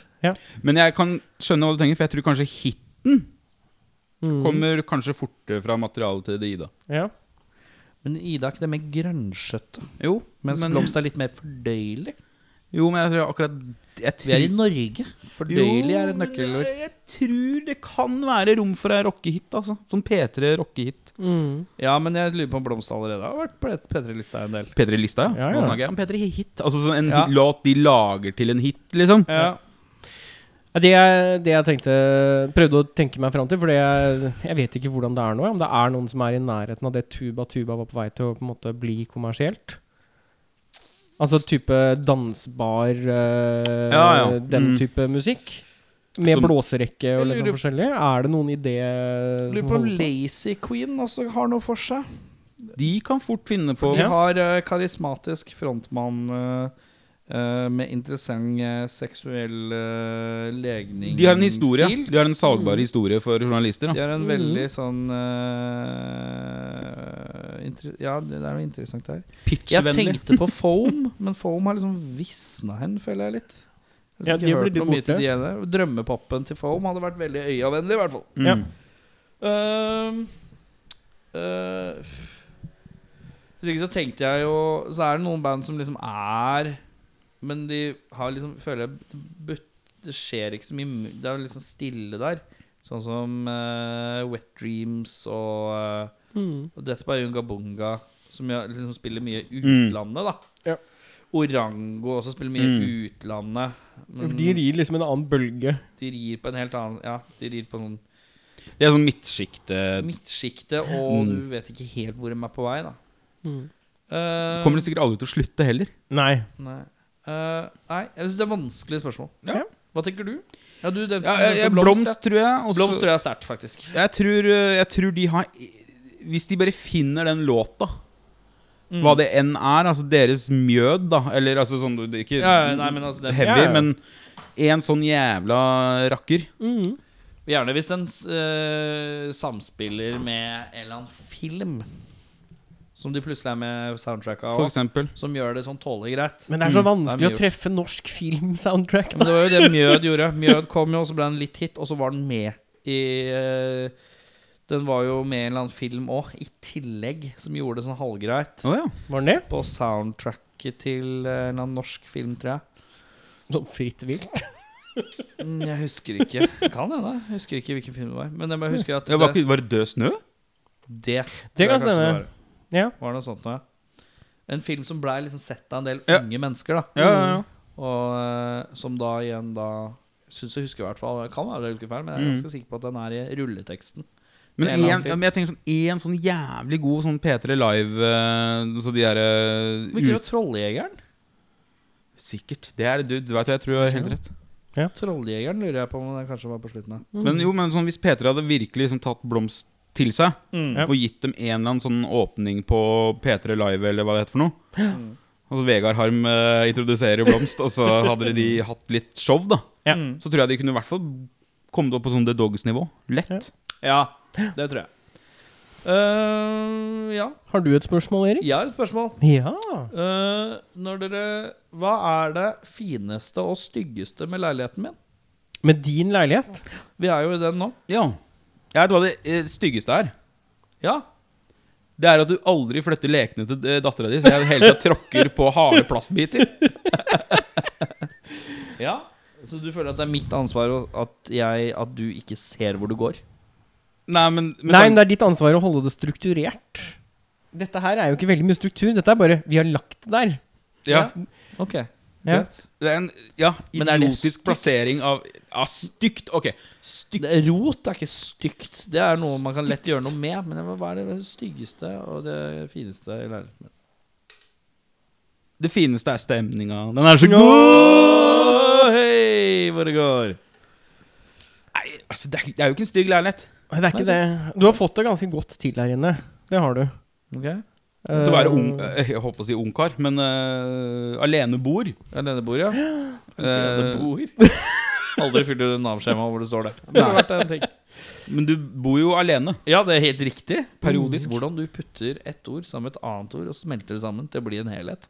Speaker 3: Men jeg kan skjønne hva du tenker, for jeg tror kanskje hiten
Speaker 2: Mm.
Speaker 3: kommer kanskje fortere fra materialet til Ida.
Speaker 2: Ja.
Speaker 1: Men Ida er ikke det mer grønnsjøtte?
Speaker 3: Jo,
Speaker 1: Mens
Speaker 3: men,
Speaker 1: Blomst er litt mer fordøyelig.
Speaker 3: jo, men jeg tror akkurat jeg
Speaker 1: Vi er i
Speaker 3: tror-
Speaker 1: Norge. Fordøyelig er et nøkkelord.
Speaker 3: Jeg, jeg tror det kan være rom for ei rockehit, altså. Sånn P3 rockehit.
Speaker 2: Mm.
Speaker 1: Ja, men jeg lurer på om Blomst allerede har vært på et- P3-lista en del.
Speaker 3: P3 Lista, ja.
Speaker 2: Ja, ja.
Speaker 3: Nå snakker jeg om P3 Hit. Altså sånn en
Speaker 1: Ja.
Speaker 3: hit, låt de lager til en hit, liksom.
Speaker 1: Ja.
Speaker 2: Ja, Det jeg, det jeg tenkte prøvde å tenke meg fram til, for jeg, jeg vet ikke hvordan det er nå. ja, Om det er noen som er i nærheten av det Tuba Tuba var på vei til å på en måte bli kommersielt. Altså type dansbar eh,
Speaker 3: Ja, ja.
Speaker 2: Den
Speaker 3: Mm.
Speaker 2: type musikk. Med
Speaker 3: Som-
Speaker 2: blåserekke og
Speaker 1: Altså Jeg
Speaker 2: liksom
Speaker 1: lurer-
Speaker 2: forskjellig. Er det noen idé
Speaker 1: Lurer
Speaker 2: som
Speaker 1: på om
Speaker 2: holder på?
Speaker 1: Lazy Queen også har noe for seg.
Speaker 3: De kan fort finne på
Speaker 1: De har eh, karismatisk frontmann eh, eh, med interessant eh, seksuell eh, legning.
Speaker 3: De har en historie.
Speaker 1: stil.
Speaker 3: De har en salgbar historie for journalister.
Speaker 1: De
Speaker 3: Da.
Speaker 1: har en
Speaker 2: Mhm.
Speaker 1: veldig sånn eh, inter- Ja, det det er noe interessant her. Jeg
Speaker 3: Pitchvennlig.
Speaker 1: tenkte på Foam, men Foam har liksom visna hen, føler jeg litt. Jeg
Speaker 2: Ja,
Speaker 1: har liksom
Speaker 2: de
Speaker 1: ikke
Speaker 2: blir
Speaker 1: hørt
Speaker 2: litt
Speaker 1: noe mye til
Speaker 2: borte.
Speaker 1: de ene. Drømmepoppen til Foam hadde vært veldig øyavennlig, i hvert fall.
Speaker 3: Mm.
Speaker 2: Ja.
Speaker 1: Ehm, eh, Hvis ikke så tenkte jeg jo Så er det noen band som liksom er Men de har liksom Føler jeg det but- Det skjer ikke så mye mu- Det er jo liksom stille der Sånn som eh, Wet Dreams og, eh,
Speaker 2: Mm.
Speaker 1: og Death by Unga Bunga Som jo liksom spiller mye i
Speaker 3: Mm.
Speaker 1: utlandet da
Speaker 2: Ja. Mm.
Speaker 1: Orango også spiller mye i utlandet
Speaker 2: Ja, for
Speaker 1: Men
Speaker 2: De rir liksom en annen bølge.
Speaker 1: de rir på en helt annen Ja, de rir på en sånn
Speaker 3: Det er sånn midtsjikte
Speaker 1: midtsjikte, og du vet ikke helt hvor de er på vei, da.
Speaker 2: Mm.
Speaker 1: Eh,
Speaker 3: Kommer Mm. det sikkert aldri til å slutte heller.
Speaker 2: Nei.
Speaker 1: Nei. Eh, nei, jeg syns det er vanskelige spørsmål.
Speaker 3: Ja.
Speaker 1: Hva tenker du? Ja, du det,
Speaker 3: Ja, jeg, jeg, blomst, tror jeg. og så-
Speaker 1: blomst tror jeg er sterkt, faktisk.
Speaker 3: Jeg tror, eh, jeg tror de har Hvis de bare finner den låta,
Speaker 1: Mm.
Speaker 3: hva det enn er, altså deres mjød, da, eller altså sånn det er Ikke
Speaker 1: Ja, ja, nei, men altså, det-
Speaker 3: heavy,
Speaker 2: Ja, ja.
Speaker 3: men en sånn jævla rakker.
Speaker 2: Mm.
Speaker 1: Gjerne hvis den eh, samspiller med en eller annen film. Som de plutselig er med soundtracka
Speaker 3: For
Speaker 1: av.
Speaker 3: eksempel.
Speaker 1: Som gjør det sånn tålelig greit.
Speaker 2: Men det er så
Speaker 1: Mm. Det
Speaker 2: vanskelig
Speaker 1: er mye
Speaker 2: å treffe norsk filmsoundtrack.
Speaker 1: Ja, Men det var jo det Mjød gjorde. Mjød kom jo, og så ble den litt hit, og så var den med i eh, Den var jo med i en eller annen film òg, i tillegg, som gjorde det sånn halvgreit.
Speaker 3: Å ja.
Speaker 2: Var den det?
Speaker 1: På soundtracket til eh, en eller annen norsk film, tror jeg.
Speaker 2: Sånn fritt vilt?
Speaker 1: Mm, Jeg husker ikke. Kan hende. Jeg Husker ikke hvilken film det var. Men jeg bare husker at
Speaker 3: Ja, var,
Speaker 1: det,
Speaker 3: ikke, var det Død snø?
Speaker 1: det,
Speaker 2: Det kan
Speaker 1: tror jeg kanskje
Speaker 2: stemme.
Speaker 1: var.
Speaker 2: Ja.
Speaker 1: Var noe sånt noe. En film som blei liksom sett av en del
Speaker 3: Ja.
Speaker 1: unge mennesker, da.
Speaker 3: Ja, ja, ja.
Speaker 1: Og eh, som da igjen da Syns jeg husker i hvert fall. Det Kan være jeg husker feil, men jeg er ganske sikker på at den er i rulleteksten.
Speaker 3: Men,
Speaker 1: Det er en
Speaker 3: en,
Speaker 1: annen film.
Speaker 3: ja, men jeg tenker sånn En sånn jævlig god sånn P3 Live eh, Så de er eh,
Speaker 1: Men ikke
Speaker 3: ut-
Speaker 1: det Trolljegeren?
Speaker 3: Sikkert. Det er du, du vet hva jeg tror du har helt rett.
Speaker 1: Trolljegeren lurer jeg på om den kanskje var på slutten av.
Speaker 2: Mm.
Speaker 3: Men jo, men sånn, hvis P3 hadde virkelig liksom, tatt blomst til seg,
Speaker 2: Ja.
Speaker 3: og gitt dem en eller annen sånn åpning på P3 Live, eller hva det heter for noe
Speaker 1: Mm.
Speaker 3: Altså Vegard Harm eh, introduserer Blomst, og så hadde de hatt litt show, da.
Speaker 2: Ja.
Speaker 1: Mm.
Speaker 3: Så tror jeg de kunne i hvert fall kommet opp på sånn The Dogs-nivå. Lett.
Speaker 2: Ja.
Speaker 1: Ja, det tror jeg. Eh, ja,
Speaker 2: Har du et spørsmål, Erik?
Speaker 1: jeg har et spørsmål.
Speaker 2: Ja.
Speaker 1: Eh, når dere Hva er det fineste og styggeste med leiligheten min?
Speaker 2: Med din leilighet?
Speaker 1: Vi er jo i den nå.
Speaker 3: Ja. Jeg vet hva det eh, styggeste er.
Speaker 1: Ja.
Speaker 3: Det er at du aldri flytter lekene til eh, dattera di, så jeg hele tida tråkker på harde plastbiter.
Speaker 1: ja. Så du føler at det er mitt ansvar å- at, jeg, at du ikke ser hvor du går?
Speaker 3: Nei, men, men sånn,
Speaker 2: Nei, men det er ditt ansvar å holde det strukturert. Dette her er jo ikke veldig mye struktur. Dette er bare Vi har lagt det der.
Speaker 3: ja.
Speaker 1: Ok.
Speaker 2: Ja.
Speaker 1: Vet.
Speaker 3: Det er en ja,
Speaker 1: Men er det
Speaker 3: idiotisk
Speaker 1: stygt?
Speaker 3: plassering av ja, Stygt! Ok. Stygt.
Speaker 1: Det, rot er ikke stygt. Det er noe man kan lett gjøre noe med. Men det var- hva er det styggeste og det fineste i leiligheten min?
Speaker 3: Det fineste er stemninga. Den er så god!
Speaker 1: Åh, hei, hvor det går.
Speaker 3: Nei, altså, det er, det er jo ikke en stygg leilighet.
Speaker 2: Nei, Det er ikke det. Du har fått det ganske godt til her inne. Det har du.
Speaker 1: Ok.
Speaker 3: Til å
Speaker 2: Eh,
Speaker 3: være ung, eh, jeg holdt på å si ungkar, men eh, alene bor.
Speaker 1: Alenebord, ja.
Speaker 3: Eh,
Speaker 1: Aldri fylt ut Nav-skjema hvor det står det.
Speaker 3: Nei.
Speaker 1: Det har vært en ting.
Speaker 3: men du bor jo alene.
Speaker 1: Ja, det er helt riktig.
Speaker 3: Periodisk.
Speaker 1: Hvordan du putter ett ord sammen med et annet ord og smelter det sammen til å bli en helhet.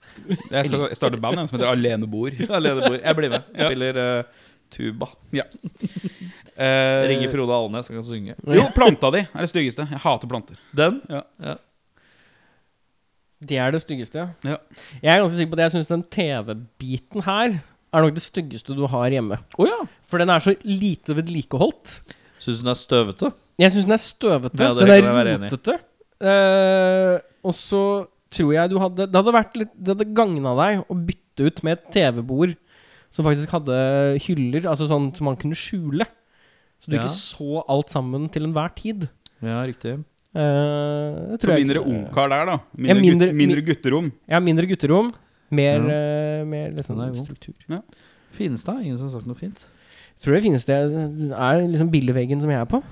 Speaker 3: Jeg skal starte band jeg, som heter Alene bor.
Speaker 1: Alenebord. Jeg blir med.
Speaker 3: Ja.
Speaker 1: Spiller eh, tuba.
Speaker 3: Eh,
Speaker 1: Ringer Frode Alnes, han kan synge.
Speaker 3: Jo, planta di er det styggeste. Jeg hater planter.
Speaker 1: Den?
Speaker 2: Det er det styggeste,
Speaker 3: Ja.
Speaker 2: Jeg er ganske sikker på det. Jeg syns den TV-biten her er nok det styggeste du har hjemme.
Speaker 1: Å ja.
Speaker 2: For den er så lite vedlikeholdt.
Speaker 1: Syns du den er støvete?
Speaker 2: Jeg syns den er støvete.
Speaker 1: Ja, det
Speaker 2: den
Speaker 1: kan jeg være
Speaker 2: er
Speaker 1: enig i.
Speaker 2: rotete. Eh, og så tror jeg du hadde Det hadde vært litt Det hadde gagna deg å bytte ut med et TV-bord som faktisk hadde hyller, altså sånn som man kunne skjule. Så du
Speaker 1: Ja.
Speaker 2: ikke så alt sammen til enhver tid.
Speaker 1: Ja, riktig.
Speaker 2: Eh, det
Speaker 3: Så
Speaker 2: tror jeg
Speaker 3: mindre
Speaker 2: ikke-
Speaker 3: ungkar der, da.
Speaker 2: Ja,
Speaker 3: Mindre,
Speaker 2: mindre-
Speaker 3: gutt, mindre gutterom.
Speaker 2: Ja, mindre gutterom. Mer,
Speaker 1: Ja.
Speaker 2: eh, mer liksom
Speaker 1: Den er god.
Speaker 2: struktur.
Speaker 1: Finestad? Ingen som har sagt noe fint?
Speaker 2: Tror det finnes det Er liksom billeveggen som jeg er på?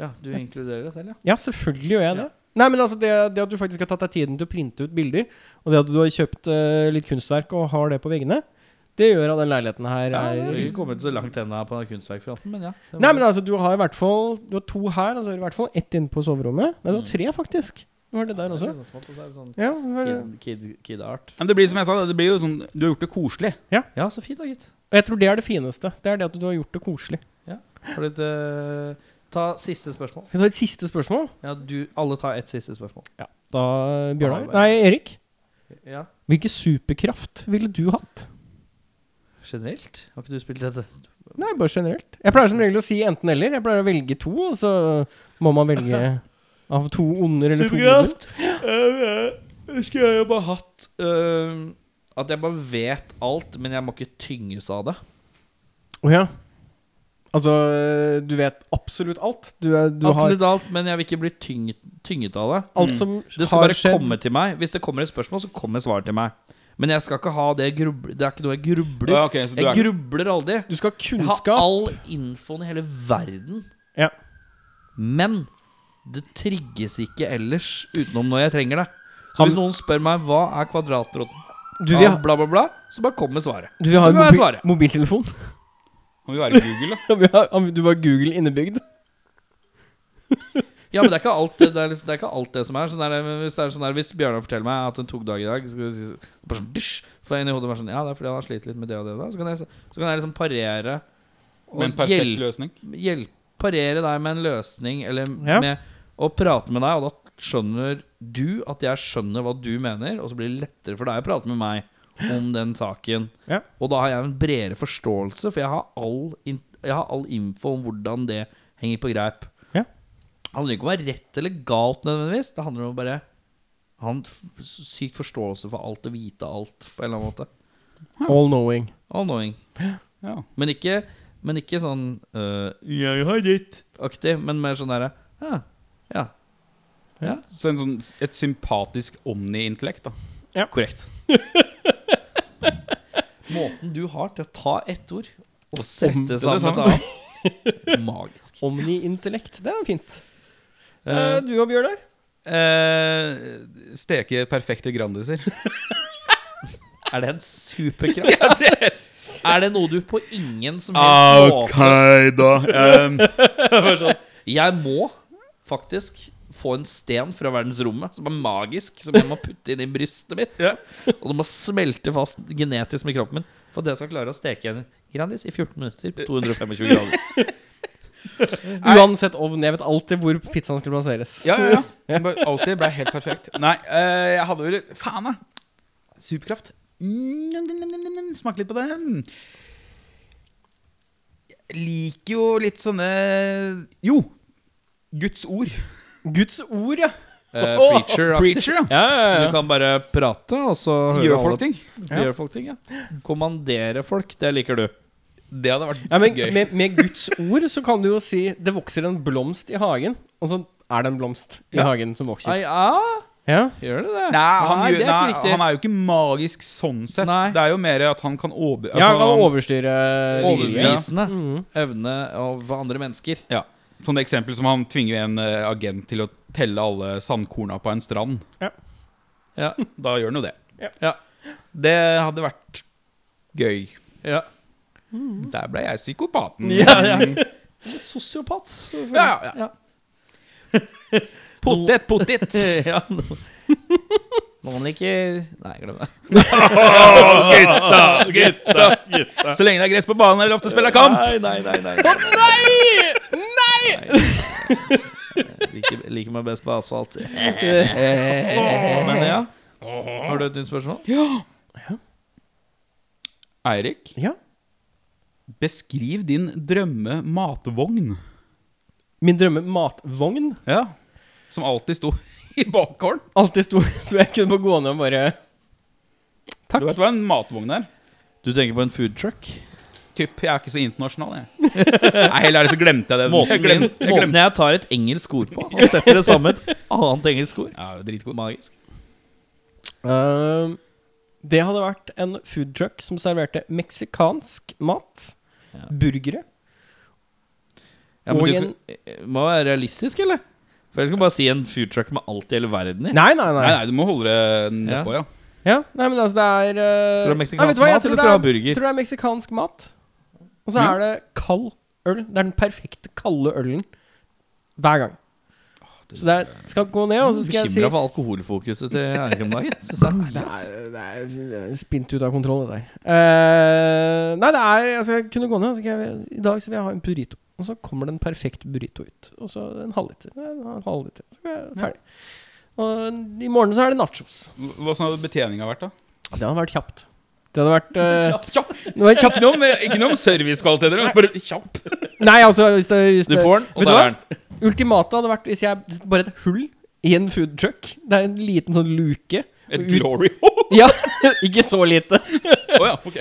Speaker 1: Ja, du inkluderer deg selv, ja.
Speaker 2: Ja, selvfølgelig gjør jeg det.
Speaker 1: Ja.
Speaker 2: Nei, men altså det, det at du faktisk har tatt deg tiden til å printe ut bilder, og det at du har kjøpt eh, litt kunstverk og har det på veggene, det gjør at den leiligheten her
Speaker 1: ja jeg
Speaker 2: er
Speaker 1: har ikke kommet så langt ennå på den kunstverkfronten, men ja. det var-
Speaker 2: Nei, men altså, du har i hvert fall Du har to her, altså i hvert fall ett inne på soverommet. Nei, du har tre, faktisk. Du har det der også.
Speaker 1: Det er sånn smått, og så er Mm. det sånn
Speaker 2: Ja, du har det.
Speaker 1: kid, kid, kid art.
Speaker 3: Men det blir som jeg sa, da, det blir jo sånn Du har gjort det koselig.
Speaker 1: Ja, så fint da, gitt.
Speaker 2: Og jeg tror det er det fineste. Det er det at du har gjort det koselig.
Speaker 1: Har du et, eh, ta siste spørsmål.
Speaker 2: Skal vi ta et siste spørsmål?
Speaker 1: Ja, du, alle tar ett siste spørsmål.
Speaker 2: Da, Bjørnar
Speaker 1: Ja,
Speaker 2: Nei, Erik.
Speaker 1: Ja.
Speaker 2: Hvilken superkraft ville du hatt?
Speaker 1: Generelt? Har ikke du spilt dette?
Speaker 2: Nei, bare generelt. Jeg pleier som regel å si enten eller. Jeg pleier å velge to, og så må man velge av to onder eller to goder.
Speaker 1: Skulle Eh, jeg jo bare hatt eh, At jeg bare vet alt, men jeg må ikke tynges av det.
Speaker 2: Å ja. Altså, du vet absolutt alt. Du, er, du har
Speaker 1: Absolutt alt, men jeg vil ikke bli tynget, tynget av det.
Speaker 2: alt som
Speaker 1: Det skal
Speaker 2: har
Speaker 1: bare
Speaker 2: skjedd.
Speaker 1: komme til meg. Hvis det kommer et spørsmål, så kommer svaret til meg. Men jeg skal ikke ha det grubl... Det er ikke noe jeg grubler.
Speaker 3: Ja, ok, så du
Speaker 1: jeg
Speaker 3: er,
Speaker 1: grubler aldri.
Speaker 2: Du skal ha
Speaker 1: Jeg har
Speaker 2: kunnskap.
Speaker 1: all infoen i hele verden.
Speaker 2: Ja.
Speaker 1: Men det trigges ikke ellers utenom når jeg trenger det. Så
Speaker 2: Han-
Speaker 1: hvis noen spør meg hva er kvadratroten
Speaker 2: Du vil,
Speaker 1: av
Speaker 2: ha-
Speaker 1: bla, bla, bla, så bare kommer svaret.
Speaker 2: du vil ha
Speaker 1: Nå må jeg
Speaker 2: mobil,
Speaker 1: svare.
Speaker 2: mobiltelefon.
Speaker 3: Han vil være Google, da.
Speaker 2: Du vil ha, du vil ha Google innebygd.
Speaker 1: Ja, men det er ikke alt det, det, er liksom, det, er ikke alt det som er. Sånn er det, hvis det er sånn der, hvis Bjørnar forteller meg at en tok dag i dag så skal jeg si, så bare sånn, dysj, får jeg inn i hodet bare sånn, Ja, det er fordi han har slitt litt med det og det. og det. Så, kan jeg, så kan jeg liksom parere og
Speaker 3: Med en perfekt
Speaker 1: hjelpe-
Speaker 3: løsning.
Speaker 1: hjelp, parere deg med en løsning eller
Speaker 2: Ja.
Speaker 1: med å prate med deg, og da skjønner du at jeg skjønner hva du mener, og så blir det lettere for deg å prate med meg om den saken.
Speaker 2: Ja.
Speaker 1: Og da har jeg en bredere forståelse, for jeg har all, in jeg har all info om hvordan det henger på greip.
Speaker 2: Ja.
Speaker 1: Det handler ikke om å være rett eller galt nødvendigvis, det handler om å bare ha en f- syk forståelse for alt og vite alt på en eller annen måte.
Speaker 2: All knowing.
Speaker 1: All knowing.
Speaker 3: Ja.
Speaker 1: Men ikke, men ikke sånn øh, 'Jeg har rett'-aktig, men mer sånn derre ja, ja. ja.
Speaker 3: Så en sånn, et sympatisk omni-intellekt, da.
Speaker 1: Korrekt. Måten du har til å ta ett ord og
Speaker 3: sette
Speaker 1: sette
Speaker 3: det
Speaker 1: sammen et
Speaker 3: sammen.
Speaker 1: annet Magisk.
Speaker 2: Omni-intellekt. Det er fint. Eh, du og Bjørnar?
Speaker 3: Eh, steke perfekte Grandiser.
Speaker 1: Er det en superkraft? er Ah, det noe du på ingen som helst
Speaker 3: Ah, Ok,
Speaker 1: måte
Speaker 3: da. Ehm,
Speaker 1: Bare sånn, Jeg må faktisk få en sten fra verdensrommet som er magisk, som jeg må putte inn i brystet mitt. Og det må smelte fast genetisk med kroppen min for at jeg skal klare å steke en Grandis i 14 minutter på 225 grader.
Speaker 2: Uansett ovn. Jeg vet alltid hvor pizzaen skal plasseres.
Speaker 3: ja, ja, ja. Bare Alltid ble helt perfekt. Nei, eh, jeg hadde vel Faen, da. Superkraft. Mm, nom, nom, nom, nom, nom. Smak litt på det. Jeg liker jo litt sånne Jo! Guds ord.
Speaker 2: Guds ord, ja.
Speaker 1: eh, preacher-aktig.
Speaker 3: Preacher, ja.
Speaker 2: Ja, ja,
Speaker 1: Du
Speaker 2: ja.
Speaker 1: kan bare prate, og så hører
Speaker 3: Gjør
Speaker 1: alle-
Speaker 3: folk ting.
Speaker 1: Gjør folk ting, ja. Kommandere folk, det liker du.
Speaker 3: Det hadde vært
Speaker 2: Ja, men
Speaker 3: gøy.
Speaker 2: med, med Guds ord så kan du jo si 'det vokser en blomst i hagen', og så er det en blomst i
Speaker 3: Ja.
Speaker 2: hagen som vokser.
Speaker 1: Nei, ja,
Speaker 2: Ja.
Speaker 1: gjør det det?
Speaker 3: Nei, han,
Speaker 1: Nei,
Speaker 3: gjør,
Speaker 1: det er
Speaker 3: nei,
Speaker 1: ikke riktig.
Speaker 3: han er jo ikke magisk sånn sett.
Speaker 1: Nei.
Speaker 3: Det er jo mer at han kan over...
Speaker 2: Ja, kan
Speaker 3: altså, han-
Speaker 2: overstyre
Speaker 3: Overbevise.
Speaker 2: vilje.
Speaker 1: Overbevisende
Speaker 2: Mhm.
Speaker 1: evne av andre mennesker.
Speaker 3: Ja. Sånn eksempel som han tvinger jo en eh, agent til å telle alle sandkorna på en strand.
Speaker 2: Ja.
Speaker 1: Ja.
Speaker 3: Da gjør han jo det.
Speaker 2: Ja.
Speaker 3: Det hadde vært gøy.
Speaker 1: Ja.
Speaker 3: Der ble jeg psykopaten. Mm.
Speaker 1: Ja, ja. Sosiopat. selvfølgelig.
Speaker 3: Ja, ja. Potet, potet!
Speaker 1: ja. Noen liker Nei, glem det.
Speaker 3: gutta, gutta, gutta. Så lenge det er gress på banen, er det lov til å spille kamp.
Speaker 1: Nei, nei, nei. nei, nei. Jeg Liker, liker meg best på asfalt. Eh, Men ja. Har du et nytt spørsmål?
Speaker 3: Eirik,
Speaker 2: Ja.
Speaker 3: beskriv din drømme-matvogn.
Speaker 2: Min drømme matvogn
Speaker 3: Ja. Som alltid sto i bakgården.
Speaker 2: alltid sto så jeg kunne bare gå ned og bare
Speaker 3: Du vet hva en matvogn er?
Speaker 1: Du tenker på en food truck?
Speaker 3: Typ, jeg er ikke så internasjonal, jeg. Nei, heller ærlig så glemte jeg det.
Speaker 1: Måten,
Speaker 3: jeg glemte,
Speaker 1: min,
Speaker 3: jeg
Speaker 1: måten
Speaker 3: glemte.
Speaker 1: jeg tar et engelsk ord på, og setter det sammen med et annet engelsk ord.
Speaker 3: Ja, dritgod.
Speaker 1: Magisk.
Speaker 2: Ehm, Det hadde vært en food truck som serverte meksikansk mat.
Speaker 1: Ja.
Speaker 2: Burgere.
Speaker 1: Ja, men
Speaker 2: Og
Speaker 1: du
Speaker 2: en-
Speaker 1: kan- eh, må være realistisk, eller? For ellers kan du bare si en food truck med alt i hele verden i.
Speaker 2: Nei, nei, nei.
Speaker 3: Nei, nei, du må holde det nedpå, ja.
Speaker 2: Ja, nei, men altså, det er
Speaker 1: Skal du
Speaker 2: eh,
Speaker 1: ha
Speaker 2: nei, vet
Speaker 1: meksikansk
Speaker 2: du hva, jeg
Speaker 1: mat, eller
Speaker 2: tror det
Speaker 1: skal du ha
Speaker 2: er-
Speaker 1: burger?
Speaker 2: Tror det er meksikansk mat. Og så er det kald øl. Det er den perfekte kalde ølen hver gang. Så det er, skal gå ned, og så skal jeg si
Speaker 1: Bekymra for alkoholfokuset til Eirik om dagen. Synes det er mye,
Speaker 2: det
Speaker 1: ass.
Speaker 2: er, det er det er spint ut av kontroll, det der. Eh, nei, det er Jeg skal kunne gå ned. og Så skal jeg, I dag så vil jeg ha en burrito. Og så kommer det en perfekt burrito ut. Og så en halvliter. En halvliter. Så er jeg ferdig. Og i morgen så er det nachos.
Speaker 3: Hvordan hadde betjeninga vært, da?
Speaker 2: Det hadde vært kjapt. Det hadde vært eh,
Speaker 3: Kjapp.
Speaker 2: det var kjapt.
Speaker 3: Ikke noe om, ikke noe om servicekvaliteter, men bare kjapp.
Speaker 2: Nei, altså hvis det, hvis
Speaker 1: Du
Speaker 2: det
Speaker 1: får den, og
Speaker 2: Vet du
Speaker 1: der
Speaker 2: hva?
Speaker 1: er den.
Speaker 2: Ultimatet hadde vært hvis jeg Bare et hull i en food truck. Det er en liten sånn luke.
Speaker 3: Et
Speaker 2: Ut-
Speaker 3: glory hole.
Speaker 2: Ja, ikke så lite.
Speaker 3: Å ja, ok.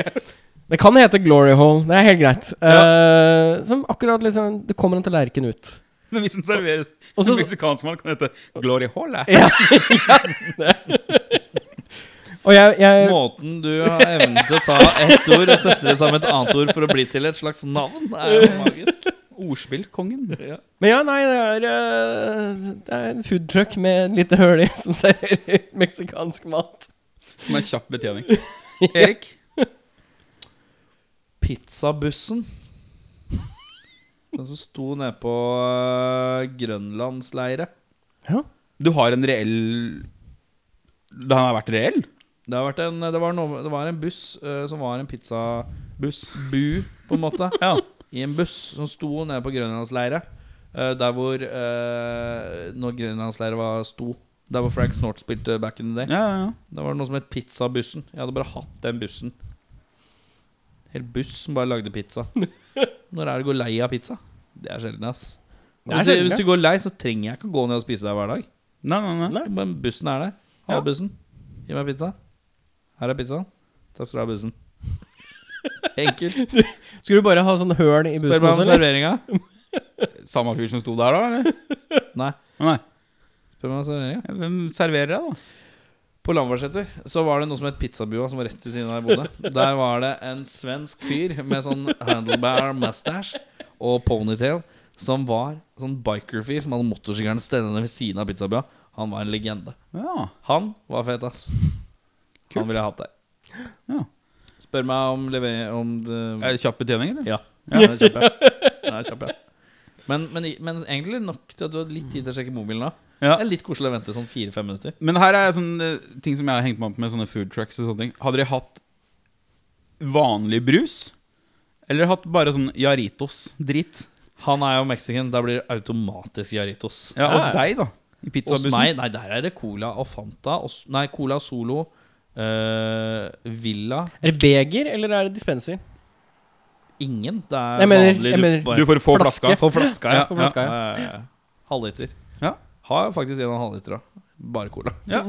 Speaker 2: Det kan hete glory hole. Det er helt greit. Eh, som akkurat liksom Det kommer en tallerken ut.
Speaker 3: Men hvis den serveres
Speaker 2: Og
Speaker 3: en
Speaker 2: så
Speaker 3: meksikansk mann, kan det hete glory hole. eh?
Speaker 2: Ja. Og jeg, jeg
Speaker 1: Eh, Måten du har evnen til å ta ett ord og sette det sammen med et annet ord for å bli til et slags navn, er jo magisk.
Speaker 3: Ordspillkongen.
Speaker 1: Ja.
Speaker 2: Men ja, nei, det er, eh, det er en food truck med en lite høl i som serverer meksikansk mat.
Speaker 3: Som er kjapp betjening. Erik?
Speaker 1: Pizzabussen. Den som sto nede på
Speaker 2: eh,
Speaker 1: øh, grønlandsleire.
Speaker 2: Ja.
Speaker 3: Du har en reell Den har vært reell?
Speaker 1: Det, har vært en, det, var noe, det var en buss øh, som var en
Speaker 3: Buss.
Speaker 1: pizzabu, på en måte.
Speaker 3: Ja.
Speaker 1: I en buss som sto nede på grønlandsleire. øh, der hvor øh, Når grønlandsleire var sto. Der hvor Frank Snort spilte back in the day.
Speaker 3: Ja, ja, ja.
Speaker 1: Da var det noe som het pizzabussen. Jeg hadde bare hatt den bussen. Hel buss som bare lagde pizza. Når er det går lei av pizza? Det er sjelden, ass. Og
Speaker 2: Det er
Speaker 1: Hvis, du-
Speaker 2: sjelden,
Speaker 1: hvis
Speaker 2: ja.
Speaker 1: du går lei, så trenger jeg ikke å gå ned og spise der hver dag.
Speaker 3: Nei, nei, nei.
Speaker 1: Men bussen er der.
Speaker 3: Ja.
Speaker 1: Ha bussen. Gi meg pizza. Her er pizzaen. Takk skal du ha, bussen. Enkelt.
Speaker 2: Skulle du bare ha sånn høl i
Speaker 1: Spør meg
Speaker 2: bussen
Speaker 1: om
Speaker 2: også, eller?
Speaker 1: serveringa.
Speaker 3: Samme fyr som sto der, da? eller?
Speaker 1: Nei.
Speaker 3: Nei.
Speaker 1: Spør meg om serveringa.
Speaker 3: Hvem serverer deg, da?
Speaker 1: På Lambertseter så var det noe som het Pizzabua, som var rett ved siden av der jeg bodde. Der var det en svensk fyr med sånn handlebar mustache og ponytail, som var sånn biker-fyr som hadde motorsykkelen stendende ved siden av Pizzabua. Han var en legende.
Speaker 3: Ja.
Speaker 1: Han var fet, ass.
Speaker 3: Kult.
Speaker 1: Han ville jeg hatt der.
Speaker 3: Ja.
Speaker 1: Spør meg om levering om det,
Speaker 3: Er det kjapp betjening, eller?
Speaker 1: Ja. ja den er kjapp, ja. Den er kjapp, ja. Men, men, men egentlig nok til at du har litt tid til å sjekke mobilen da. Det
Speaker 3: Ja.
Speaker 1: er litt koselig å vente sånn fire-fem minutter.
Speaker 3: Men her er sånn eh, ting som jeg har hengt meg opp med, sånne food trucks og sånne ting. Hadde dere hatt vanlig brus? Eller hatt bare sånn Jaritos-dritt?
Speaker 1: Han er jo mexican, da blir det automatisk Jaritos.
Speaker 3: Ja, hos
Speaker 2: Ja, ja.
Speaker 3: deg, da. I
Speaker 1: Hos
Speaker 3: pizzabussen.
Speaker 1: meg, nei, der er det Cola og Fanta. Og, s- nei, Cola Solo, eh, Villa
Speaker 2: Er det beger, eller er det dispenser?
Speaker 1: Ingen. Det er
Speaker 2: Jeg mener-
Speaker 1: vanlig.
Speaker 2: jeg mener-
Speaker 1: bare
Speaker 3: Du får få
Speaker 2: Flaske.
Speaker 3: flaska.
Speaker 1: får flaska,
Speaker 3: Ja,
Speaker 1: ja.
Speaker 2: på flaska,
Speaker 1: ja, ja, ja. Halvliter.
Speaker 3: Ja.
Speaker 1: Har faktisk en og en halv liter òg. Bare cola.
Speaker 3: Ja.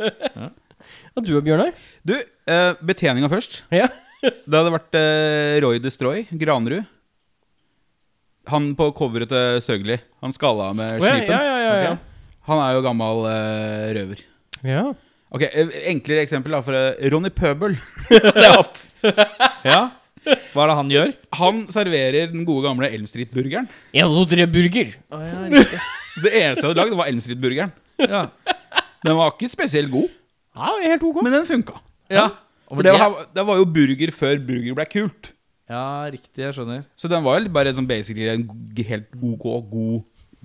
Speaker 2: Og du og Bjørnar?
Speaker 3: Du, eh, betjeninga først.
Speaker 2: Ja.
Speaker 3: Det hadde vært eh, Roy Destroy, Granrud. Han på coveret til Søgli. Han skalla med
Speaker 2: Å, ja,
Speaker 3: slipen.
Speaker 2: ja, ja, ja, ja.
Speaker 3: Han er jo gammel eh, røver.
Speaker 2: ja.
Speaker 3: Ok, eh, Enklere eksempel da for eh, Ronny Pøbel. Det har jeg hatt. ja.
Speaker 1: Hva er det han gjør?
Speaker 3: Han serverer den gode gamle Elm Street-burgeren.
Speaker 2: En, to, tre burger.
Speaker 3: Det eneste jeg hadde lagd, var Elm Street-burgeren. Ja. Den var ikke spesielt god,
Speaker 2: Ja, det er helt ok.
Speaker 3: men den funka.
Speaker 1: Ja.
Speaker 3: For det var, det var jo burger før burger ble kult.
Speaker 1: ja, riktig. Jeg skjønner.
Speaker 3: Så den var jo bare sånn basically en g- helt OK, god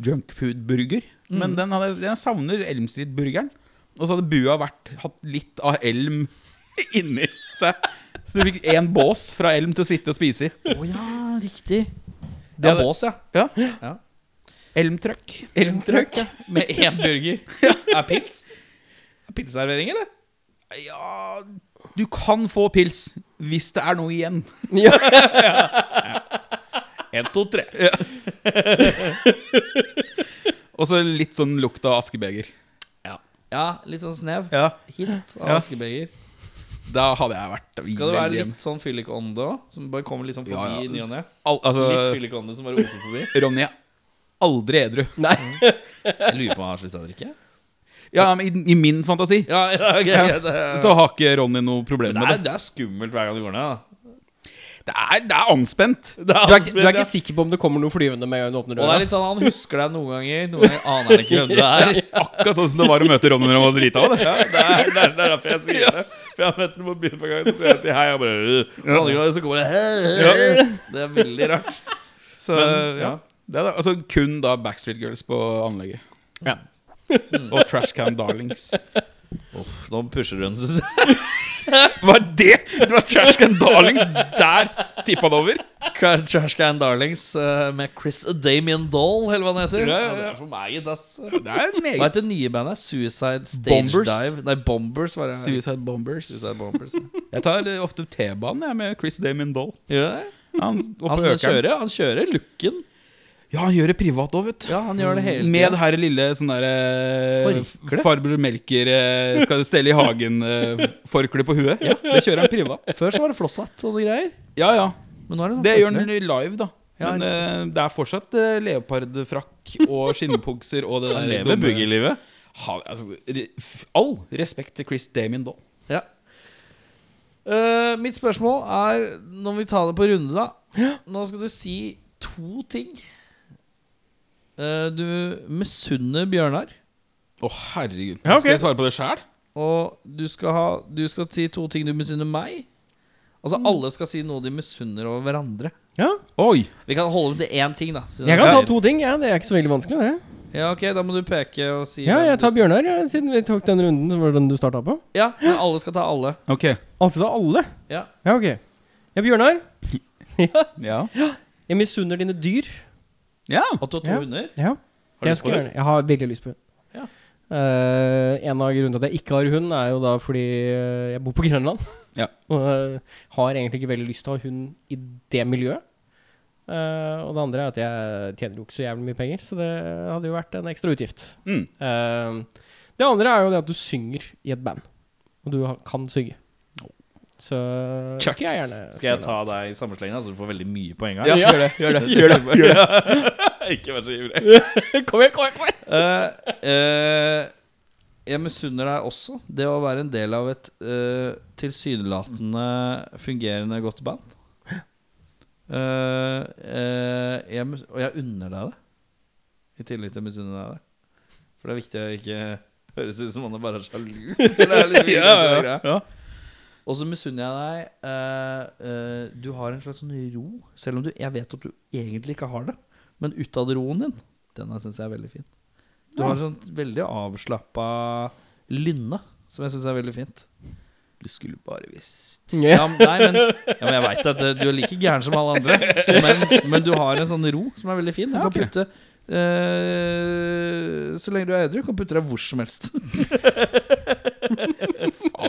Speaker 3: junkfood-burger.
Speaker 1: Mm.
Speaker 3: Men den hadde, jeg savner Elm Street-burgeren. Og så hadde bua vært, hatt litt av elm inni seg. Så du fikk én bås fra elm til å sitte og spise i.
Speaker 1: Å ja, riktig.
Speaker 3: Det
Speaker 1: Det
Speaker 3: er-
Speaker 1: er bås, ja.
Speaker 3: Ja.
Speaker 1: Ja.
Speaker 3: Elmtrøkk.
Speaker 1: Elmtrøkk med én burger. Er pils? Er Pilsservering, eller?
Speaker 3: Ja Du kan få pils hvis det er noe igjen.
Speaker 1: Én, to, tre.
Speaker 3: Og så litt sånn lukt av askebeger.
Speaker 1: Ja. ja, litt sånn snev.
Speaker 3: Ja.
Speaker 1: Hint av
Speaker 3: Ja.
Speaker 1: askebeger.
Speaker 3: Da hadde jeg vært
Speaker 1: Skal det
Speaker 3: veldig
Speaker 1: være
Speaker 3: hjemme.
Speaker 1: litt sånn fyllikånde òg? Som bare kommer litt sånn forbi
Speaker 3: Ja, ja.
Speaker 1: i ny og ne?
Speaker 3: Al
Speaker 1: Litt
Speaker 3: Altså,
Speaker 1: fyllikånde som bare oser forbi?
Speaker 3: Ronny er aldri edru.
Speaker 2: Nei.
Speaker 1: Jeg lurer på om han har slutta å drikke.
Speaker 3: Ja, men i, i min fantasi
Speaker 1: Ja, ja, ok,
Speaker 3: Ja.
Speaker 1: Det,
Speaker 3: så har ikke Ronny noe problem
Speaker 1: det,
Speaker 3: med
Speaker 1: er,
Speaker 3: Eh, det.
Speaker 1: det er skummelt hver gang du går ned. da
Speaker 3: Det er, det er anspent.
Speaker 1: altså, Det
Speaker 2: Du er, ikke- du
Speaker 1: anspennende,
Speaker 2: er
Speaker 1: ja.
Speaker 2: ikke sikker på om det kommer noe flyvende med en gang du
Speaker 1: Og
Speaker 2: åpner
Speaker 1: det er
Speaker 2: døra?
Speaker 1: litt sånn, han husker deg noen ganger, noen ganger aner han ikke hvem det er.
Speaker 3: Akkurat sånn som det var å møte Ronny når han var drita av det.
Speaker 1: Ja, det, er, det er det er derfor jeg sier det. For jeg har møtt ham på byen for en gang, så jeg sier hei, og bare øh. Og andre ganger så kommer det «Hei, hei». Det er veldig rart.
Speaker 3: Så,
Speaker 1: Men,
Speaker 3: ja.
Speaker 1: ja.
Speaker 3: det er da, altså, kun da Backstreet Girls på anlegget.
Speaker 2: Ja.
Speaker 3: Og Trash Can Darlings.
Speaker 1: Nå pusher hun, synes jeg.
Speaker 3: Var det Det var Trash Can Darlings! Der tippa det over.
Speaker 1: Trash Can Darlings eh, med Chris og Damien Doll, eller hva han heter.
Speaker 3: Ja, ja, ja.
Speaker 1: det er for meg, ass.
Speaker 3: Det er en
Speaker 1: Hva
Speaker 3: meget
Speaker 1: heter det nye bandet? Suicide Stage
Speaker 3: Bombers.
Speaker 1: Dive? Nei, Bombers, var det.
Speaker 3: Suicide Bombers.
Speaker 1: Suicide Bombers.
Speaker 3: Jeg tar eh, ofte T-banen jeg, med Chris Damien Doll.
Speaker 1: Gjør det?
Speaker 3: Han, oppe
Speaker 1: Han
Speaker 3: på Økern.
Speaker 1: kjører, han kjører looken.
Speaker 3: Ja, han gjør det privat òg, vet du.
Speaker 1: Ja, han gjør det hele
Speaker 3: Med
Speaker 1: tiden.
Speaker 3: det her lille sånn derre
Speaker 1: Forkle?
Speaker 3: Farbror Melker eh, skal stelle i hagen-forkle på huet. Ja, Det kjører han privat.
Speaker 1: Før så var det flosshatt og greier.
Speaker 3: Ja, ja.
Speaker 1: Men nå er det sånn
Speaker 3: Det gjør
Speaker 1: forkle.
Speaker 3: han live, da.
Speaker 1: Ja,
Speaker 3: Men eh, det er fortsatt eh, leopardfrakk og skinnbukser og det der dumme-
Speaker 1: boogie-livet.
Speaker 3: Ha, altså, re- f- all respekt til Chris Damien Doll.
Speaker 1: Ja. Eh, mitt spørsmål er, når vi tar det på runde, da Nå skal du si to ting. Eh, du misunner Bjørnar,
Speaker 3: Å, herregud.
Speaker 2: Ja, ok.
Speaker 3: Skal jeg svare på det sjæl?
Speaker 1: og du skal, ha, du skal si to ting du misunner meg. Altså Alle skal si noe de misunner over hverandre.
Speaker 2: ja.
Speaker 3: Oi.
Speaker 1: Vi kan holde det til én ting, da. siden
Speaker 2: Jeg
Speaker 1: det
Speaker 2: kan ta
Speaker 1: er-
Speaker 2: to ting. Ja, det er ikke så veldig vanskelig, det.
Speaker 1: Ja, ok, Da må du peke og si
Speaker 2: Ja,
Speaker 1: hvem
Speaker 2: jeg
Speaker 1: du-
Speaker 2: tar Bjørnar, ja, siden vi tok den runden som var den du starta på.
Speaker 1: Ja, men alle skal ta alle.
Speaker 3: Ok.
Speaker 2: Altså da alle?
Speaker 1: Ja.
Speaker 2: Ja, ok. Ja, Bjørnar. ja.
Speaker 3: Ja.
Speaker 2: Jeg misunner dine dyr.
Speaker 3: ja.
Speaker 1: Og to to
Speaker 2: Ja.
Speaker 1: hunder.
Speaker 2: Ja.
Speaker 1: du
Speaker 2: Jeg,
Speaker 1: lyst
Speaker 2: skal
Speaker 1: på
Speaker 2: gjøre det. jeg har veldig lyst på hund.
Speaker 1: Ja.
Speaker 2: Eh, en av grunnene til at jeg ikke har hund, er jo da fordi eh, jeg bor på Grønland.
Speaker 3: Ja.
Speaker 2: Og eh, har egentlig ikke veldig lyst til å ha hund i det miljøet. Eh, og det andre er at jeg tjener jo ikke så jævlig mye penger, så det hadde jo vært en ekstra utgift.
Speaker 3: Mm.
Speaker 2: Eh, det andre er jo det at du synger i et band, og du har- kan synge. Så eh,
Speaker 3: Chucks.
Speaker 2: skal jeg gjerne
Speaker 1: Skal jeg ta deg i samme slenge, så du får veldig mye poeng her?
Speaker 3: Ja, Gjør det. Gjør det. Gjør det. Gjør det.
Speaker 1: ikke vær så ivrig.
Speaker 2: Kom igjen, kom igjen! Kom igjen.
Speaker 1: Eh, eh, jeg misunner deg også det å være en del av et eh, tilsynelatende fungerende godt band. Eh, eh, jeg, mis- og jeg unner deg det, i tillegg til å misunne deg det. For det er viktig å ikke høres ut som man er bare sjalu. For det er liksom ikke det som er greia.
Speaker 3: ja.
Speaker 1: Og så misunner jeg deg eh, eh, Du har en slags sånn ro, selv om du, jeg vet at du egentlig ikke har det. Men utad-roen din, den syns jeg er veldig fin. Du har en sånn veldig avslappa lynne, som jeg syns er veldig fint.
Speaker 3: Du skulle bare visst.
Speaker 1: Ja, men- nei, men, ja, men jeg veit at eh, du er like gæren som alle andre, men, men du har en sånn ro som er veldig fin. Du kan putte eh, Så lenge du er edru, kan du putte deg hvor som helst.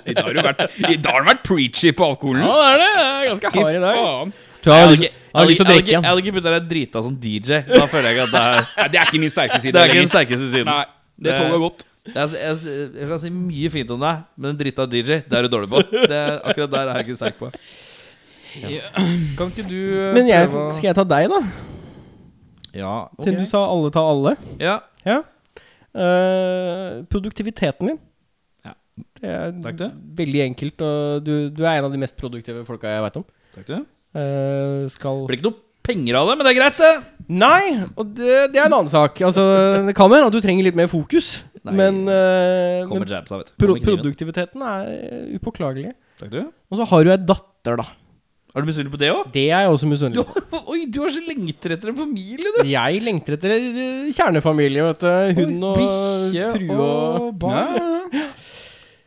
Speaker 3: I dag har du vært, i dag har du vært preachy på alkoholen.
Speaker 2: Ja, det er det. Jeg er ganske hard i dag.
Speaker 3: faen.
Speaker 2: Ta,
Speaker 1: Jeg har
Speaker 2: liksom,
Speaker 1: ikke-
Speaker 2: Han har lyst til å drikke
Speaker 1: Jeg
Speaker 2: igjen.
Speaker 1: hadde ikke begynt å være drita som DJ. Da føler jeg ikke at det er
Speaker 3: Nei, det er ikke min sterke side.
Speaker 1: Det er ikke den
Speaker 3: lenger.
Speaker 1: sterkeste siden.
Speaker 3: Nei, det toget har gått.
Speaker 1: Jeg, jeg, jeg kan si mye fint om deg, men den drita DJ, det er du dårlig på. Det, akkurat der er jeg ikke sterk på. Kan ikke du eh,
Speaker 2: Men jeg,
Speaker 1: prøve å-
Speaker 2: skal jeg ta deg, da?
Speaker 1: Ja,
Speaker 2: Til
Speaker 1: ok.
Speaker 2: du sa alle ta alle.
Speaker 1: ja.
Speaker 2: Ja. Eh, produktiviteten din.
Speaker 1: Ja.
Speaker 2: Det er
Speaker 1: Takk, det.
Speaker 2: veldig enkelt, og du, du er en av de mest produktive folka jeg veit om.
Speaker 1: Takk du.
Speaker 2: Eh, skal
Speaker 1: Det blir ikke noe penger av det, men det er greit, det.
Speaker 2: Nei, og det, det er en annen sak. Altså, det kan være at du trenger litt mer fokus,
Speaker 1: Nei.
Speaker 2: men, eh, men
Speaker 1: Kommer jabsa, vet du.
Speaker 2: pro
Speaker 1: Kommer kniven.
Speaker 2: produktiviteten er eh, upåklagelig.
Speaker 1: Takk du.
Speaker 2: Og så har du ei datter, da.
Speaker 1: Er du misunnelig på det òg?
Speaker 2: Det er jeg også misunnelig på.
Speaker 1: Oi, du har så lengter etter en familie, du.
Speaker 2: Jeg lengter etter eh, kjernefamilie, vet du. Hund og
Speaker 1: Bikkje
Speaker 2: frue og
Speaker 1: barn.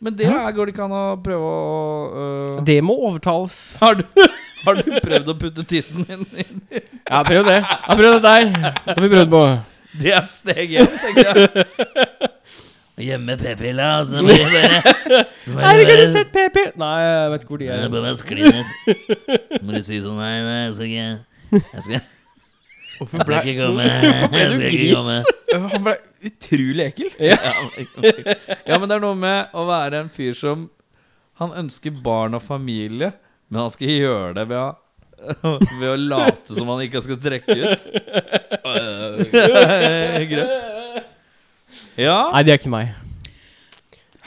Speaker 1: Men det her går det ikke an å prøve å øh,
Speaker 2: Det må overtales.
Speaker 1: har, du, har du prøvd å putte tissen inn i
Speaker 2: Jeg har prøvd det. Jeg har prøvd det der. Det har vi prøvd på.
Speaker 1: Det er steg én, tenker jeg. Gjemme p-pilla, så må jeg bare så må
Speaker 2: Herregud, har du sett PP? Nei, jeg vet ikke hvor de
Speaker 6: Det er
Speaker 2: er.
Speaker 6: bare å skli ned. Så må du si sånn Nei, nei, jeg skal ikke Jeg skal, jeg skal ikke komme. Jeg skal ikke komme.
Speaker 3: Han ble utrolig ekkel.
Speaker 1: Ja, men det er noe med å være en fyr som Han ønsker barn og familie, men han skal gjøre det ved å ved å late som han ikke skal trekke ut. Øh, Grøft. Ja.
Speaker 2: Nei, det er ikke meg.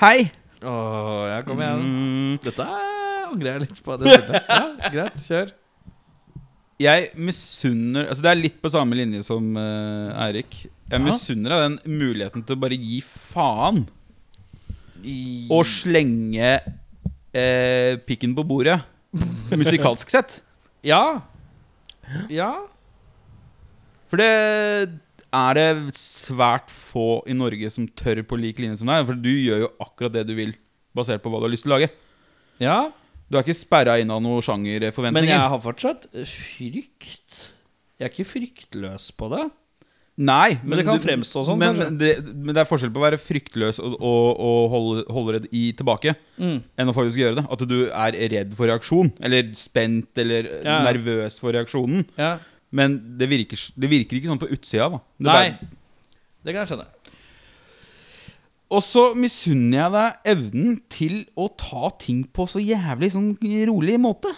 Speaker 3: Hei.
Speaker 1: Åh, ja, kom igjen.
Speaker 3: Mm,
Speaker 1: Dette angrer jeg litt på. at jeg spurte. Ja, greit, kjør.
Speaker 3: jeg misunner Altså Det er litt på samme linje som eh, Eirik. Jeg misunner deg den muligheten til å bare gi faen og slenge eh, pikken på bordet. Musikalsk sett.
Speaker 1: Ja. Ja.
Speaker 3: For det er det svært få i Norge som tør på lik linje som deg. For du gjør jo akkurat det du vil, basert på hva du har lyst til å lage.
Speaker 1: ja.
Speaker 3: Du er ikke sperra inn av noen
Speaker 1: Men
Speaker 3: sjangerforventninger.
Speaker 1: jeg har fortsatt frykt. Jeg er ikke fryktløs på det.
Speaker 3: Nei,
Speaker 1: Men det kan fremstå sånn,
Speaker 3: men,
Speaker 1: kanskje.
Speaker 3: det, men det er forskjell på å være fryktløs og, og, og holde, holde det i tilbake,
Speaker 1: Mm.
Speaker 3: enn å faktisk gjøre det. At du er redd for reaksjon, eller spent, eller
Speaker 1: Ja.
Speaker 3: nervøs for reaksjonen.
Speaker 1: Ja.
Speaker 3: Men det virker, det virker ikke sånn på utsida. da
Speaker 1: Nei.
Speaker 3: Det bare-
Speaker 1: Det kan jeg skjønne.
Speaker 3: Og så misunner jeg deg evnen til å ta ting på så jævlig sånn rolig måte.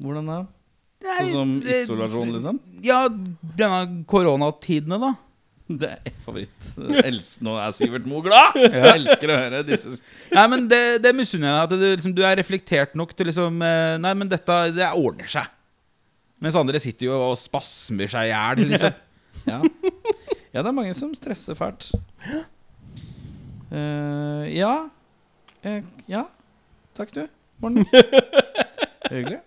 Speaker 1: Hvordan da?
Speaker 3: Det er-
Speaker 1: Sånn som
Speaker 3: det-
Speaker 1: isolasjon, liksom?
Speaker 3: Ja, denne koronatidene, da.
Speaker 1: Det er et favoritt. Elsk, nå er Sivert Moe glad! Jeg elsker å høre disse
Speaker 3: Nei, men det, det misunner jeg deg. At det, liksom, du er reflektert nok til liksom eh, Nei, men dette det ordner seg. Mens andre sitter jo og spasmer seg i hjel, liksom.
Speaker 1: Ja. ja, det er mange som stresser fælt. Eh, ja. Eh, ja. Takk, du, Morten. Hyggelig.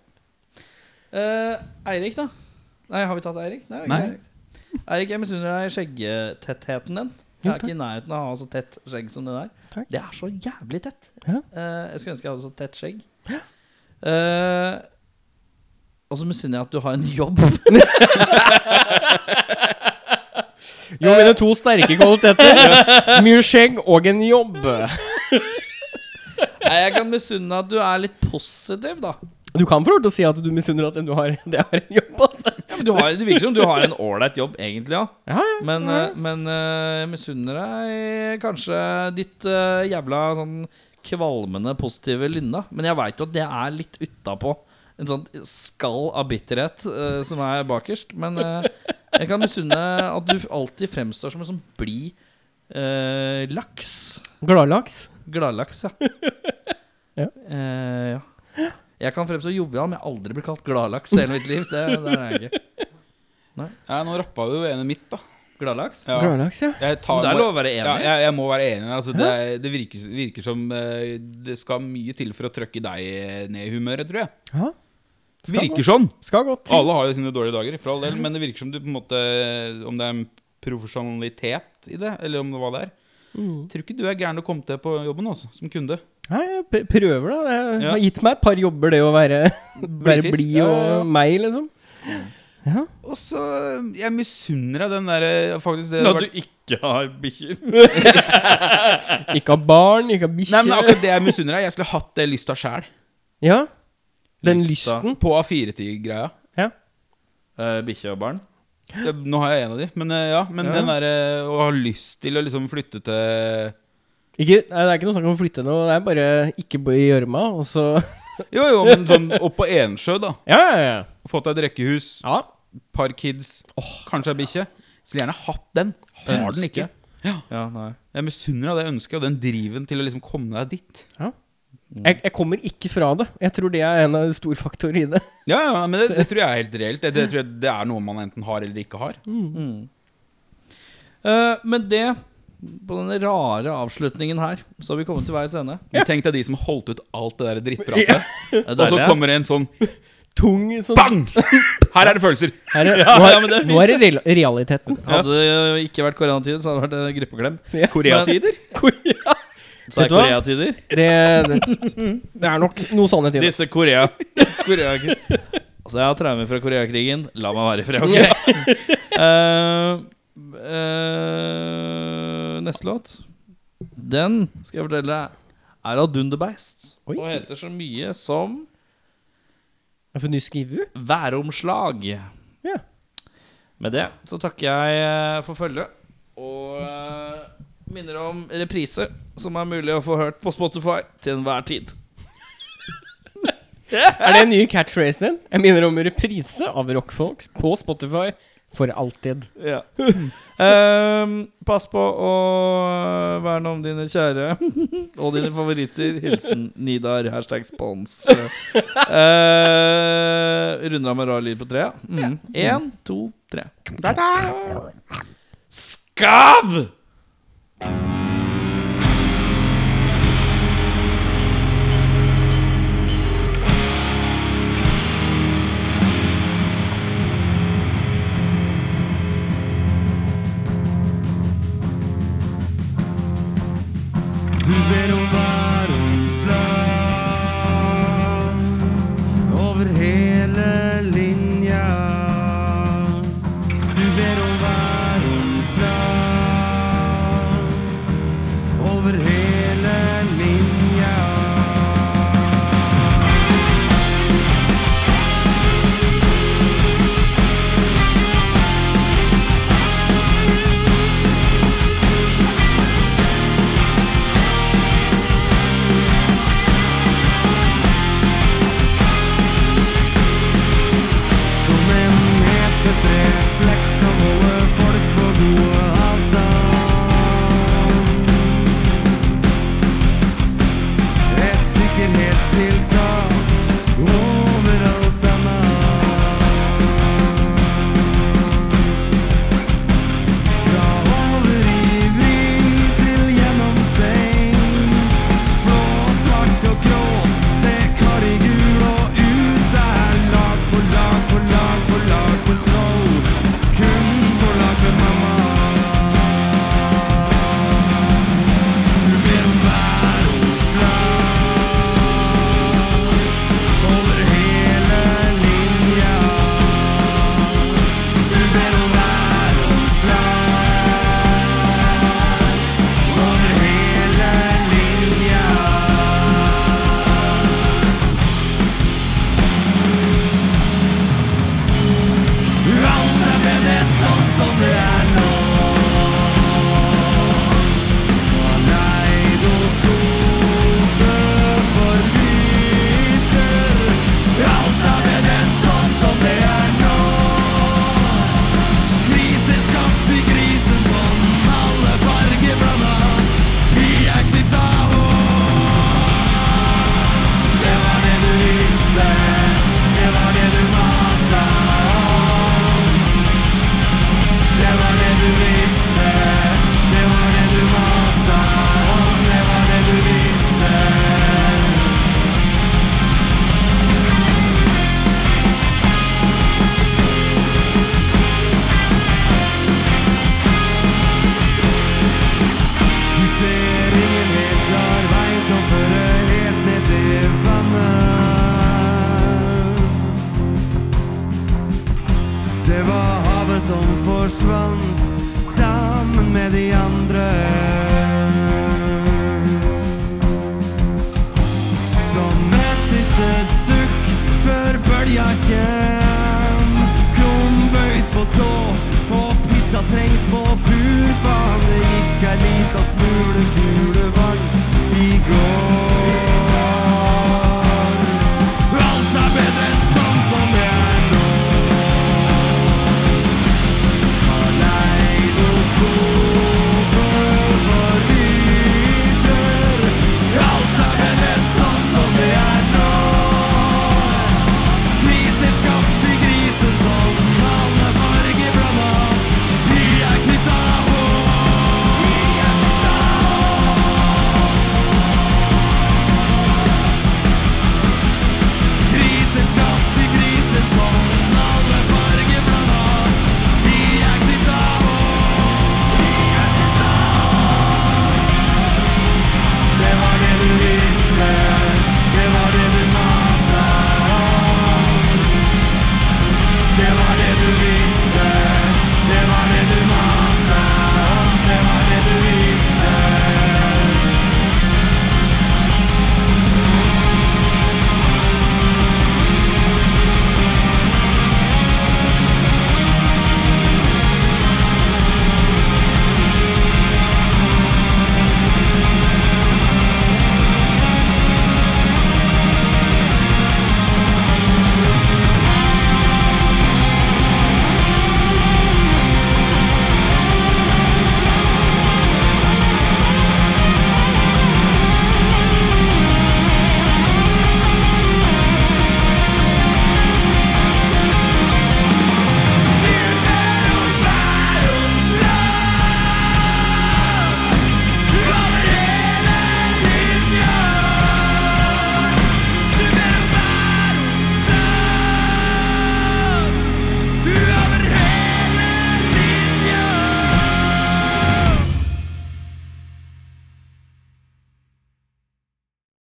Speaker 1: Eh, Eirik, da? Nei, har vi tatt Eirik? Nei. vi har
Speaker 3: Nei.
Speaker 1: ikke Eirik, Eirik, jeg misunner deg skjeggetettheten din. Jeg
Speaker 2: Jo,
Speaker 1: er ikke i nærheten av å ha så tett skjegg som det der.
Speaker 2: Takk.
Speaker 1: Det er så jævlig tett.
Speaker 2: Ja.
Speaker 1: Eh, jeg skulle ønske jeg hadde så tett skjegg. Eh, og så misunner jeg at du har en jobb.
Speaker 2: Jo, mine to sterke kvaliteter. Mye skjegg og en jobb.
Speaker 1: Nei, jeg kan misunne at du er litt positiv, da.
Speaker 2: Du kan få lov til å si at du misunner at du har, det har en jobb, altså.
Speaker 1: Ja, men du har, det virker som du har en ålreit jobb, egentlig, ja.
Speaker 2: Ja,
Speaker 1: Men, eh, men eh, jeg misunner deg kanskje ditt eh, jævla sånn kvalmende positive lynne. Men jeg veit jo at det er litt utapå. En sånn skall av bitterhet eh, som er bakerst. Men eh, jeg kan misunne at du alltid fremstår som en sånn blid eh, laks.
Speaker 2: Gladlaks.
Speaker 1: Gladlaks, ja.
Speaker 2: Ja.
Speaker 1: Eh, ja. Jeg kan fremstå jovial, men jeg har aldri blitt kalt gladlaks i hele mitt liv. Det, det er jeg ikke.
Speaker 3: Ja, nå rappa du ene mitt, da.
Speaker 1: Gladlaks?
Speaker 3: Ja.
Speaker 2: Gladlaks, ja.
Speaker 3: Jeg
Speaker 1: Men
Speaker 3: tar,
Speaker 1: det er
Speaker 3: må-
Speaker 1: lov å være
Speaker 3: Ja,
Speaker 1: enig.
Speaker 3: jeg, jeg må være enig. Altså, det, er- det virker, virker som eh, det skal mye til for å trøkke deg ned i humøret, tror jeg.
Speaker 2: ja.
Speaker 3: Det virker sånn.
Speaker 2: Skal godt til.
Speaker 3: Alle har jo sine dårlige dager, for all del, men det virker som du på en måte Om det er en profesjonalitet i det, eller om det hva det er.
Speaker 2: Mm.
Speaker 3: Jeg tror ikke du er gæren å komme til på jobben også, som kunde.
Speaker 2: Nei, jeg p- prøver, da. Det
Speaker 3: Ja.
Speaker 2: har gitt meg et par jobber, det å være, være
Speaker 3: Blidfisk.
Speaker 2: blid
Speaker 3: Ja,
Speaker 2: og
Speaker 3: ja, ja.
Speaker 2: meg, liksom.
Speaker 3: Og så Jeg misunner deg den derre Faktisk, det
Speaker 1: Men At
Speaker 3: har vært
Speaker 1: du ikke har bikkjer.
Speaker 2: Ikke ha barn, ikke ha
Speaker 3: Nei, men
Speaker 2: bikkje.
Speaker 3: akkurat det jeg misunner deg. Jeg skulle hatt det lysta sjæl.
Speaker 2: Ja. Den
Speaker 1: Lysta.
Speaker 2: lysten.
Speaker 3: På A4-tid-greia.
Speaker 2: Ja.
Speaker 1: Eh, Bikkje og barn.
Speaker 3: Det- Eh, Nå har jeg en av de, men eh, ja. Men
Speaker 2: Ja.
Speaker 3: den derre å ha lyst til å liksom flytte til
Speaker 2: Ikke, nei, det er ikke noe snakk om å flytte nå, det er bare ikke bo i gjørma, og så
Speaker 3: Jo, jo, men sånn opp på Ensjø, da.
Speaker 2: Ja, ja, ja.
Speaker 3: Fått deg et rekkehus,
Speaker 2: ja.
Speaker 3: par kids, kanskje ei bikkje. Skulle gjerne hatt den. Eh, Har den ikke.
Speaker 1: Ja, nei.
Speaker 3: Jeg misunner deg det ønsket og den driven til å liksom komme deg dit.
Speaker 2: Jeg, jeg kommer ikke fra det. Jeg tror det er en av de store faktorene i det.
Speaker 3: Ja, ja, men det, det tror jeg er helt reelt. Det, det tror jeg det er noe man enten har eller ikke har.
Speaker 1: Eh, men det På denne rare avslutningen her, så har vi kommet til veis ende.
Speaker 3: Men Tenk deg de som holdt ut alt det der drittpratet,
Speaker 1: Det er
Speaker 3: og så
Speaker 1: deilig, ja.
Speaker 3: kommer det en sånn
Speaker 2: Tung sånn
Speaker 3: bang! Her er det følelser!
Speaker 2: Her er,
Speaker 1: Ja,
Speaker 2: nå, er,
Speaker 1: ja, men det er
Speaker 2: nå er det real- realiteten.
Speaker 1: Hadde det ikke vært koronatid, så hadde det vært eh, gruppeklem.
Speaker 2: Ja.
Speaker 1: Koreatider?
Speaker 2: Ja.
Speaker 1: Så er
Speaker 2: Vet du hva?
Speaker 1: koreatider.
Speaker 2: Det, det, det er nok noe sannhet i det.
Speaker 1: Disse Korea... Korea altså, jeg har traumer fra Koreakrigen. La meg være i fred, OK? Eh, eh, neste låt, den skal jeg fortelle deg, er av Dunderbeist.
Speaker 2: Oi.
Speaker 1: Og heter så mye som
Speaker 2: Jeg får ny skrive.
Speaker 1: Væromslag.
Speaker 2: Ja.
Speaker 1: Med det så takker jeg eh, for følget. Og eh, minner om reprise, som er mulig å få hørt på Spotify til enhver tid.
Speaker 2: Er det en ny catchphrase din? Jeg minner om reprise av Rockfolks på Spotify for alltid.
Speaker 1: Ja. Ehm, pass på å eh, verne om dine kjære og dine favoritter. Hilsen Nidar. Hashtag spons. Uh, Runder av med rar lyd på tre. Én, to, tre. Skav!
Speaker 5: Du ber om vær om flag over hele linja. Du ber om vær om flag over hele linja. Som en hetetrefleks som holder folk på gode avstand. Et sikkerhetstiltak overalt annet. Fra overivrig til gjennomstengt. Blå, svart og grå, se kar i gul og usær. Lag på lag på lag på lag på soul. Kun på lag med mamma. Du ber om vær og slag over hele linja. Du ber om vær og slag over hele linja. Alt er bedt sånn som det er nå Å nei, nå skopet forbryter Alt er bedt sånn som det er nå Kriser skapt i grisen som alle farger blanda Vi er kvitt av hår Det var det du visste Det var det du masa om det var det du visste, det var det du masa om, det var det du visste. Du ser ingen helt klar vei som fører helt ned til vannet. Det var havet som forsvant sammen med de andre.